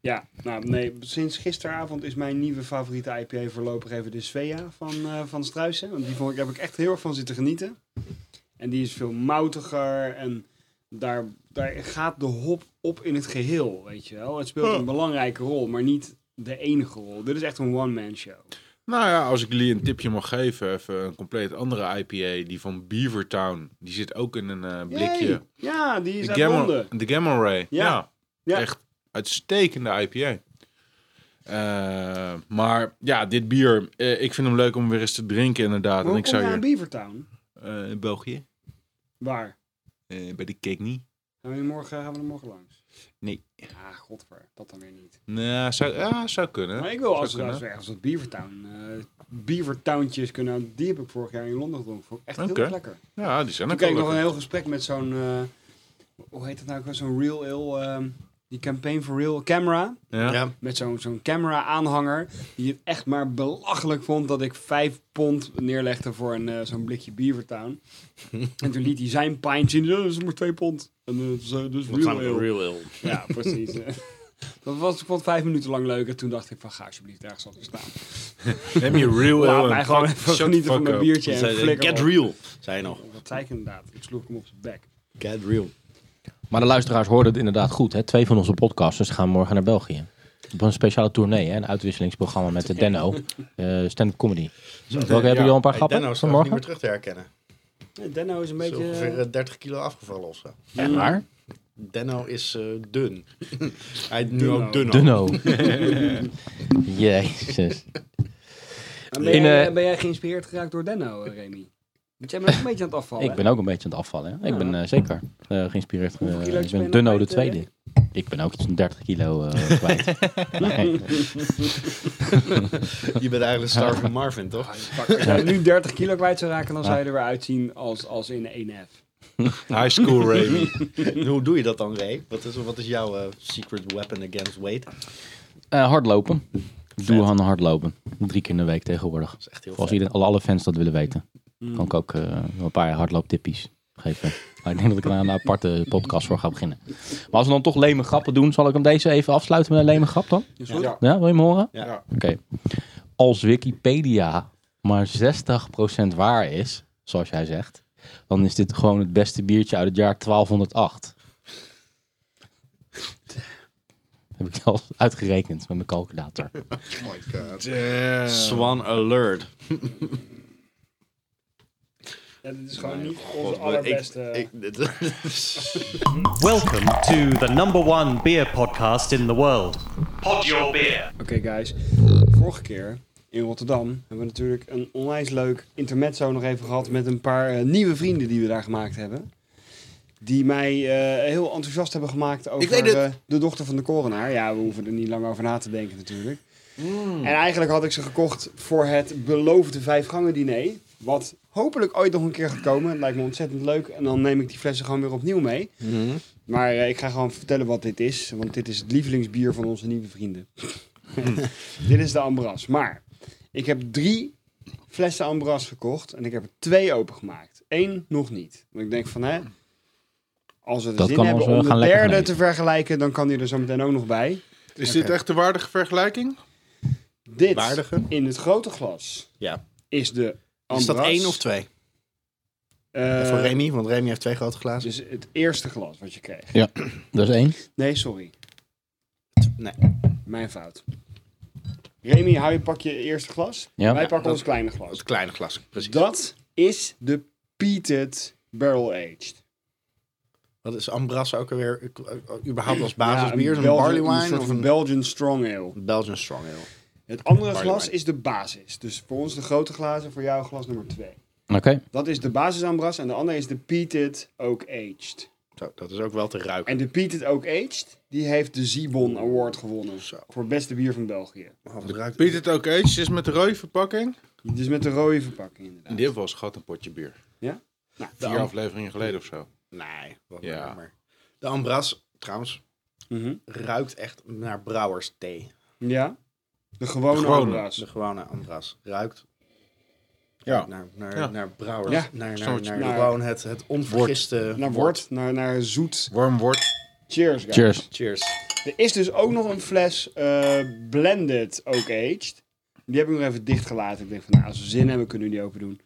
[SPEAKER 2] Ja, nou nee, sinds gisteravond is mijn nieuwe favoriete IPA voorlopig even de Svea van, eh van Struisen. Want die vond ik, heb ik echt heel erg van zitten genieten. En die is veel moutiger en daar, daar gaat de hop op in het geheel, weet je wel. Het speelt een belangrijke rol, maar niet de enige rol. Dit is echt een one-man show.
[SPEAKER 3] Nou ja, als ik jullie een tipje mag geven, even een compleet andere IPA, die van Beavertown. Die zit ook in een eh, blikje.
[SPEAKER 2] Yay! Ja, die is
[SPEAKER 3] De
[SPEAKER 2] uit
[SPEAKER 3] Gamma,
[SPEAKER 2] Londen.
[SPEAKER 3] de Gamma Ray. Ja.
[SPEAKER 2] Ja. Ja.
[SPEAKER 3] echt uitstekende IPA. Eh, maar ja, dit bier, eh, ik vind hem leuk om weer eens te drinken inderdaad.
[SPEAKER 2] Hoe
[SPEAKER 3] en ik
[SPEAKER 2] kom
[SPEAKER 3] zou
[SPEAKER 2] je aan
[SPEAKER 3] hier
[SPEAKER 2] Beavertown?
[SPEAKER 3] eh, in België,
[SPEAKER 2] Waar?
[SPEAKER 3] eh, bij de Cake niet.
[SPEAKER 2] Gaan we, hier morgen, gaan we er morgen langs?
[SPEAKER 3] Nee.
[SPEAKER 2] Ah, godver. Dat dan weer niet.
[SPEAKER 3] Nou, zou, ja, zou kunnen.
[SPEAKER 2] Maar ik wil
[SPEAKER 3] Zou
[SPEAKER 2] als,
[SPEAKER 3] kunnen.
[SPEAKER 2] als we ergens wat Beavertown, eh Beavertowntjes kunnen. houden. Die heb ik vorig jaar in Londen gedronken. Vond ik echt heel
[SPEAKER 3] Oké.
[SPEAKER 2] erg lekker.
[SPEAKER 3] Ja, die zijn
[SPEAKER 2] Toen
[SPEAKER 3] ook
[SPEAKER 2] kreeg
[SPEAKER 3] wel
[SPEAKER 2] ik nog een
[SPEAKER 3] lekker.
[SPEAKER 2] heel gesprek met zo'n, eh, hoe heet dat nou? ook wel? Zo'n Real Ale, ehm, die Campaign for Real Camera.
[SPEAKER 3] Ja.
[SPEAKER 4] ja.
[SPEAKER 2] Met zo'n zo'n camera-aanhanger. Die het echt maar belachelijk vond dat ik vijf pond neerlegde voor een, eh, zo'n blikje
[SPEAKER 4] [LAUGHS]
[SPEAKER 2] Beavertown. en toen liet hij zijn pint zien. "Ja, Dat is maar twee pond. En eh, dat is, eh, dus
[SPEAKER 4] Wat
[SPEAKER 2] Real
[SPEAKER 4] zijn we-
[SPEAKER 2] Ale.
[SPEAKER 4] real ale.
[SPEAKER 2] Ja, precies.
[SPEAKER 4] [LAUGHS]
[SPEAKER 2] eh. dat was, ik vond vijf minuten lang leuk. En toen dacht ik van, ga alsjeblieft ergens anders staan.
[SPEAKER 3] Neem je real
[SPEAKER 2] Laat
[SPEAKER 3] ale
[SPEAKER 2] mij
[SPEAKER 3] en
[SPEAKER 2] gewoon
[SPEAKER 3] fuck-
[SPEAKER 2] even
[SPEAKER 3] shut the
[SPEAKER 2] genieten van
[SPEAKER 3] fuck
[SPEAKER 2] mijn
[SPEAKER 3] up.
[SPEAKER 2] biertje en
[SPEAKER 4] Zei ze,
[SPEAKER 2] flikker
[SPEAKER 4] Get
[SPEAKER 2] op.
[SPEAKER 4] real, zei je nog.
[SPEAKER 2] Dat zei ik inderdaad. Ik sloeg hem op zijn bek.
[SPEAKER 4] Get real.
[SPEAKER 1] Maar de luisteraars hoorden het inderdaad goed. Hè? Twee van onze podcasters gaan morgen naar België. Op een speciale tournee, hè? een uitwisselingsprogramma met de Denno. eh stand-up comedy. Welke hebben jullie al een paar
[SPEAKER 4] Hey,
[SPEAKER 1] grappen
[SPEAKER 4] Denno is
[SPEAKER 1] van
[SPEAKER 4] trouwens
[SPEAKER 1] morgen?
[SPEAKER 4] niet meer terug te herkennen.
[SPEAKER 2] Nee, Denno is een
[SPEAKER 4] Hij is
[SPEAKER 2] beetje...
[SPEAKER 4] ongeveer eh, 30 kilo afgevallen of zo.
[SPEAKER 1] Echt waar?
[SPEAKER 4] Denno is eh, dun. [LAUGHS] Hij is nu
[SPEAKER 2] Dunno.
[SPEAKER 4] ook dunno.
[SPEAKER 1] Dunno.
[SPEAKER 4] [LAUGHS]
[SPEAKER 1] [LAUGHS] Jezus.
[SPEAKER 2] Maar ben,
[SPEAKER 1] In,
[SPEAKER 2] jij,
[SPEAKER 1] eh,
[SPEAKER 2] ben jij geïnspireerd geraakt door Denno, eh, Remy? Want jij bent ook een beetje aan het afvallen.
[SPEAKER 1] Ik ben ook een beetje aan het afvallen. Hè? Ik ben eh, zeker eh, geïnspireerd.
[SPEAKER 2] Hoeveel
[SPEAKER 1] eh,
[SPEAKER 2] kilo's
[SPEAKER 1] ik
[SPEAKER 2] ben je
[SPEAKER 1] ben
[SPEAKER 2] nog
[SPEAKER 1] Dunno de
[SPEAKER 2] kwijt, eh,
[SPEAKER 1] tweede. Ik ben ook iets van 30 kilo eh,
[SPEAKER 4] [LAUGHS]
[SPEAKER 1] kwijt. Nee.
[SPEAKER 4] Je bent eigenlijk Starving Marvin, toch?
[SPEAKER 2] Als jij nu 30 kilo kwijt zou raken, dan zou je er weer uitzien als, als in 1F.
[SPEAKER 3] High [LAUGHS] school Raven.
[SPEAKER 4] [LAUGHS] Hoe doe je dat dan, Ray? Wat is, wat is jouw eh, secret weapon against weight? Dat
[SPEAKER 1] Eh, hardlopen. Doe aan hardlopen. Drie keer in de week tegenwoordig.
[SPEAKER 4] is echt heel
[SPEAKER 1] Voor Als
[SPEAKER 4] vet. Mm.
[SPEAKER 1] iedereen, alle, alle fans dat willen weten. Kan ik ook eh, wel een paar hardlooptippies geven. Maar ik denk dat ik daar een aparte podcast voor ga beginnen. Maar als we dan toch leme grappen doen, zal ik hem deze even afsluiten met een leme grap dan?
[SPEAKER 2] Is goed?
[SPEAKER 4] Ja.
[SPEAKER 1] Ja, wil je hem horen?
[SPEAKER 4] Ja.
[SPEAKER 1] Oké. Als Wikipedia maar 60% waar is, zoals jij zegt, dan is dit gewoon het beste biertje uit het jaar 1208. [LAUGHS] Heb ik al uitgerekend
[SPEAKER 3] eh,
[SPEAKER 1] met mijn calculator.
[SPEAKER 4] Swan alert.
[SPEAKER 2] Ja, dit is gewoon niet onze allerbeste. eh,
[SPEAKER 4] Ik,
[SPEAKER 2] [LAUGHS]
[SPEAKER 4] ik,
[SPEAKER 5] Welcome to the number one beer podcast in the world. Pod your beer.
[SPEAKER 2] Oké, guys. Vorige keer in Rotterdam hebben we natuurlijk een onwijs leuk intermezzo nog even gehad met een paar eh, nieuwe vrienden die we daar gemaakt hebben. Die mij eh, heel enthousiast hebben gemaakt over
[SPEAKER 4] weet het.
[SPEAKER 2] eh, de dochter van de korenaar. Ja, we hoeven er niet lang over na te denken natuurlijk. En eigenlijk had ik ze gekocht voor het beloofde vijfgangen diner. Wat hopelijk ooit nog een keer gaat komen. Het lijkt me ontzettend leuk. En dan neem ik die flessen gewoon weer opnieuw mee.
[SPEAKER 1] Mhm.
[SPEAKER 2] Maar eh, ik ga gewoon vertellen wat dit is. Want dit is het lievelingsbier van onze nieuwe vrienden.
[SPEAKER 1] Mhm.
[SPEAKER 2] [LAUGHS] dit is de Ambras. Maar ik heb drie flessen Ambras gekocht. En ik heb er twee opengemaakt. Eén nog niet. Want ik denk van hè. Als we de
[SPEAKER 1] Dat
[SPEAKER 2] zin
[SPEAKER 1] kan
[SPEAKER 2] hebben
[SPEAKER 1] ons, eh,
[SPEAKER 2] om de
[SPEAKER 1] gaan lekker
[SPEAKER 2] derde
[SPEAKER 1] geneten.
[SPEAKER 2] te vergelijken, dan kan die er zo meteen ook nog bij.
[SPEAKER 3] Is dit echt de waardige vergelijking?
[SPEAKER 2] Dit
[SPEAKER 4] Waardige.
[SPEAKER 2] in het grote glas
[SPEAKER 4] Ja.
[SPEAKER 2] is de Ambras.
[SPEAKER 4] is dat één of twee?
[SPEAKER 2] Eh,
[SPEAKER 4] voor Remy, want Remy heeft twee grote glazen.
[SPEAKER 2] Dus het eerste glas wat je kreeg.
[SPEAKER 1] Dat is één.
[SPEAKER 2] Nee, sorry.
[SPEAKER 4] Nee.
[SPEAKER 2] Mijn fout. Remy, hou je pak je eerste glas.
[SPEAKER 1] Ja.
[SPEAKER 2] Wij pakken
[SPEAKER 4] dat-
[SPEAKER 2] ons kleine glas.
[SPEAKER 4] Het kleine glas, precies.
[SPEAKER 2] Dat is de Peated Barrel Aged.
[SPEAKER 4] Wat is Ambras ook alweer? Ik- eh, Überhaupt als
[SPEAKER 2] Ja,
[SPEAKER 4] basisbier? een,
[SPEAKER 2] Belgian-
[SPEAKER 4] barley wine
[SPEAKER 2] soort
[SPEAKER 4] of
[SPEAKER 2] van
[SPEAKER 4] een
[SPEAKER 2] Belgian Strong Ale.
[SPEAKER 4] Belgian strong ale?
[SPEAKER 2] Het andere
[SPEAKER 4] Barley
[SPEAKER 2] glas
[SPEAKER 4] wine.
[SPEAKER 2] is de basis. Dus voor ons de grote glazen, voor jou glas nummer 2.
[SPEAKER 1] Oké.
[SPEAKER 2] Dat is de basis Ambras en de andere is de Peated Oak Aged.
[SPEAKER 4] Zo, dat is ook wel te ruiken.
[SPEAKER 2] En de Peated Oak Aged, die heeft de Zibon Award gewonnen.
[SPEAKER 4] Zo.
[SPEAKER 2] Voor beste bier van België.
[SPEAKER 4] Oh, wat ruikt
[SPEAKER 3] Biedt het ook eens? Is met de rode verpakking?
[SPEAKER 2] Dus met de rode verpakking inderdaad.
[SPEAKER 3] Dit was gat een potje bier.
[SPEAKER 2] Ja? Nou,
[SPEAKER 3] Vier afleveringen geleden of zo.
[SPEAKER 4] Nee, wat
[SPEAKER 3] Ja.
[SPEAKER 4] ja. maar. De Ambras, trouwens,
[SPEAKER 2] Mhm.
[SPEAKER 4] ruikt echt naar brouwersthee.
[SPEAKER 2] Ja? De gewone,
[SPEAKER 3] De gewone.
[SPEAKER 2] Ambras.
[SPEAKER 4] De gewone Ambras ruikt
[SPEAKER 3] Ja.
[SPEAKER 4] naar, naar,
[SPEAKER 3] Ja.
[SPEAKER 4] naar brouwers.
[SPEAKER 2] Ja,
[SPEAKER 4] Naar,
[SPEAKER 3] snap
[SPEAKER 4] naar,
[SPEAKER 3] wat je
[SPEAKER 4] naar,
[SPEAKER 2] bedoelt.
[SPEAKER 4] gewoon het, het onvergiste
[SPEAKER 2] Naar wort, naar, naar zoet.
[SPEAKER 3] Warm wordt.
[SPEAKER 2] Cheers, guys.
[SPEAKER 1] Cheers.
[SPEAKER 4] Cheers.
[SPEAKER 2] Er is dus ook nog een fles eh, blended ook aged. Die heb ik nog even dichtgelaten. Ik denk van, nou, als we zin hebben, kunnen we die open doen.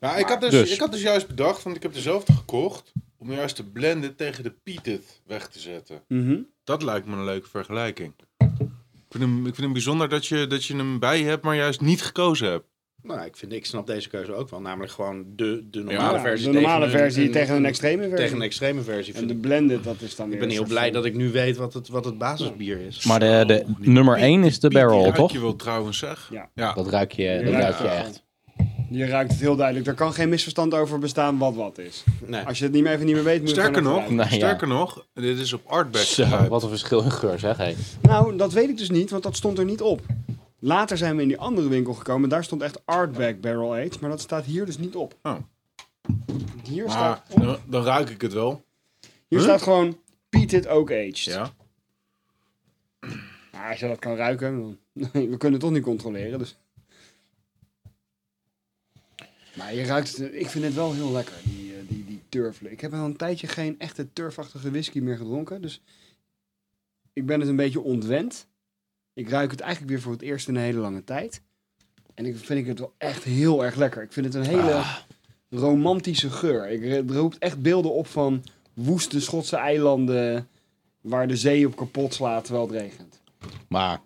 [SPEAKER 3] Nou, ik had, dus,
[SPEAKER 1] Dus.
[SPEAKER 3] ik had dus juist bedacht, want ik heb dezelfde gekocht, om juist de blenden tegen de pietet weg te zetten.
[SPEAKER 2] Mhm.
[SPEAKER 3] Dat lijkt me een leuke vergelijking. Ik vind hem, ik vind hem bijzonder dat je, dat je hem bij je hebt, maar juist niet gekozen hebt.
[SPEAKER 4] Nou, ik, vind, ik snap deze keuze ook wel. Namelijk gewoon de, de normale
[SPEAKER 2] Ja,
[SPEAKER 4] versie.
[SPEAKER 2] de normale
[SPEAKER 4] tegen een-
[SPEAKER 2] versie tegen een extreme versie.
[SPEAKER 4] Tegen een extreme versie.
[SPEAKER 2] En de
[SPEAKER 4] Vind-
[SPEAKER 2] blended, dat is dan weer...
[SPEAKER 4] ik ben heel blij dat ik nu weet wat het, wat het basisbier is.
[SPEAKER 1] Maar de, de nummer één is de barrel,
[SPEAKER 3] Wat
[SPEAKER 1] toch?
[SPEAKER 3] je wil trouwens zeg.
[SPEAKER 2] Ja.
[SPEAKER 1] Dat ruik je, dat
[SPEAKER 2] Ja.
[SPEAKER 1] ruik je echt.
[SPEAKER 2] Je ruikt het heel duidelijk. Er kan geen misverstand over bestaan wat wat is.
[SPEAKER 4] Nee.
[SPEAKER 2] Als je het niet meer even niet meer weet, moet je
[SPEAKER 3] Sterker
[SPEAKER 2] het gewoon
[SPEAKER 3] nog,
[SPEAKER 2] even
[SPEAKER 1] Nou ja.
[SPEAKER 3] sterker nog, dit is op Artback
[SPEAKER 1] Zo,
[SPEAKER 3] getypt.
[SPEAKER 1] wat een verschil in geur, zeg. Hey.
[SPEAKER 2] kijken. Nou, dat weet ik dus niet, want dat stond er niet op. Later zijn we in die andere winkel gekomen. Daar stond echt Artback Barrel Aged, maar dat staat hier dus niet op.
[SPEAKER 3] Oh.
[SPEAKER 2] Hier staat...
[SPEAKER 3] Maar dan, dan ruik ik het wel.
[SPEAKER 2] Hier staat gewoon Peated Oak Aged.
[SPEAKER 3] Ja.
[SPEAKER 2] Maar als je dat kan ruiken, dan- [LAUGHS] we kunnen het toch niet controleren. Dus. Maar je ruikt het, ik vind het wel heel lekker, die, eh, die, die turfle. Ik heb al een tijdje geen echte turfachtige whisky meer gedronken, dus ik ben het een beetje ontwend. Ik ruik het eigenlijk weer voor het eerst in een hele lange tijd. En ik vind ik het wel echt heel erg lekker. Ik vind het een hele romantische geur. Ik, het roept echt beelden op van woeste Schotse eilanden waar de zee op kapot slaat terwijl het regent.
[SPEAKER 1] Maar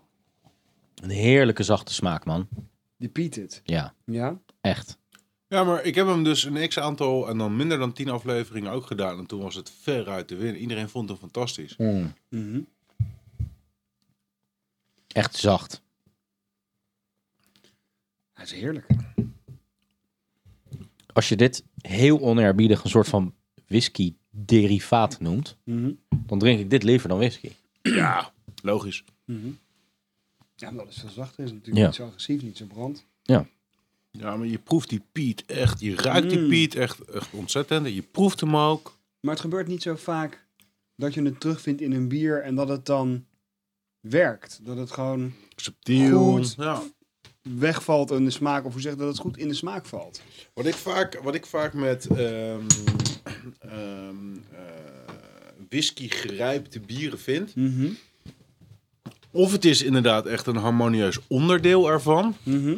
[SPEAKER 1] een heerlijke zachte smaak, man.
[SPEAKER 2] Die Peated.
[SPEAKER 1] Ja,
[SPEAKER 2] Ja?
[SPEAKER 1] echt.
[SPEAKER 3] ja, maar ik heb hem dus een x-aantal en dan minder dan 10 afleveringen ook gedaan. En toen was het ver uit de win. Iedereen vond hem fantastisch.
[SPEAKER 1] Echt zacht.
[SPEAKER 2] Hij is heerlijk.
[SPEAKER 1] Als je dit heel oneerbiedig een soort van whisky-derivaat noemt,
[SPEAKER 2] Mhm.
[SPEAKER 1] dan drink ik dit liever dan whisky.
[SPEAKER 3] Ja, logisch.
[SPEAKER 2] Ja, maar dat is veel zachter. is natuurlijk
[SPEAKER 1] Ja.
[SPEAKER 2] niet zo agressief, niet zo brand.
[SPEAKER 3] Ja, maar je proeft die Piet echt. Je ruikt die Piet echt, echt ontzettend. En Je proeft hem ook.
[SPEAKER 2] Maar het gebeurt niet zo vaak dat je het terugvindt in een bier en dat het dan werkt. Dat het gewoon
[SPEAKER 3] Subtiel.
[SPEAKER 2] Goed.
[SPEAKER 3] Ja.
[SPEAKER 2] wegvalt in de smaak. Of hoe zeg je dat het goed in de smaak valt.
[SPEAKER 3] Wat ik vaak, wat ik vaak met ehm ehm, eh, whisky gerijpte bieren vind.
[SPEAKER 2] Mhm.
[SPEAKER 3] Of het is inderdaad echt een harmonieus onderdeel ervan.
[SPEAKER 2] Mhm.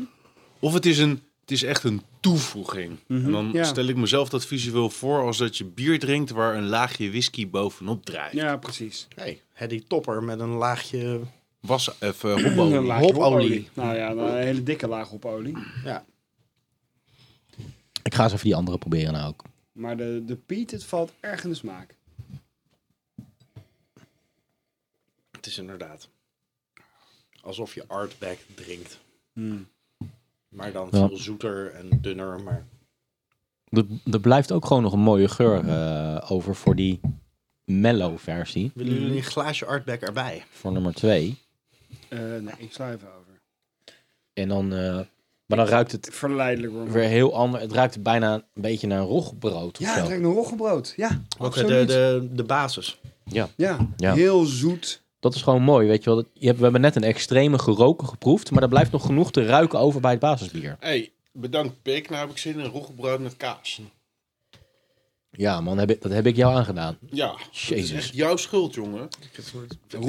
[SPEAKER 3] Of het is, een, het is echt een toevoeging. En dan
[SPEAKER 2] Mhm. ja.
[SPEAKER 3] stel ik mezelf dat visueel voor als dat je bier drinkt waar een laagje whisky bovenop drijft.
[SPEAKER 2] Ja, precies.
[SPEAKER 4] Hey, Hedy Topper met een laagje...
[SPEAKER 3] Was
[SPEAKER 2] [CLEARS THROAT]
[SPEAKER 3] even hobolie.
[SPEAKER 2] laagje
[SPEAKER 4] Hopolie.
[SPEAKER 2] Nou ja, een hele dikke laag op olie.
[SPEAKER 4] Ja.
[SPEAKER 1] Ik Ik ga eens even die andere proberen nou ook.
[SPEAKER 2] Maar de, de Piet, het valt erg in de smaak.
[SPEAKER 4] Het is inderdaad alsof je artback drinkt.
[SPEAKER 2] Hmm.
[SPEAKER 4] Maar dan
[SPEAKER 1] Ja.
[SPEAKER 4] veel zoeter en dunner. Maar
[SPEAKER 1] Er, er blijft ook gewoon nog een mooie geur eh, over voor die mellow versie.
[SPEAKER 4] willen jullie een glaasje artback erbij?
[SPEAKER 1] Voor nummer 2.
[SPEAKER 2] Eh, nee, ik sla even over.
[SPEAKER 1] En dan... eh, maar dan ruikt het
[SPEAKER 2] Verleidelijk hoor.
[SPEAKER 1] weer heel anders. Het ruikt bijna een beetje naar een rogbrood of
[SPEAKER 2] ja,
[SPEAKER 1] zo.
[SPEAKER 2] het lijkt een roggebrood. Ja,
[SPEAKER 4] Ook
[SPEAKER 2] absoluut.
[SPEAKER 4] de, de, de basis.
[SPEAKER 2] Ja,
[SPEAKER 1] Ja.
[SPEAKER 2] heel zoet.
[SPEAKER 1] Dat is gewoon mooi, weet je wel. Dat- Je hebt, we hebben net een extreme geroken geproefd, maar er blijft nog genoeg te ruiken over bij het basisbier.
[SPEAKER 3] hey, bedankt Pik. Nou heb ik zin in roggebrood met kaas.
[SPEAKER 1] Ja man, heb ik, dat heb ik jou aangedaan.
[SPEAKER 3] Ja, dat
[SPEAKER 1] Jezus.
[SPEAKER 3] is echt jouw schuld, jongen.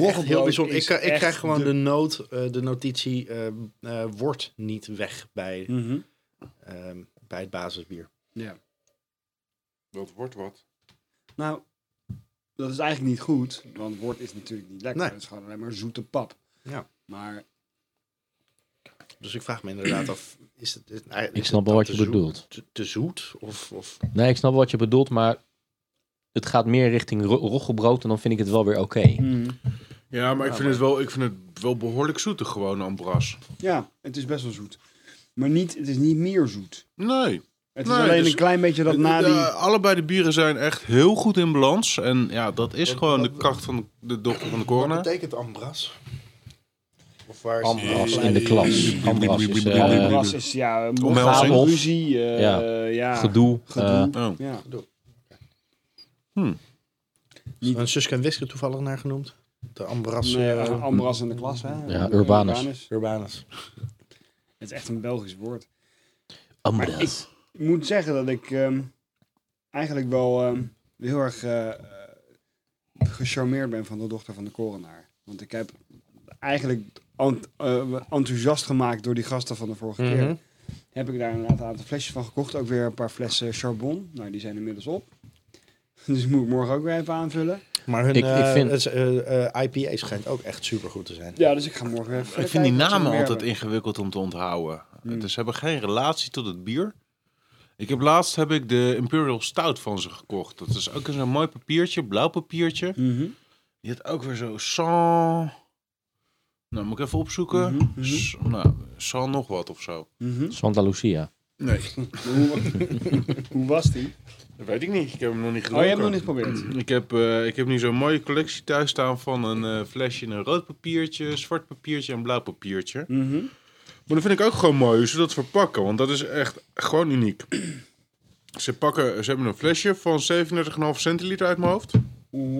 [SPEAKER 4] Echt heel bijzonder. Ik, eh,
[SPEAKER 2] is
[SPEAKER 4] ik
[SPEAKER 2] echt
[SPEAKER 4] krijg gewoon
[SPEAKER 2] de-
[SPEAKER 4] de, noot, eh, de notitie eh, eh, wordt niet weg bij,
[SPEAKER 2] Mhm.
[SPEAKER 4] ehm, bij het basisbier.
[SPEAKER 2] Ja.
[SPEAKER 3] Dat wordt wat.
[SPEAKER 2] Nou, dat is eigenlijk niet goed, want wort is natuurlijk niet lekker.
[SPEAKER 4] Nee.
[SPEAKER 2] Het is gewoon alleen maar zoete pap.
[SPEAKER 4] Ja.
[SPEAKER 2] Maar
[SPEAKER 4] Dus ik vraag me inderdaad af, is het, is, is
[SPEAKER 1] Ik
[SPEAKER 4] het
[SPEAKER 1] snap wel
[SPEAKER 4] dan
[SPEAKER 1] wat
[SPEAKER 4] te
[SPEAKER 1] je
[SPEAKER 4] zoet-
[SPEAKER 1] bedoelt.
[SPEAKER 4] Te, te zoet? Of, of
[SPEAKER 1] Nee, ik snap wat je bedoelt, maar het gaat meer richting ro roggebrood en dan vind ik het wel weer oké.
[SPEAKER 3] Ja, maar ik vind, het, wel, ik vind het wel behoorlijk zoetig gewoon, Ambras.
[SPEAKER 2] ja, het is best wel zoet. Maar niet, het is niet meer zoet.
[SPEAKER 3] Nee.
[SPEAKER 2] Het
[SPEAKER 3] Nee,
[SPEAKER 2] is alleen
[SPEAKER 3] dus-
[SPEAKER 2] een klein beetje dat na
[SPEAKER 3] Eh,
[SPEAKER 2] die...
[SPEAKER 3] eh, allebei de bieren zijn echt heel goed in balans. En ja, dat is gewoon de kracht van de dochter van de corona.
[SPEAKER 4] Wat betekent ambras? Of waar is
[SPEAKER 1] Ambras in de klas. Ambras is
[SPEAKER 2] Hmm.
[SPEAKER 1] eh,
[SPEAKER 2] Ambras is, ja, morgen
[SPEAKER 1] Omhelzing.
[SPEAKER 2] ruzie, eh,
[SPEAKER 1] Ja.
[SPEAKER 2] ja,
[SPEAKER 1] gedoe. eh,
[SPEAKER 2] gedoe.
[SPEAKER 3] Oh.
[SPEAKER 2] ja.
[SPEAKER 4] Is er een Suske en Wiske toevallig naar genoemd? De ambras
[SPEAKER 2] Nee,
[SPEAKER 4] eh,
[SPEAKER 2] eh, Ambras in de klas, hè?
[SPEAKER 1] Ja,
[SPEAKER 2] Eh,
[SPEAKER 1] Urbanus.
[SPEAKER 4] urbanus.
[SPEAKER 2] Het is echt een Belgisch woord.
[SPEAKER 1] Ambras.
[SPEAKER 2] Maar ik- Ik moet zeggen dat ik ehm, eigenlijk wel ehm, heel erg eh, eh, gecharmeerd ben van de dochter van de korenaar. Want ik heb eigenlijk ent- eh, enthousiast gemaakt door die gasten van de vorige
[SPEAKER 4] Mhm.
[SPEAKER 2] keer. Heb ik daar inderdaad een aantal flesjes van gekocht. Ook weer een paar flessen charbon. Nou, die zijn inmiddels op. [LAUGHS] Dus moet ik morgen ook weer even aanvullen.
[SPEAKER 4] Maar hun eh,
[SPEAKER 1] Ik-
[SPEAKER 4] ik,
[SPEAKER 1] ik vind-
[SPEAKER 4] IPA schijnt ook echt super goed te zijn.
[SPEAKER 2] Ja, dus ik ga morgen weer even
[SPEAKER 3] Ik vind die
[SPEAKER 2] kijken wat ze nog
[SPEAKER 3] namen
[SPEAKER 2] meer
[SPEAKER 3] altijd
[SPEAKER 2] hebben.
[SPEAKER 3] ingewikkeld om te onthouden. Dus ze hebben geen relatie tot het bier. Ik heb laatst heb ik de Imperial Stout van ze gekocht. Dat is ook in zo'n mooi papiertje, blauw papiertje.
[SPEAKER 2] Mhm.
[SPEAKER 3] Die had ook weer zo san. Nou, moet ik even opzoeken.
[SPEAKER 2] Mhm, mhm.
[SPEAKER 3] S- nou, san nog wat of zo.
[SPEAKER 2] Mhm.
[SPEAKER 1] Santa Lucia.
[SPEAKER 3] Nee,
[SPEAKER 2] Hoe, hoe was die?
[SPEAKER 3] dat weet ik niet. Ik heb hem nog niet gedaan.
[SPEAKER 2] Oh, je hebt nog niet geprobeerd.
[SPEAKER 3] [CLEARS THROAT] Ik heb, eh, ik heb nu zo'n mooie collectie thuis staan van een eh, flesje in een rood papiertje, zwart papiertje en blauw papiertje.
[SPEAKER 2] Mhm.
[SPEAKER 3] Maar dat vind ik ook gewoon mooi hoe ze dat verpakken, want dat is echt gewoon uniek. Ze, pakken, ze hebben een flesje van 37,5 centiliter uit mijn hoofd.
[SPEAKER 2] Mhm.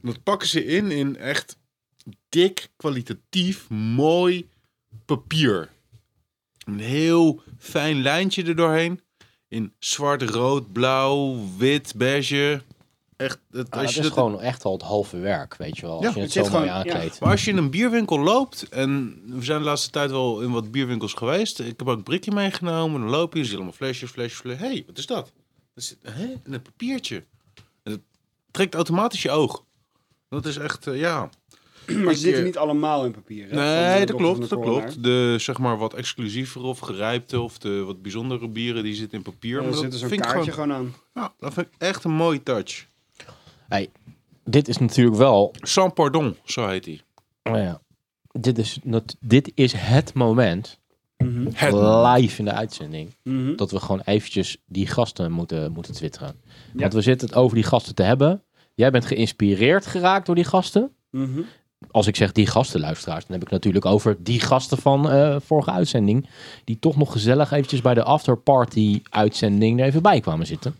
[SPEAKER 3] En dat pakken ze in in echt dik, kwalitatief, mooi papier. Een heel fijn lijntje erdoorheen. In zwart, rood, blauw, wit, beige. Echt, het,
[SPEAKER 1] Ah,
[SPEAKER 3] als
[SPEAKER 1] dat
[SPEAKER 3] je
[SPEAKER 1] is
[SPEAKER 3] dat-
[SPEAKER 1] gewoon echt al het halve werk, weet je wel. Als
[SPEAKER 3] Ja,
[SPEAKER 1] je het,
[SPEAKER 2] het
[SPEAKER 1] zo
[SPEAKER 2] zit
[SPEAKER 1] mooi
[SPEAKER 2] gewoon- ja.
[SPEAKER 1] aankleedt.
[SPEAKER 3] Maar als je in een bierwinkel loopt, en we zijn de laatste tijd wel in wat bierwinkels geweest. Ik heb ook een prikje meegenomen, dan loop je, dan zie je allemaal flesjes, flesjes, flesjes. Hé, hey, wat is dat? Dat zit hè, in een papiertje. En dat trekt automatisch je oog. Dat is echt, eh, ja. [CLEARS THROAT]
[SPEAKER 2] Maar
[SPEAKER 3] Ik,
[SPEAKER 2] ze zitten
[SPEAKER 3] eh,
[SPEAKER 2] niet allemaal in papier. hè? Van
[SPEAKER 3] Nee, dat
[SPEAKER 2] de Dr. van de
[SPEAKER 3] klopt, dat
[SPEAKER 2] Corona.
[SPEAKER 3] klopt. De zeg maar wat exclusievere of gerijpte of de wat bijzondere bieren, die zitten in papier.
[SPEAKER 2] Er
[SPEAKER 3] maar
[SPEAKER 2] zit
[SPEAKER 3] dat
[SPEAKER 2] er zo'n
[SPEAKER 3] vind ik
[SPEAKER 2] kaartje
[SPEAKER 3] gewoon,
[SPEAKER 2] gewoon, aan.
[SPEAKER 3] ja, dat vind ik echt een mooie touch.
[SPEAKER 1] Dit is natuurlijk wel
[SPEAKER 3] Sans Pardon, zo heet hij.
[SPEAKER 1] Nou ja, dit is, nat- dit is het moment, live in de uitzending,
[SPEAKER 2] Mhm.
[SPEAKER 1] dat we gewoon eventjes die gasten moeten, moeten twitteren.
[SPEAKER 2] Ja.
[SPEAKER 1] Want we zitten het over die gasten te hebben. Jij bent geïnspireerd geraakt door die gasten.
[SPEAKER 2] Mhm.
[SPEAKER 1] Als ik zeg die gasten, luisteraars, dan heb ik natuurlijk over die gasten van eh, vorige uitzending. Die toch nog gezellig eventjes bij de afterparty uitzending er even bij kwamen zitten.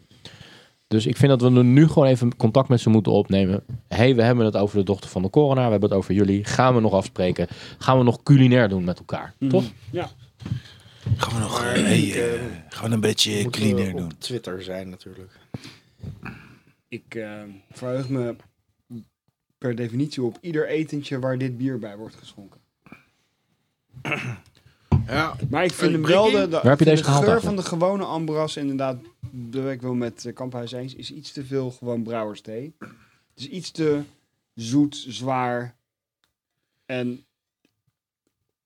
[SPEAKER 1] Dus ik vind dat we er nu gewoon even contact met ze moeten opnemen. Hé, hey, we hebben het over de dochter van de coronaar. We hebben het over jullie. Gaan we nog afspreken? Gaan we nog culinair doen met elkaar? Toch?
[SPEAKER 2] Ja.
[SPEAKER 8] Gaan we nog
[SPEAKER 4] Maar
[SPEAKER 8] eh, hey,
[SPEAKER 4] ik, eh,
[SPEAKER 8] eh, gewoon een beetje
[SPEAKER 4] Moeten we
[SPEAKER 8] cleaner
[SPEAKER 4] op
[SPEAKER 8] doen.
[SPEAKER 4] Twitter zijn natuurlijk.
[SPEAKER 2] Ik eh, verheug me per definitie op ieder etentje waar dit bier bij wordt geschonken.
[SPEAKER 3] [CLEARS THROAT] Ja,
[SPEAKER 2] Maar ik vind
[SPEAKER 3] Een
[SPEAKER 2] hem wel de,
[SPEAKER 3] prikkie?
[SPEAKER 2] de,
[SPEAKER 1] Waar heb je
[SPEAKER 2] de
[SPEAKER 1] deze gehaald
[SPEAKER 2] geur van
[SPEAKER 1] eigenlijk?
[SPEAKER 2] de gewone Ambras, inderdaad, dat ben ik wel met eh, Kamphuis eens, is iets te veel gewoon brouwersthee. Het is iets te zoet, zwaar en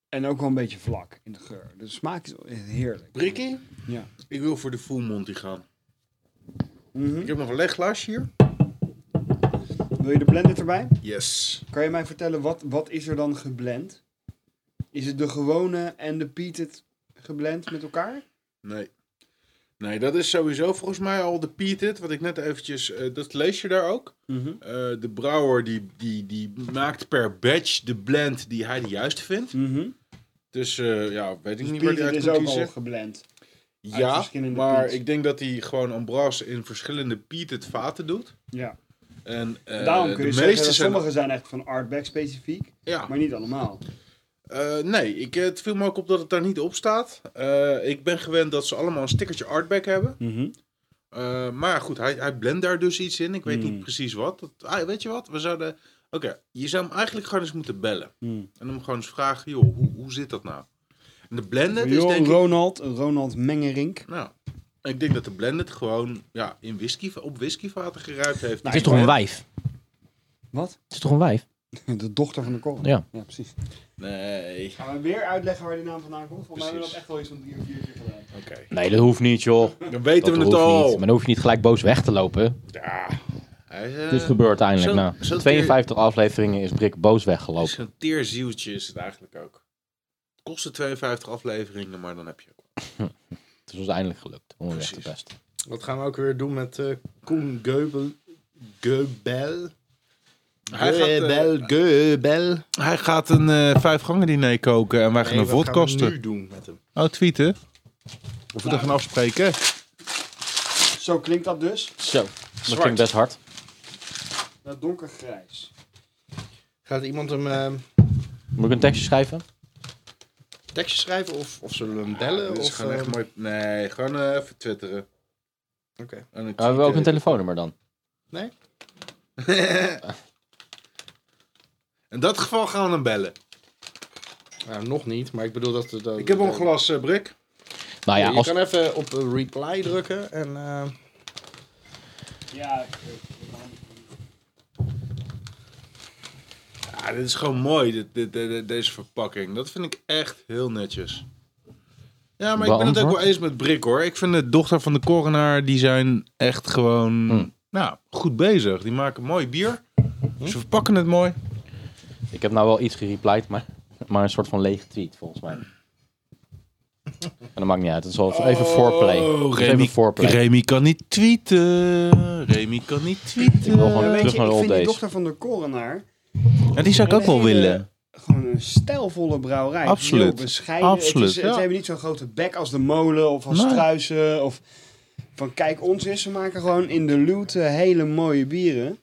[SPEAKER 2] En ook wel een beetje vlak in de geur. De smaak is wel heerlijk.
[SPEAKER 3] Brikkie,
[SPEAKER 2] Ja.
[SPEAKER 3] ik wil voor de full monty gaan.
[SPEAKER 2] Mhm.
[SPEAKER 3] Ik heb nog een leeg glaasje hier.
[SPEAKER 2] Wil je de blended erbij?
[SPEAKER 3] Yes.
[SPEAKER 2] Kan je mij vertellen, wat, wat is er dan geblend? Is het de gewone en de peated geblend met elkaar?
[SPEAKER 3] Nee. Nee, dat is sowieso volgens mij al de peated, wat ik net eventjes... eh, dat lees je daar ook.
[SPEAKER 2] Mhm.
[SPEAKER 3] Eh, de brouwer die, die, die maakt per batch de blend die hij de juiste vindt.
[SPEAKER 1] Mhm.
[SPEAKER 3] Dus eh, ja, weet ik
[SPEAKER 2] Dus
[SPEAKER 3] niet waar die uit
[SPEAKER 2] peated is
[SPEAKER 3] komt
[SPEAKER 2] ook al
[SPEAKER 3] kiezen.
[SPEAKER 2] geblend. uit
[SPEAKER 3] Ja,
[SPEAKER 2] verschillende
[SPEAKER 3] maar
[SPEAKER 2] peats.
[SPEAKER 3] ik denk dat hij gewoon Ambras in verschillende peated vaten doet.
[SPEAKER 2] Ja.
[SPEAKER 3] En eh,
[SPEAKER 2] Daarom
[SPEAKER 3] de
[SPEAKER 2] kun je
[SPEAKER 3] meeste
[SPEAKER 2] zeggen, dat
[SPEAKER 3] zijn...
[SPEAKER 2] sommige zijn Ah. echt van artback specifiek,
[SPEAKER 3] Ja,
[SPEAKER 2] maar niet allemaal.
[SPEAKER 3] Eh, nee, ik, eh, het viel me ook op dat het daar niet op staat. Eh, ik ben gewend dat ze allemaal een stickertje artback hebben.
[SPEAKER 1] Mhm.
[SPEAKER 3] Eh, maar ja, goed, hij, hij blendt daar dus iets in. Ik weet
[SPEAKER 1] Mm.
[SPEAKER 3] niet precies wat. Dat, ah, weet je wat? We zouden. Oké, je zou hem eigenlijk gewoon eens moeten bellen.
[SPEAKER 1] Mm.
[SPEAKER 3] En hem gewoon eens vragen: joh, hoe, hoe zit dat nou? En de blended is
[SPEAKER 2] Jo,
[SPEAKER 3] denk ik.
[SPEAKER 2] Ronald, Ronald Mengerink.
[SPEAKER 3] Nou, ik denk dat de blended gewoon ja, in whisky, op whiskyvaten geruimd heeft.
[SPEAKER 1] het is toch een wijf?
[SPEAKER 2] Wat? [LAUGHS]
[SPEAKER 1] Het is toch een wijf?
[SPEAKER 2] De dochter van de kool.
[SPEAKER 1] Ja.
[SPEAKER 2] ja, precies.
[SPEAKER 3] Nee,
[SPEAKER 2] Gaan we weer uitleggen waar die naam vandaan komt? Volgens mij hebben we
[SPEAKER 3] Precies.
[SPEAKER 2] dat echt wel eens van drie of vier keer gedaan.
[SPEAKER 3] oké.
[SPEAKER 1] Nee, dat hoeft niet, joh.
[SPEAKER 3] Dan weten
[SPEAKER 1] Dat
[SPEAKER 3] we
[SPEAKER 1] hoeft
[SPEAKER 3] het al.
[SPEAKER 1] niet. Maar dan hoef je niet gelijk boos weg te lopen.
[SPEAKER 3] Ja, hij is, eh,
[SPEAKER 1] Het is gebeurd eindelijk.
[SPEAKER 3] zo-
[SPEAKER 1] nou,
[SPEAKER 3] zo-
[SPEAKER 1] 52 afleveringen is Brik boos weggelopen.
[SPEAKER 3] Zo'n teerzieltje is het eigenlijk ook. Het kostte 52 afleveringen, maar dan heb je ook.
[SPEAKER 1] Het is ons eindelijk gelukt. Om hem weg te
[SPEAKER 3] Precies.
[SPEAKER 1] pesten.
[SPEAKER 4] Wat gaan we ook weer doen met eh Koen Geubel? Geubel?
[SPEAKER 3] Hij gaat, eh,
[SPEAKER 4] Geubel, Geubel.
[SPEAKER 3] Hij gaat een eh vijfgangen diner koken en wij gaan
[SPEAKER 4] Nee,
[SPEAKER 3] een
[SPEAKER 4] wat gaan we
[SPEAKER 3] vodkasten.
[SPEAKER 4] nu doen met hem?
[SPEAKER 3] Oh, tweeten. Of we dat gaan afspreken.
[SPEAKER 2] Zo klinkt dat dus.
[SPEAKER 1] Zo, dat klinkt best hard.
[SPEAKER 2] Dat donkergrijs.
[SPEAKER 4] Gaat iemand hem eh
[SPEAKER 1] Moet ik een tekstje schrijven?
[SPEAKER 4] tekstje schrijven of, of zullen we hem bellen?
[SPEAKER 3] Dit is
[SPEAKER 4] of,
[SPEAKER 3] gewoon echt
[SPEAKER 4] eh,
[SPEAKER 3] mooi. Nee, gewoon eh, even twitteren.
[SPEAKER 4] Oké.
[SPEAKER 3] En een
[SPEAKER 1] hebben we ook een
[SPEAKER 3] tweeten.
[SPEAKER 1] telefoonnummer dan?
[SPEAKER 4] Nee?
[SPEAKER 3] In dat geval gaan we hem bellen.
[SPEAKER 4] Nou, nog niet, maar ik bedoel dat... dat
[SPEAKER 3] Ik heb al een
[SPEAKER 4] eh,
[SPEAKER 3] glas eh, brik.
[SPEAKER 1] Nou ja,
[SPEAKER 4] je
[SPEAKER 1] als...
[SPEAKER 4] kan even op eh, reply drukken en... eh,
[SPEAKER 2] Ja, eh,
[SPEAKER 3] Ja, Ah, dit is gewoon mooi, dit, dit, dit- deze verpakking. Dat vind ik echt heel netjes. Ja, maar ik ben het ook wel
[SPEAKER 1] Beantwoord.
[SPEAKER 3] eens met Brik hoor. Ik vind de dochter van de coroner, die zijn echt gewoon
[SPEAKER 1] Hm.
[SPEAKER 3] nou, goed bezig. Die maken mooi bier. Ze verpakken het mooi.
[SPEAKER 1] Ik heb nou wel iets gereplied, maar, [LAUGHS] maar een soort van lege tweet volgens
[SPEAKER 3] [LAUGHS]
[SPEAKER 1] mij. En dat maakt niet uit. Het is wel even- even voorplay. Het is even voorplay.
[SPEAKER 3] Oh, Remy kan niet tweeten. Remy kan niet tweeten.
[SPEAKER 1] Ik wil gewoon
[SPEAKER 2] weet
[SPEAKER 1] terug
[SPEAKER 2] je,
[SPEAKER 1] naar de
[SPEAKER 2] ik
[SPEAKER 1] old
[SPEAKER 2] vind die
[SPEAKER 1] days.
[SPEAKER 2] dochter van de korenaar
[SPEAKER 3] En die zou ik ook wel
[SPEAKER 2] Hele-
[SPEAKER 3] willen.
[SPEAKER 2] gewoon een stijlvolle brouwerij.
[SPEAKER 3] Absoluut.
[SPEAKER 2] Heel bescheiden.
[SPEAKER 3] Absoluut,
[SPEAKER 2] Het, is,
[SPEAKER 3] ja.
[SPEAKER 2] het hebben niet zo'n grote bek als de molen of als
[SPEAKER 3] Nee.
[SPEAKER 2] struisen. Of van kijk ons is. Ze maken gewoon in de luwte hele mooie bieren.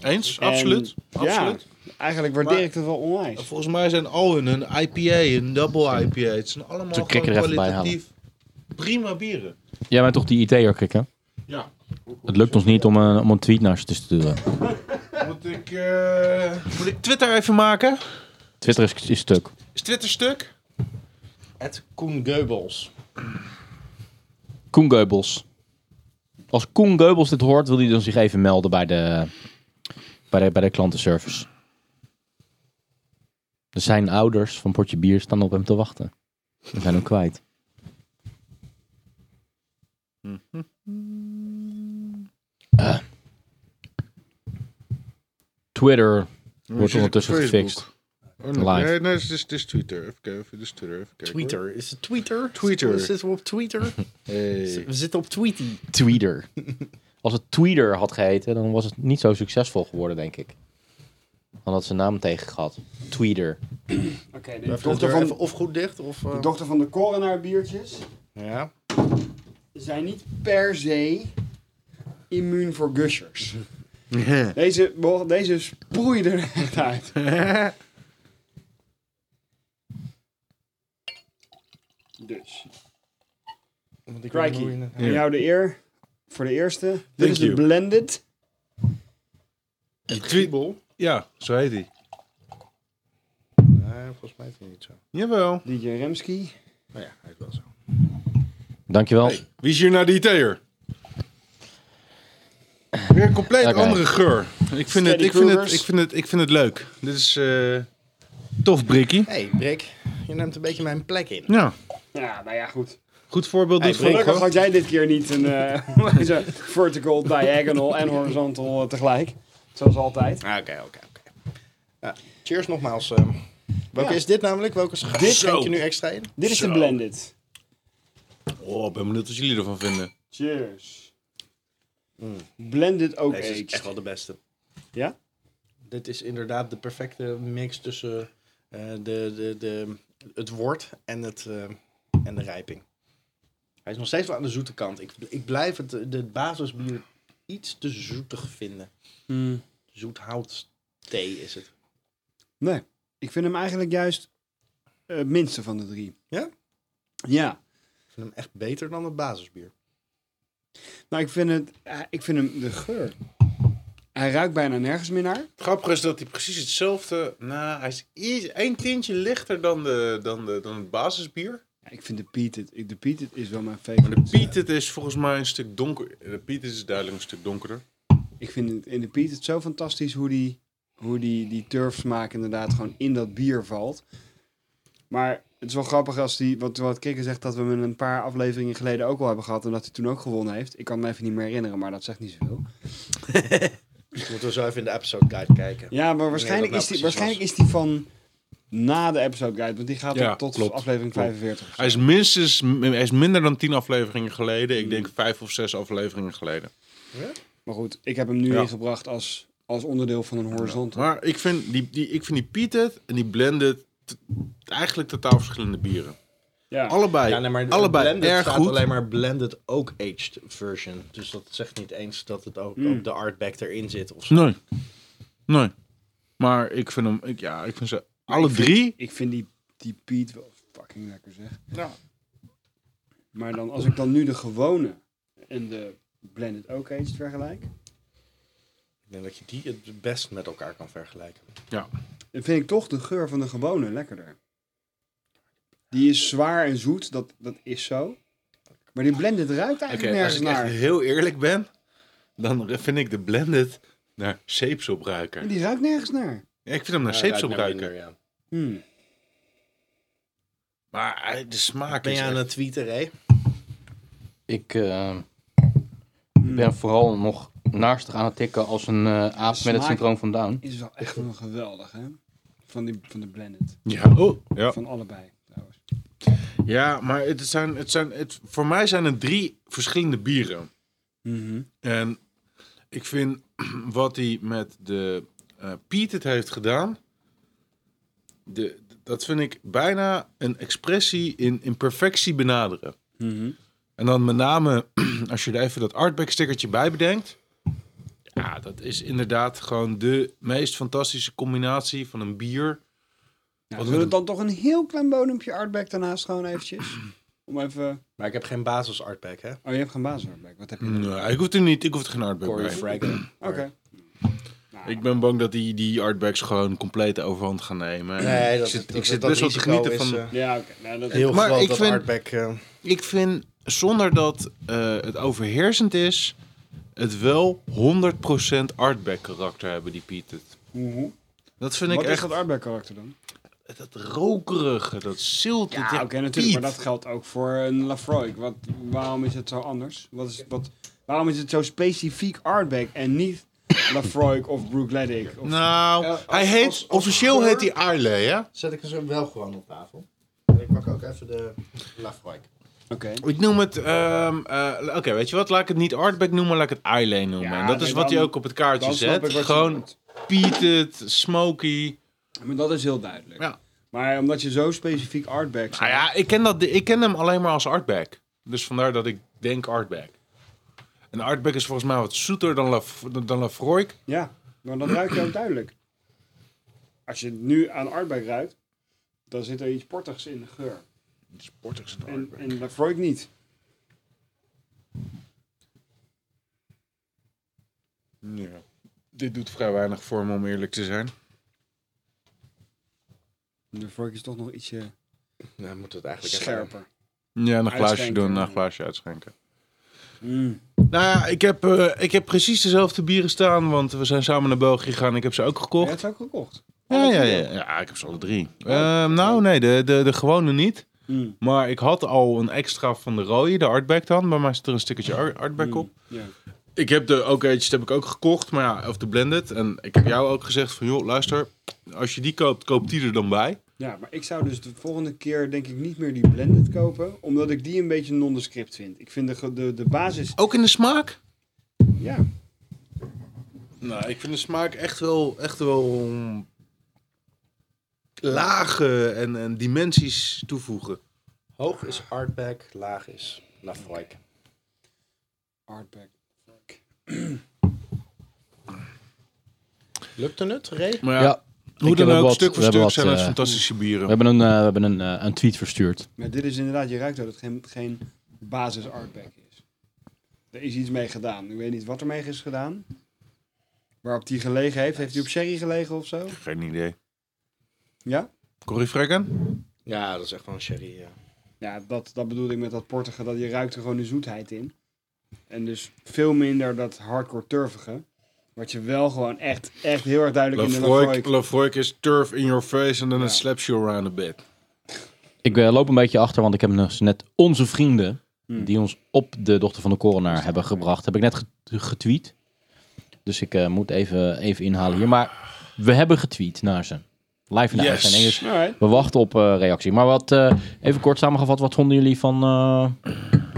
[SPEAKER 3] Eens,
[SPEAKER 2] En
[SPEAKER 3] absoluut. absoluut.
[SPEAKER 2] Ja, eigenlijk waardeer
[SPEAKER 3] Maar-
[SPEAKER 2] ik dat wel onwijs.
[SPEAKER 3] Volgens mij zijn al hun, hun IPA, een double IPA, het zijn allemaal
[SPEAKER 1] Toen
[SPEAKER 3] gewoon
[SPEAKER 1] krik er even bij halen.
[SPEAKER 3] kwalitatief prima bieren.
[SPEAKER 1] Jij bent toch die IT'er, Krikke?
[SPEAKER 3] Ja.
[SPEAKER 1] Het lukt ons niet om een, om een tweet naar ze te sturen.
[SPEAKER 3] Moet ik, eh, moet ik Twitter even maken?
[SPEAKER 1] Twitter is, is stuk.
[SPEAKER 3] Is Twitter stuk?
[SPEAKER 4] Het Koen Geubels.
[SPEAKER 1] Koen Geubels. Als Koen Geubels dit hoort, wil hij dan zich even melden bij de, bij de, bij de klantenservice. Er zijn ouders van Potje Bier staan op hem te wachten. We zijn hem kwijt. Eh. Twitter wordt ondertussen
[SPEAKER 3] Facebook.
[SPEAKER 1] gefixt.
[SPEAKER 3] Oh,
[SPEAKER 1] Live.
[SPEAKER 3] nee, nee, het is, het is Twitter. Even kijken, dus Twitter. Even kijken hoor.
[SPEAKER 4] Twitter. Is het Twitter?
[SPEAKER 3] Twitter.
[SPEAKER 4] Zitten we op Twitter?
[SPEAKER 3] [LAUGHS] Hey.
[SPEAKER 4] We zitten op Tweety.
[SPEAKER 1] Tweeter. Als het Tweeter had geheten, dan was het niet zo succesvol geworden, denk ik. Dan had ze een naam tegen gehad. Tweeter.
[SPEAKER 4] De
[SPEAKER 2] Oké, de, dochter van,
[SPEAKER 4] of goed dicht of... eh,
[SPEAKER 2] de dochter van de korenaar biertjes
[SPEAKER 4] ja.
[SPEAKER 2] zijn niet per se immuun voor gushers. Deze, bo- deze sproeide er echt uit. Dus,
[SPEAKER 4] Want ik weet niet
[SPEAKER 2] Crikey.
[SPEAKER 4] hoe je het-
[SPEAKER 2] aan jou de eer voor de eerste. Dit is de
[SPEAKER 3] you.
[SPEAKER 2] blended.
[SPEAKER 3] Die tweet- Ja, zo heet hij.
[SPEAKER 4] Nee, volgens mij is het niet zo.
[SPEAKER 3] Jawel.
[SPEAKER 2] DJ Remski.
[SPEAKER 4] Nou ja, hij is wel zo.
[SPEAKER 1] Dankjewel.
[SPEAKER 3] Wie is hier nou de IT'er? Weer een compleet
[SPEAKER 1] Oké.
[SPEAKER 3] andere geur. Ik vind, het,
[SPEAKER 2] Steady
[SPEAKER 3] ik, vind het,
[SPEAKER 2] Krugers.
[SPEAKER 3] ik, vind het, ik vind het leuk. Dit is eh, tof, Brikkie.
[SPEAKER 4] Hey, Brik. Je neemt een beetje mijn plek in.
[SPEAKER 3] Ja.
[SPEAKER 2] Ja, nou ja, goed.
[SPEAKER 3] Goed voorbeeld dus
[SPEAKER 4] Hey,
[SPEAKER 3] dit
[SPEAKER 4] Freek,
[SPEAKER 3] volk,
[SPEAKER 2] Gelukkig
[SPEAKER 3] hoor.
[SPEAKER 2] had jij dit keer niet een eh, [LAUGHS] zo vertical, diagonal en horizontal eh, tegelijk. Zoals altijd.
[SPEAKER 4] Ah, Oké, oké, oké. Ja, cheers nogmaals. ehm. welke
[SPEAKER 2] Ja.
[SPEAKER 4] is dit namelijk? Welke is
[SPEAKER 2] Dit-
[SPEAKER 4] dit schenk je nu extra in?
[SPEAKER 2] Dit is de blended.
[SPEAKER 3] Oh, ik ben benieuwd wat jullie ervan vinden.
[SPEAKER 2] Cheers. Blended ook
[SPEAKER 4] Mm. Deze is
[SPEAKER 2] aged.
[SPEAKER 4] echt wel de beste.
[SPEAKER 2] Ja?
[SPEAKER 4] Dit is inderdaad de perfecte mix tussen eh, de, de, de, het wort en, het, eh, en de rijping. Hij is nog steeds wel aan de zoete kant. Ik, ik blijf het de basisbier iets te zoetig vinden. Hmm. Zoethout thee is het.
[SPEAKER 2] Nee, ik vind hem eigenlijk juist eh, het minste van de drie.
[SPEAKER 4] Ja?
[SPEAKER 2] Ja.
[SPEAKER 4] Ik vind hem echt beter dan het basisbier.
[SPEAKER 2] Nou, ik vind, het, eh, ik vind hem de geur. Hij ruikt bijna nergens meer naar.
[SPEAKER 3] Grappig is dat hij precies hetzelfde... Nou, hij is iets, één tintje lichter dan, de, dan, de, dan het basisbier.
[SPEAKER 2] Ja, ik vind de Piet het. ik- De Piet het is wel mijn
[SPEAKER 3] Maar de
[SPEAKER 2] favorite.
[SPEAKER 3] Piet, het is volgens mij een stuk donker. De Piet is duidelijk een stuk donkerder.
[SPEAKER 2] Ik vind het in de Piet het zo fantastisch hoe die, hoe die, die turfsmaak inderdaad gewoon in dat bier valt. Maar het is wel grappig als die, wat, wat Kikker zegt, dat we hem een paar afleveringen geleden ook al hebben gehad. En dat hij toen ook gewonnen heeft. Ik kan me even niet meer herinneren, maar dat zegt niet zoveel.
[SPEAKER 4] Dus moeten we zo even in de episode guide kijken.
[SPEAKER 2] Ja, maar waarschijnlijk,
[SPEAKER 4] dat nou
[SPEAKER 2] is, die,
[SPEAKER 4] precies
[SPEAKER 2] waarschijnlijk is die van na de episode guide. Want die gaat
[SPEAKER 3] Ja,
[SPEAKER 2] tot- tot
[SPEAKER 3] klopt,
[SPEAKER 2] aflevering
[SPEAKER 3] klopt.
[SPEAKER 2] 45. of zo.
[SPEAKER 3] Hij is minstens... Hij is minder dan tien afleveringen geleden. Ik denk vijf of zes afleveringen geleden.
[SPEAKER 2] Maar goed, ik heb hem nu
[SPEAKER 3] Ja.
[SPEAKER 2] ingebracht als, als onderdeel van een horizontal.
[SPEAKER 3] Maar ik vind die, die, ik vind die Pietet en die Blended t- eigenlijk totaal verschillende bieren.
[SPEAKER 2] Ja.
[SPEAKER 3] Allebei,
[SPEAKER 4] Ja, nee, maar
[SPEAKER 3] allebei
[SPEAKER 4] blended
[SPEAKER 3] erg
[SPEAKER 4] staat
[SPEAKER 3] goed.
[SPEAKER 4] alleen maar blended ook aged version. Dus dat zegt niet eens dat het ook, ook de artback erin zit. Of zo.
[SPEAKER 3] Nee, nee. Maar ik vind hem, ik, ja, ik vind ze alle drie.
[SPEAKER 2] Ik vind die, die Piet wel fucking lekker zeg. Maar dan, als ik dan nu de gewone en de blended ook eens vergelijk.
[SPEAKER 4] Ik denk dat je die het best met elkaar kan vergelijken.
[SPEAKER 2] Dan vind ik toch de geur van de gewone lekkerder. Die is zwaar en zoet, dat, dat is zo. Maar die blended ruikt eigenlijk
[SPEAKER 3] Oké, als
[SPEAKER 2] nergens
[SPEAKER 3] ik echt
[SPEAKER 2] naar.
[SPEAKER 3] heel eerlijk ben, dan vind ik de Blended naar zeepsop ruiken.
[SPEAKER 2] Die ruikt nergens naar.
[SPEAKER 3] Ja, ik vind hem naar
[SPEAKER 4] Ja,
[SPEAKER 3] zeepsop
[SPEAKER 4] ruikt naar
[SPEAKER 3] ruiken.
[SPEAKER 4] minder, ja.
[SPEAKER 2] Hmm.
[SPEAKER 3] Maar eh, hij- de smaak
[SPEAKER 4] Ben
[SPEAKER 3] is
[SPEAKER 4] je aan
[SPEAKER 3] echt-
[SPEAKER 4] het tweeten, hè?
[SPEAKER 1] Ik eh, ben vooral nog naastig aan het tikken als een eh, aap met het
[SPEAKER 2] Smaak-
[SPEAKER 1] syndroom van Down.
[SPEAKER 2] Is wel echt wel geweldig, hè? Van, die, van de blended.
[SPEAKER 3] Ja, oh, ja.
[SPEAKER 2] Van allebei, trouwens.
[SPEAKER 3] ja, maar het zijn, het zijn, het, voor mij zijn het drie verschillende bieren. Mhm. En ik vind [CLEARS THROAT] wat hij met de eh, Piet het heeft gedaan, de, dat vind ik bijna een expressie in, in perfectie benaderen. En dan met name [CLEARS THROAT] als je er even dat artback stickertje bij bedenkt. Ja, dat is inderdaad gewoon de meest fantastische combinatie van een bier.
[SPEAKER 2] Nou,
[SPEAKER 3] Wat
[SPEAKER 2] zullen we
[SPEAKER 3] een-
[SPEAKER 2] dan toch een heel klein bodempje artback daarnaast gewoon eventjes? Om even...
[SPEAKER 4] Maar ik heb geen basis artback, hè?
[SPEAKER 2] Oh, je hebt geen baas artback. Wat heb je dan?
[SPEAKER 3] Nee, ik hoef er niet, ik hoef er geen artback
[SPEAKER 4] Corey
[SPEAKER 3] bij.
[SPEAKER 4] [CLEARS THROAT] Fragan.
[SPEAKER 2] Oké.
[SPEAKER 3] Ik ben bang dat die, die artbacks gewoon compleet de overhand gaan nemen. En
[SPEAKER 4] Nee, dat,
[SPEAKER 3] ik zit,
[SPEAKER 4] dat-
[SPEAKER 3] ik
[SPEAKER 4] dat-
[SPEAKER 3] zit
[SPEAKER 4] dat
[SPEAKER 3] best wel te
[SPEAKER 4] risico
[SPEAKER 3] genieten
[SPEAKER 4] is,
[SPEAKER 3] van...
[SPEAKER 4] eh,
[SPEAKER 2] Ja, oké. Nou, dat...
[SPEAKER 4] heel
[SPEAKER 3] Maar
[SPEAKER 4] groot
[SPEAKER 3] ik
[SPEAKER 4] dat
[SPEAKER 3] vind-
[SPEAKER 4] artback... eh,
[SPEAKER 3] Ik vind, zonder dat eh, het overheersend is, het wel 100% artback karakter hebben, die Pieter.
[SPEAKER 2] Mhm.
[SPEAKER 3] Dat vind
[SPEAKER 2] Wat
[SPEAKER 3] ik
[SPEAKER 2] is
[SPEAKER 3] echt,
[SPEAKER 2] dat artback karakter dan?
[SPEAKER 3] dat rokerige, dat zilt.
[SPEAKER 2] Ja, oké, natuurlijk. Maar dat geldt ook voor een Lafroy. Wat, waarom is het zo anders? Wat is, wat, waarom is het zo specifiek artback en niet Lafroy of Brookletic? Of...
[SPEAKER 3] Nou,
[SPEAKER 4] Ja, als-
[SPEAKER 3] hij heet,
[SPEAKER 4] als- als
[SPEAKER 3] officieel
[SPEAKER 4] geur-
[SPEAKER 3] heet hij Arle, ja?
[SPEAKER 4] Zet ik ze wel gewoon op tafel. En ik pak ook even de Lafroik.
[SPEAKER 2] Oké.
[SPEAKER 3] Ik noem het, ehm, eh, oké, weet je wat, laat ik het niet artback noemen, laat ik het Arle noemen.
[SPEAKER 2] Ja,
[SPEAKER 3] en dat
[SPEAKER 2] nee,
[SPEAKER 3] is wat
[SPEAKER 2] dan-
[SPEAKER 3] hij ook op het kaartje
[SPEAKER 2] dan snap ik
[SPEAKER 3] zet.
[SPEAKER 2] wat je
[SPEAKER 3] Gewoon
[SPEAKER 2] bedoelt.
[SPEAKER 3] Pieter, Smoky.
[SPEAKER 2] Maar dat is heel duidelijk.
[SPEAKER 3] Ja.
[SPEAKER 2] Maar omdat je zo specifiek artback
[SPEAKER 3] Nou ja, ik ken, dat, ik ken hem alleen maar als artback. Dus vandaar dat ik denk artback. En artback is volgens mij wat zoeter dan, Laf, dan Lafroik.
[SPEAKER 2] Ja, maar dan ruik je ook duidelijk. Als je nu aan Artback ruikt, dan zit er iets portigs in de geur.
[SPEAKER 3] Sportig
[SPEAKER 2] En, en Lafroy niet.
[SPEAKER 3] ja. Dit doet vrij weinig voor me, om eerlijk te zijn.
[SPEAKER 2] Lafroy is toch nog ietsje
[SPEAKER 4] Nou, moet het eigenlijk echt-
[SPEAKER 2] scherper.
[SPEAKER 3] Ja, een glaasje
[SPEAKER 2] Uitschenken.
[SPEAKER 3] doen, een glaasje uitschenken.
[SPEAKER 2] Mm.
[SPEAKER 3] Nou ja, ik heb, eh, ik heb precies dezelfde bieren staan, want we zijn samen naar België gegaan. Ik heb ze ook
[SPEAKER 2] Jij
[SPEAKER 3] gekocht.
[SPEAKER 2] hebt ze ook gekocht.
[SPEAKER 3] Ja, Ja, ja, ja, ja, ik heb ze alle drie. Ehm, nou, nee, de, de, de gewone niet.
[SPEAKER 2] Oh. Mm.
[SPEAKER 3] Maar ik had al een extra van de rode, de artback dan. Bij mij zit er een stukje ar- artback op.
[SPEAKER 2] Mm. Ja.
[SPEAKER 3] Ik heb de Oak Ages heb ik ook gekocht, maar ja, of de blended. En ik heb jou ook gezegd van, joh, luister, als je die koopt, koopt die er dan bij.
[SPEAKER 2] Ja, maar ik zou dus de volgende keer denk ik niet meer die blended kopen, omdat ik die een beetje nondescript vind. Ik vind de, ge- de, de basis,
[SPEAKER 3] Ook in de smaak?
[SPEAKER 2] ja,
[SPEAKER 6] Nou, ik vind de smaak echt wel, echt wel lage en, en dimensies toevoegen.
[SPEAKER 4] Hoog is Artback, laag is Lafroik.
[SPEAKER 2] artback.
[SPEAKER 4] Lukte het, Ray?
[SPEAKER 3] Maar ja,
[SPEAKER 1] Ja,
[SPEAKER 3] hoe
[SPEAKER 1] ik
[SPEAKER 3] dan
[SPEAKER 1] heb
[SPEAKER 3] ook,
[SPEAKER 1] wat- we
[SPEAKER 3] stuk voor
[SPEAKER 1] hebben wat,
[SPEAKER 3] stuk zijn dat
[SPEAKER 1] eh,
[SPEAKER 3] fantastische
[SPEAKER 1] We
[SPEAKER 3] bieren.
[SPEAKER 1] hebben een, eh, we hebben een, eh, een tweet verstuurd.
[SPEAKER 2] Maar dit is inderdaad, je ruikt dat het geen, geen basis artback is. Er is iets mee gedaan. Ik weet niet wat er mee is gedaan. Waarop die gelegen heeft. Heeft hij op sherry gelegen of zo?
[SPEAKER 3] Geen idee.
[SPEAKER 2] Ja?
[SPEAKER 3] Corrie Frekken?
[SPEAKER 4] Ja, dat is echt wel een sherry. Ja.
[SPEAKER 2] Ja, dat, dat bedoelde ik met dat portige. Dat je ruikt er gewoon de zoetheid in. En dus veel minder dat hardcore turvige. Wat je wel gewoon echt, echt heel erg duidelijk in de Lafroik...
[SPEAKER 3] Lafroik is turf in your face and then
[SPEAKER 2] Ja.
[SPEAKER 3] it slaps you around a bit.
[SPEAKER 1] Ik eh, loop een beetje achter, want ik heb nog net onze vrienden...
[SPEAKER 2] Hmm.
[SPEAKER 1] die ons op de dochter van de coroner hebben gebracht... heb ik net get- getweet. Dus ik eh, moet even, even inhalen hier. Maar we hebben getweet naar ze. Live in de
[SPEAKER 3] Yes.
[SPEAKER 1] uitzending. Dus
[SPEAKER 2] Alright.
[SPEAKER 1] we wachten op eh, reactie. Maar wat, eh, even kort samengevat, wat vonden jullie van eh,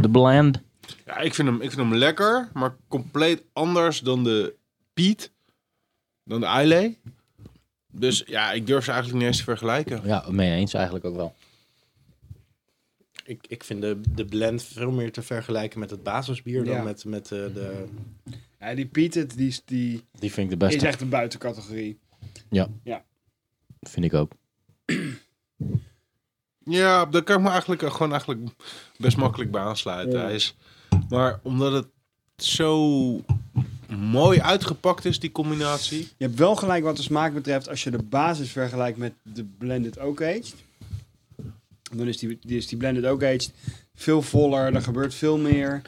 [SPEAKER 1] de bland?
[SPEAKER 3] Ja, ik vind, hem, ik vind hem lekker, maar compleet anders dan de Piet, dan de Eile. Dus ja, ik durf ze eigenlijk niet eens te vergelijken.
[SPEAKER 1] Ja, mee eens eigenlijk ook wel.
[SPEAKER 4] Ik, ik vind de, de blend veel meer te vergelijken met het basisbier
[SPEAKER 2] Ja.
[SPEAKER 4] dan met, met eh, de...
[SPEAKER 2] Ja, die Piet, het, die, is- die
[SPEAKER 1] Die vind ik de
[SPEAKER 2] is
[SPEAKER 1] beste.
[SPEAKER 2] echt een buitencategorie.
[SPEAKER 1] Vind ik ook.
[SPEAKER 3] Ja, daar kan ik me eigenlijk eh, gewoon eigenlijk best makkelijk bij aansluiten. Hij is, maar omdat het zo mooi uitgepakt is, die combinatie.
[SPEAKER 2] Je hebt wel gelijk wat de smaak betreft. Als je de basis vergelijkt met de blended oak aged. Dan is die, die, is die blended oak aged veel voller. Er gebeurt veel meer.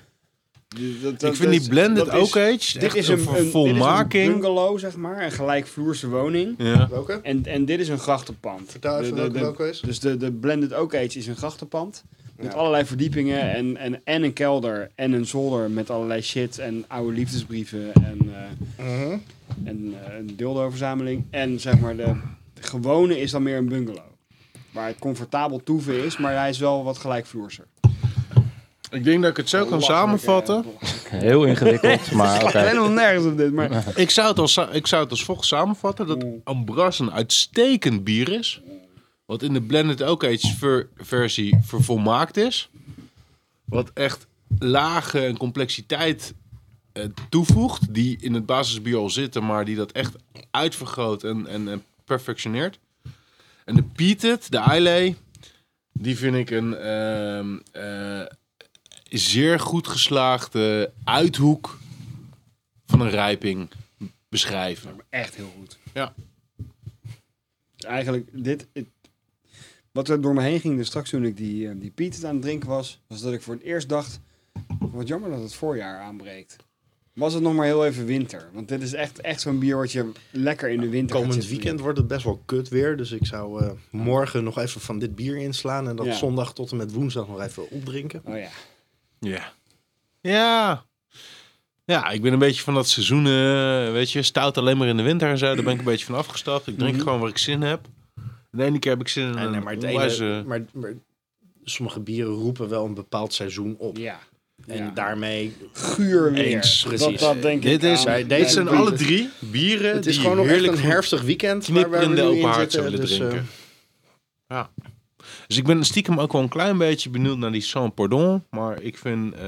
[SPEAKER 2] Die- dat- dat-
[SPEAKER 3] ik vind die
[SPEAKER 2] dat-
[SPEAKER 3] blended
[SPEAKER 2] dat is-
[SPEAKER 3] ook aged
[SPEAKER 2] Dit
[SPEAKER 3] echt
[SPEAKER 2] is
[SPEAKER 3] een,
[SPEAKER 2] een, een, dit is een
[SPEAKER 3] volmaking.
[SPEAKER 2] bungalow, zeg maar. Een gelijkvloerse woning.
[SPEAKER 3] Ja.
[SPEAKER 4] Welke?
[SPEAKER 2] En, en dit is een grachtenpand.
[SPEAKER 4] Vertel even
[SPEAKER 2] De- de-
[SPEAKER 4] welke welke is.
[SPEAKER 2] de- Dus de, de blended oak aged is een grachtenpand. Met
[SPEAKER 4] Ja.
[SPEAKER 2] allerlei verdiepingen en, en, en een kelder. En een zolder met allerlei shit. En oude liefdesbrieven. En... eh,
[SPEAKER 4] Mhm.
[SPEAKER 2] en eh, een dildo-verzameling. En zeg maar, de, de gewone is dan meer een bungalow. Waar het comfortabel toeven is, maar hij is wel wat gelijkvloerser.
[SPEAKER 3] Ik denk dat ik het zo kan samenvatten.
[SPEAKER 1] Heel
[SPEAKER 2] [LAUGHS]
[SPEAKER 1] ingewikkeld, maar oké.
[SPEAKER 2] Ik ben nog nergens op dit, maar...
[SPEAKER 3] [LAUGHS] Ik zou, het als, sa- ik zou het als volgt samenvatten: dat Ambras een uitstekend bier is. Wat in de blended ook eens ver, versie vervolmaakt is. Wat echt lagen en complexiteit eh, toevoegt. Die in het basisbier al zitten, maar die dat echt uitvergroot en, en, en perfectioneert. En de Pietet, de Islay, die vind ik een ehm, eh, zeer goed geslaagde uithoek van een rijping beschrijven.
[SPEAKER 2] Echt heel goed.
[SPEAKER 3] Ja.
[SPEAKER 2] Dus Eigenlijk, dit... het- wat er door me heen ging, dus straks toen ik die, eh, die Piet aan het drinken was... was dat ik voor het eerst dacht... wat jammer dat het voorjaar aanbreekt. Was het nog maar heel even winter. Want dit is echt, echt zo'n bier wat je lekker in de winter gaat
[SPEAKER 4] Komend
[SPEAKER 2] zitten
[SPEAKER 4] weekend wordt het best wel kut weer. Dus ik zou eh, morgen nog even van dit bier inslaan. En dat
[SPEAKER 2] Ja.
[SPEAKER 4] zondag tot en met woensdag nog even opdrinken.
[SPEAKER 2] drinken. Oh ja.
[SPEAKER 3] Ja. Ja. Ja, ik ben een beetje van dat seizoenen, weet je, stout alleen maar in de winter en zo. Daar ben ik een beetje van afgestapt. Ik drink gewoon waar ik zin heb. De ene keer heb ik zin in
[SPEAKER 4] En,
[SPEAKER 3] een
[SPEAKER 4] eh, maar, het
[SPEAKER 3] onwijze-
[SPEAKER 4] ene, maar, maar sommige bieren roepen wel een bepaald seizoen op.
[SPEAKER 2] Ja.
[SPEAKER 4] En
[SPEAKER 2] Ja.
[SPEAKER 4] daarmee
[SPEAKER 2] guur weer.
[SPEAKER 4] Eens,
[SPEAKER 2] Dat,
[SPEAKER 4] precies.
[SPEAKER 2] dat denk
[SPEAKER 3] Dit
[SPEAKER 2] ik
[SPEAKER 3] is-
[SPEAKER 2] aan.
[SPEAKER 4] dit
[SPEAKER 2] Bij de
[SPEAKER 4] zijn
[SPEAKER 2] buurt.
[SPEAKER 3] alle drie bieren
[SPEAKER 4] Het is
[SPEAKER 3] die
[SPEAKER 4] gewoon nog echt
[SPEAKER 3] heerlijk
[SPEAKER 4] een herftig weekend waar we
[SPEAKER 3] knipperende
[SPEAKER 4] nu
[SPEAKER 3] open
[SPEAKER 4] in
[SPEAKER 3] haard zou
[SPEAKER 4] zitten.
[SPEAKER 3] willen
[SPEAKER 4] Dus, eh,
[SPEAKER 3] drinken. Ja. Dus ik ben stiekem ook wel een klein beetje benieuwd naar die Sans Pardon. Maar ik vind eh,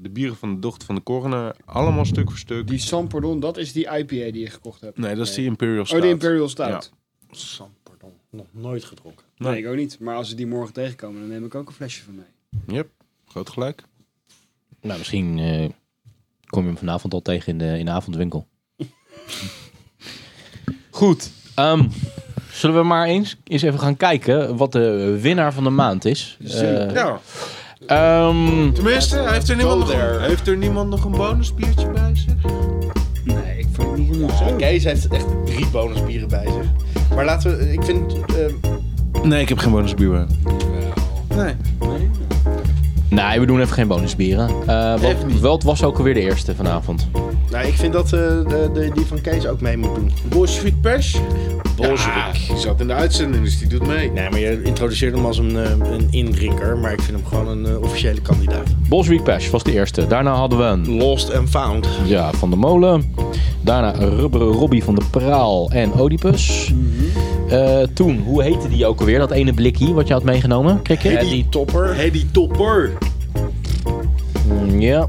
[SPEAKER 3] de bieren van de dochter van de coroner allemaal stuk voor stuk.
[SPEAKER 2] Die San Pardon, dat is die IPA die je gekocht hebt.
[SPEAKER 3] Nee, dat is die Imperial Stout.
[SPEAKER 2] Oh, die Imperial Stout.
[SPEAKER 4] Sam, pardon, nog nooit gedronken.
[SPEAKER 2] Nee.
[SPEAKER 3] Nee.
[SPEAKER 2] ik ook niet. Maar als ze die morgen tegenkomen, dan neem ik ook een flesje van mee.
[SPEAKER 3] Yep, groot gelijk.
[SPEAKER 1] Nou, misschien eh, kom je hem vanavond al tegen in de, in de avondwinkel. [LAUGHS] Goed. ehm, zullen we maar eens, eens even gaan kijken wat de winnaar van de maand is? Eh,
[SPEAKER 3] Ja,
[SPEAKER 1] ehm,
[SPEAKER 3] tenminste, heeft er niemand, nog een, heeft er niemand nog een bonusbiertje bij zich?
[SPEAKER 2] Nee, ik vond het niet genoeg.
[SPEAKER 4] Oh, Kees heeft echt drie bonusbieren bij zich. Maar laten we, ik vind, eh,
[SPEAKER 3] Nee, ik heb geen bonusbier.
[SPEAKER 1] Nee, we doen even geen bonusbieren. Eh wat, wel, het was ook alweer de eerste vanavond.
[SPEAKER 4] nou, ik vind dat eh, de, de- die van Kees ook mee moet doen.
[SPEAKER 6] Bolshevik Pers?
[SPEAKER 4] Bolshevik.
[SPEAKER 6] Ja, die zat in de uitzending, dus die doet mee.
[SPEAKER 4] Nee, maar je introduceert hem als een, eh, een indrinker, maar ik vind hem gewoon een eh, officiële kandidaat.
[SPEAKER 1] Boswick Pash was de eerste. Daarna hadden we een
[SPEAKER 4] Lost and Found.
[SPEAKER 1] ja, Van de Molen. Daarna Rubberen Robbie van de Praal en Oedipus. Eh, toen, hoe heette die ook alweer? Dat ene blikje wat je had meegenomen? Kijk je?
[SPEAKER 4] Die topper.
[SPEAKER 6] Hey, die topper.
[SPEAKER 1] Ja.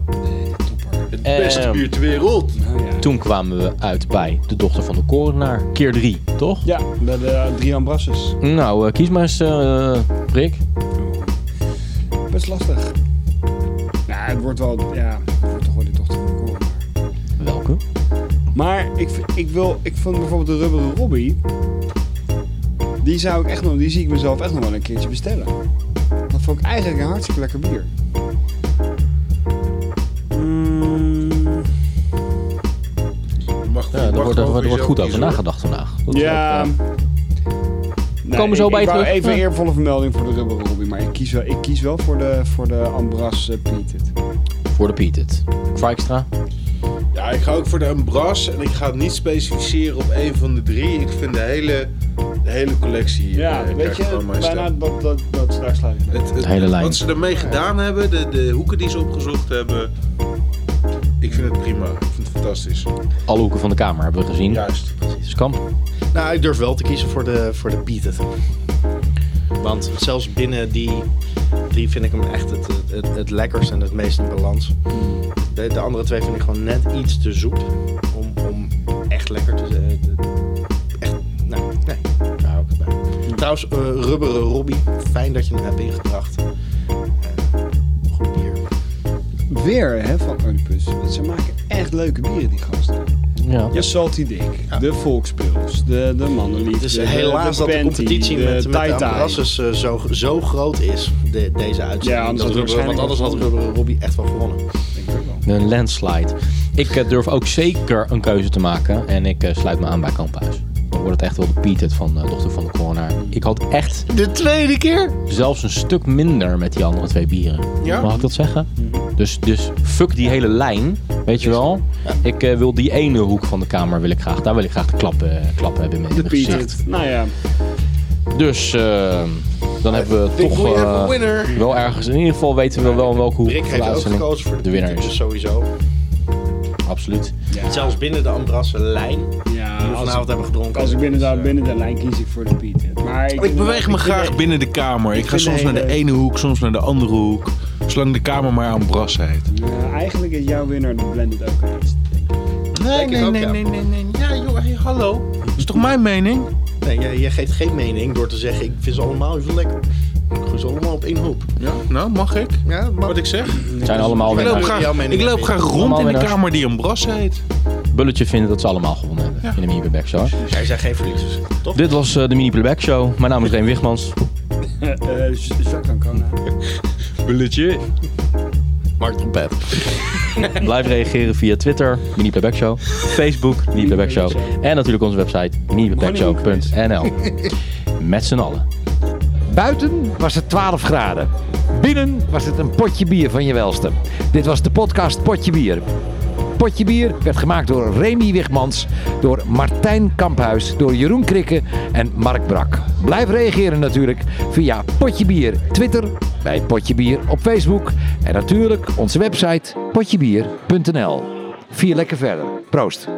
[SPEAKER 6] Het beste
[SPEAKER 1] Ehm.
[SPEAKER 6] bier ter wereld.
[SPEAKER 1] Toen kwamen we uit bij de dochter van de korenaar. Keer drie, toch?
[SPEAKER 2] Ja, bij de eh, Drian Brasses.
[SPEAKER 1] Nou, eh, kies maar eens, eh, Rick.
[SPEAKER 2] Best lastig. Nou, het wordt wel, ja, het wordt toch wel die dochter van de koren.
[SPEAKER 1] Welke?
[SPEAKER 2] Maar ik, v- ik, wil, ik vond bijvoorbeeld de rubberen Robbie. Die zou ik echt nog, die zie ik mezelf echt nog wel een keertje bestellen. Dat vond ik eigenlijk een hartstikke lekker bier.
[SPEAKER 1] Hmm,
[SPEAKER 2] Mm,
[SPEAKER 6] Mag,
[SPEAKER 1] Ja, er wordt, er wordt goed over nagedacht vandaag. Dat is
[SPEAKER 2] ja.
[SPEAKER 1] ook, eh,
[SPEAKER 2] Nee,
[SPEAKER 1] komen we zo
[SPEAKER 2] ik-
[SPEAKER 1] bij
[SPEAKER 2] ik
[SPEAKER 1] je
[SPEAKER 2] wou
[SPEAKER 1] terug.
[SPEAKER 2] Even
[SPEAKER 1] Ja.
[SPEAKER 2] eervolle vermelding voor de rubberen Robbie, maar ik kies wel, ik kies wel voor, de, voor de Ambras eh, Peated.
[SPEAKER 1] eh, voor de Pietet. Extra.
[SPEAKER 6] Ja, ik ga ook voor de Ambras en ik ga het niet specificeren op één van de drie. Ik vind de hele, de hele collectie. eh, krijgt gewoon mijn stem.
[SPEAKER 2] dat, dat, dat, daar sluit ik
[SPEAKER 6] Het, het-
[SPEAKER 1] De hele lijn.
[SPEAKER 6] Wat ze ermee gedaan hebben, de, de hoeken die ze opgezocht hebben. Ik vind het prima. Ik vind het fantastisch.
[SPEAKER 1] Alle hoeken van de kamer hebben we gezien.
[SPEAKER 6] Juist.
[SPEAKER 1] Skamp.
[SPEAKER 4] Nou, ik durf wel te kiezen voor de, voor de Beat It. Want zelfs binnen die, die vind ik hem echt het, het, het, het lekkerst en het meest in balans. De, de andere twee vind ik gewoon net iets te zoet om, om echt lekker te zijn. Echt, nou, nee, daar hou ik het bij. Trouwens, eh, rubberen Robbie, fijn dat je hem hebt ingebracht. Eh, goed bier.
[SPEAKER 2] Weer, hè, van Oedipus. Want Ze maken echt leuke bieren, die gasten.
[SPEAKER 1] Ja.
[SPEAKER 2] De Salty Dick, de Volkspils, de, de Mannenliefde,
[SPEAKER 4] Het is
[SPEAKER 2] de-
[SPEAKER 4] Dus helaas dat de
[SPEAKER 2] Panty,
[SPEAKER 4] competitie
[SPEAKER 2] de
[SPEAKER 4] met, met de
[SPEAKER 2] Tai-Tai.
[SPEAKER 4] Ambrasses eh, zo, zo groot is, de, deze uitzending. dat Rubber-
[SPEAKER 2] Ja, anders had
[SPEAKER 4] want
[SPEAKER 2] waarschijnlijk
[SPEAKER 4] anders had
[SPEAKER 2] wel
[SPEAKER 4] Rubber Robbie echt wel gewonnen. Oh,
[SPEAKER 1] Een landslide. Ik eh, durf ook zeker een keuze te maken. En ik eh, sluit me aan bij Kamphuis. Dan wordt het echt wel de Pietet van eh, Dochter van de Coronaar. Ik had echt
[SPEAKER 4] De tweede keer?
[SPEAKER 1] zelfs een stuk minder met die andere twee bieren. Mag ik dat zeggen? Dus, dus fuck die hele lijn, weet je wel. Ik eh, wil die ene hoek van de kamer wil ik graag. Daar wil ik graag de klap, eh, klap hebben mee.
[SPEAKER 2] De Peated. Nou ja,
[SPEAKER 1] Dus eh, dan hebben we
[SPEAKER 6] Toch,
[SPEAKER 1] toch
[SPEAKER 6] we have
[SPEAKER 1] eh,
[SPEAKER 6] a winner.
[SPEAKER 1] wel ergens. In ieder geval weten we wel welke hoek
[SPEAKER 4] Rick
[SPEAKER 1] van de
[SPEAKER 4] heeft ook
[SPEAKER 1] uitzending
[SPEAKER 4] gekozen voor de,
[SPEAKER 1] de winnaar
[SPEAKER 4] Pieter,
[SPEAKER 1] is.
[SPEAKER 4] Dus sowieso.
[SPEAKER 1] Absoluut.
[SPEAKER 4] Zelfs binnen de Ambrassenlijn die
[SPEAKER 2] ja
[SPEAKER 4] we
[SPEAKER 2] als,
[SPEAKER 4] vanavond
[SPEAKER 2] ik,
[SPEAKER 4] hebben gedronken.
[SPEAKER 2] als ik binnen, de, binnen de lijn kies ik voor de Peated. Maar ik,
[SPEAKER 3] Ik beweeg me graag binnen de kamer. Ik ga
[SPEAKER 2] vind
[SPEAKER 3] soms
[SPEAKER 2] de
[SPEAKER 3] naar de
[SPEAKER 2] hele-
[SPEAKER 3] ene hoek, soms naar de andere hoek. Zolang de kamer maar aan bras heet.
[SPEAKER 2] Ja, Nou, eigenlijk is jouw winnaar de Blended ook eens.
[SPEAKER 3] Nee,
[SPEAKER 4] nee, nee, nee,
[SPEAKER 3] nee. Ja, joh, hallo. Dat is toch mijn mening?
[SPEAKER 4] Eh, Nee, jij, jij geeft geen mening door te zeggen ik vind ze allemaal even lekker. Ik gooi ze allemaal op één hoop.
[SPEAKER 6] Ja, nou, mag ik?
[SPEAKER 4] Ja, maar
[SPEAKER 6] Wat ik zeg?
[SPEAKER 1] Het zijn allemaal
[SPEAKER 3] Ik loop
[SPEAKER 1] winnaars.
[SPEAKER 4] jouw
[SPEAKER 3] graag,
[SPEAKER 4] mening
[SPEAKER 3] ik loop
[SPEAKER 4] heb ik.
[SPEAKER 3] graag rond
[SPEAKER 1] Allemaal
[SPEAKER 3] in de
[SPEAKER 1] winnaars.
[SPEAKER 3] kamer die een bras heet.
[SPEAKER 1] Bulletje vinden dat ze allemaal gewonnen hebben in de Mini Playback Show.
[SPEAKER 2] Dus-
[SPEAKER 4] jij zijn geen verliezers. Toch?
[SPEAKER 1] Dit was eh, de Mini Playback Show. Mijn naam is Reen Wigmans.
[SPEAKER 2] Eh, Z- Jacques Ancona.
[SPEAKER 1] Bulletje.
[SPEAKER 4] Mark Trompet.
[SPEAKER 1] Blijf reageren via Twitter, Mini Playback Show. Facebook, Mini Playback Show. En natuurlijk onze website, miniplaybackshow.nl. Met z'n allen.
[SPEAKER 9] Buiten was het 12 graden. Binnen was het een potje bier van je welste. Dit was de podcast Potje Bier. Potje Bier werd gemaakt door Remy Wigmans, door Martijn Kamphuis, door Jeroen Krikke en Mark Brak. Blijf reageren natuurlijk via Potje Bier Twitter, bij Potje Bier op Facebook en natuurlijk onze website potjebier.nl. Vier lekker verder. Proost.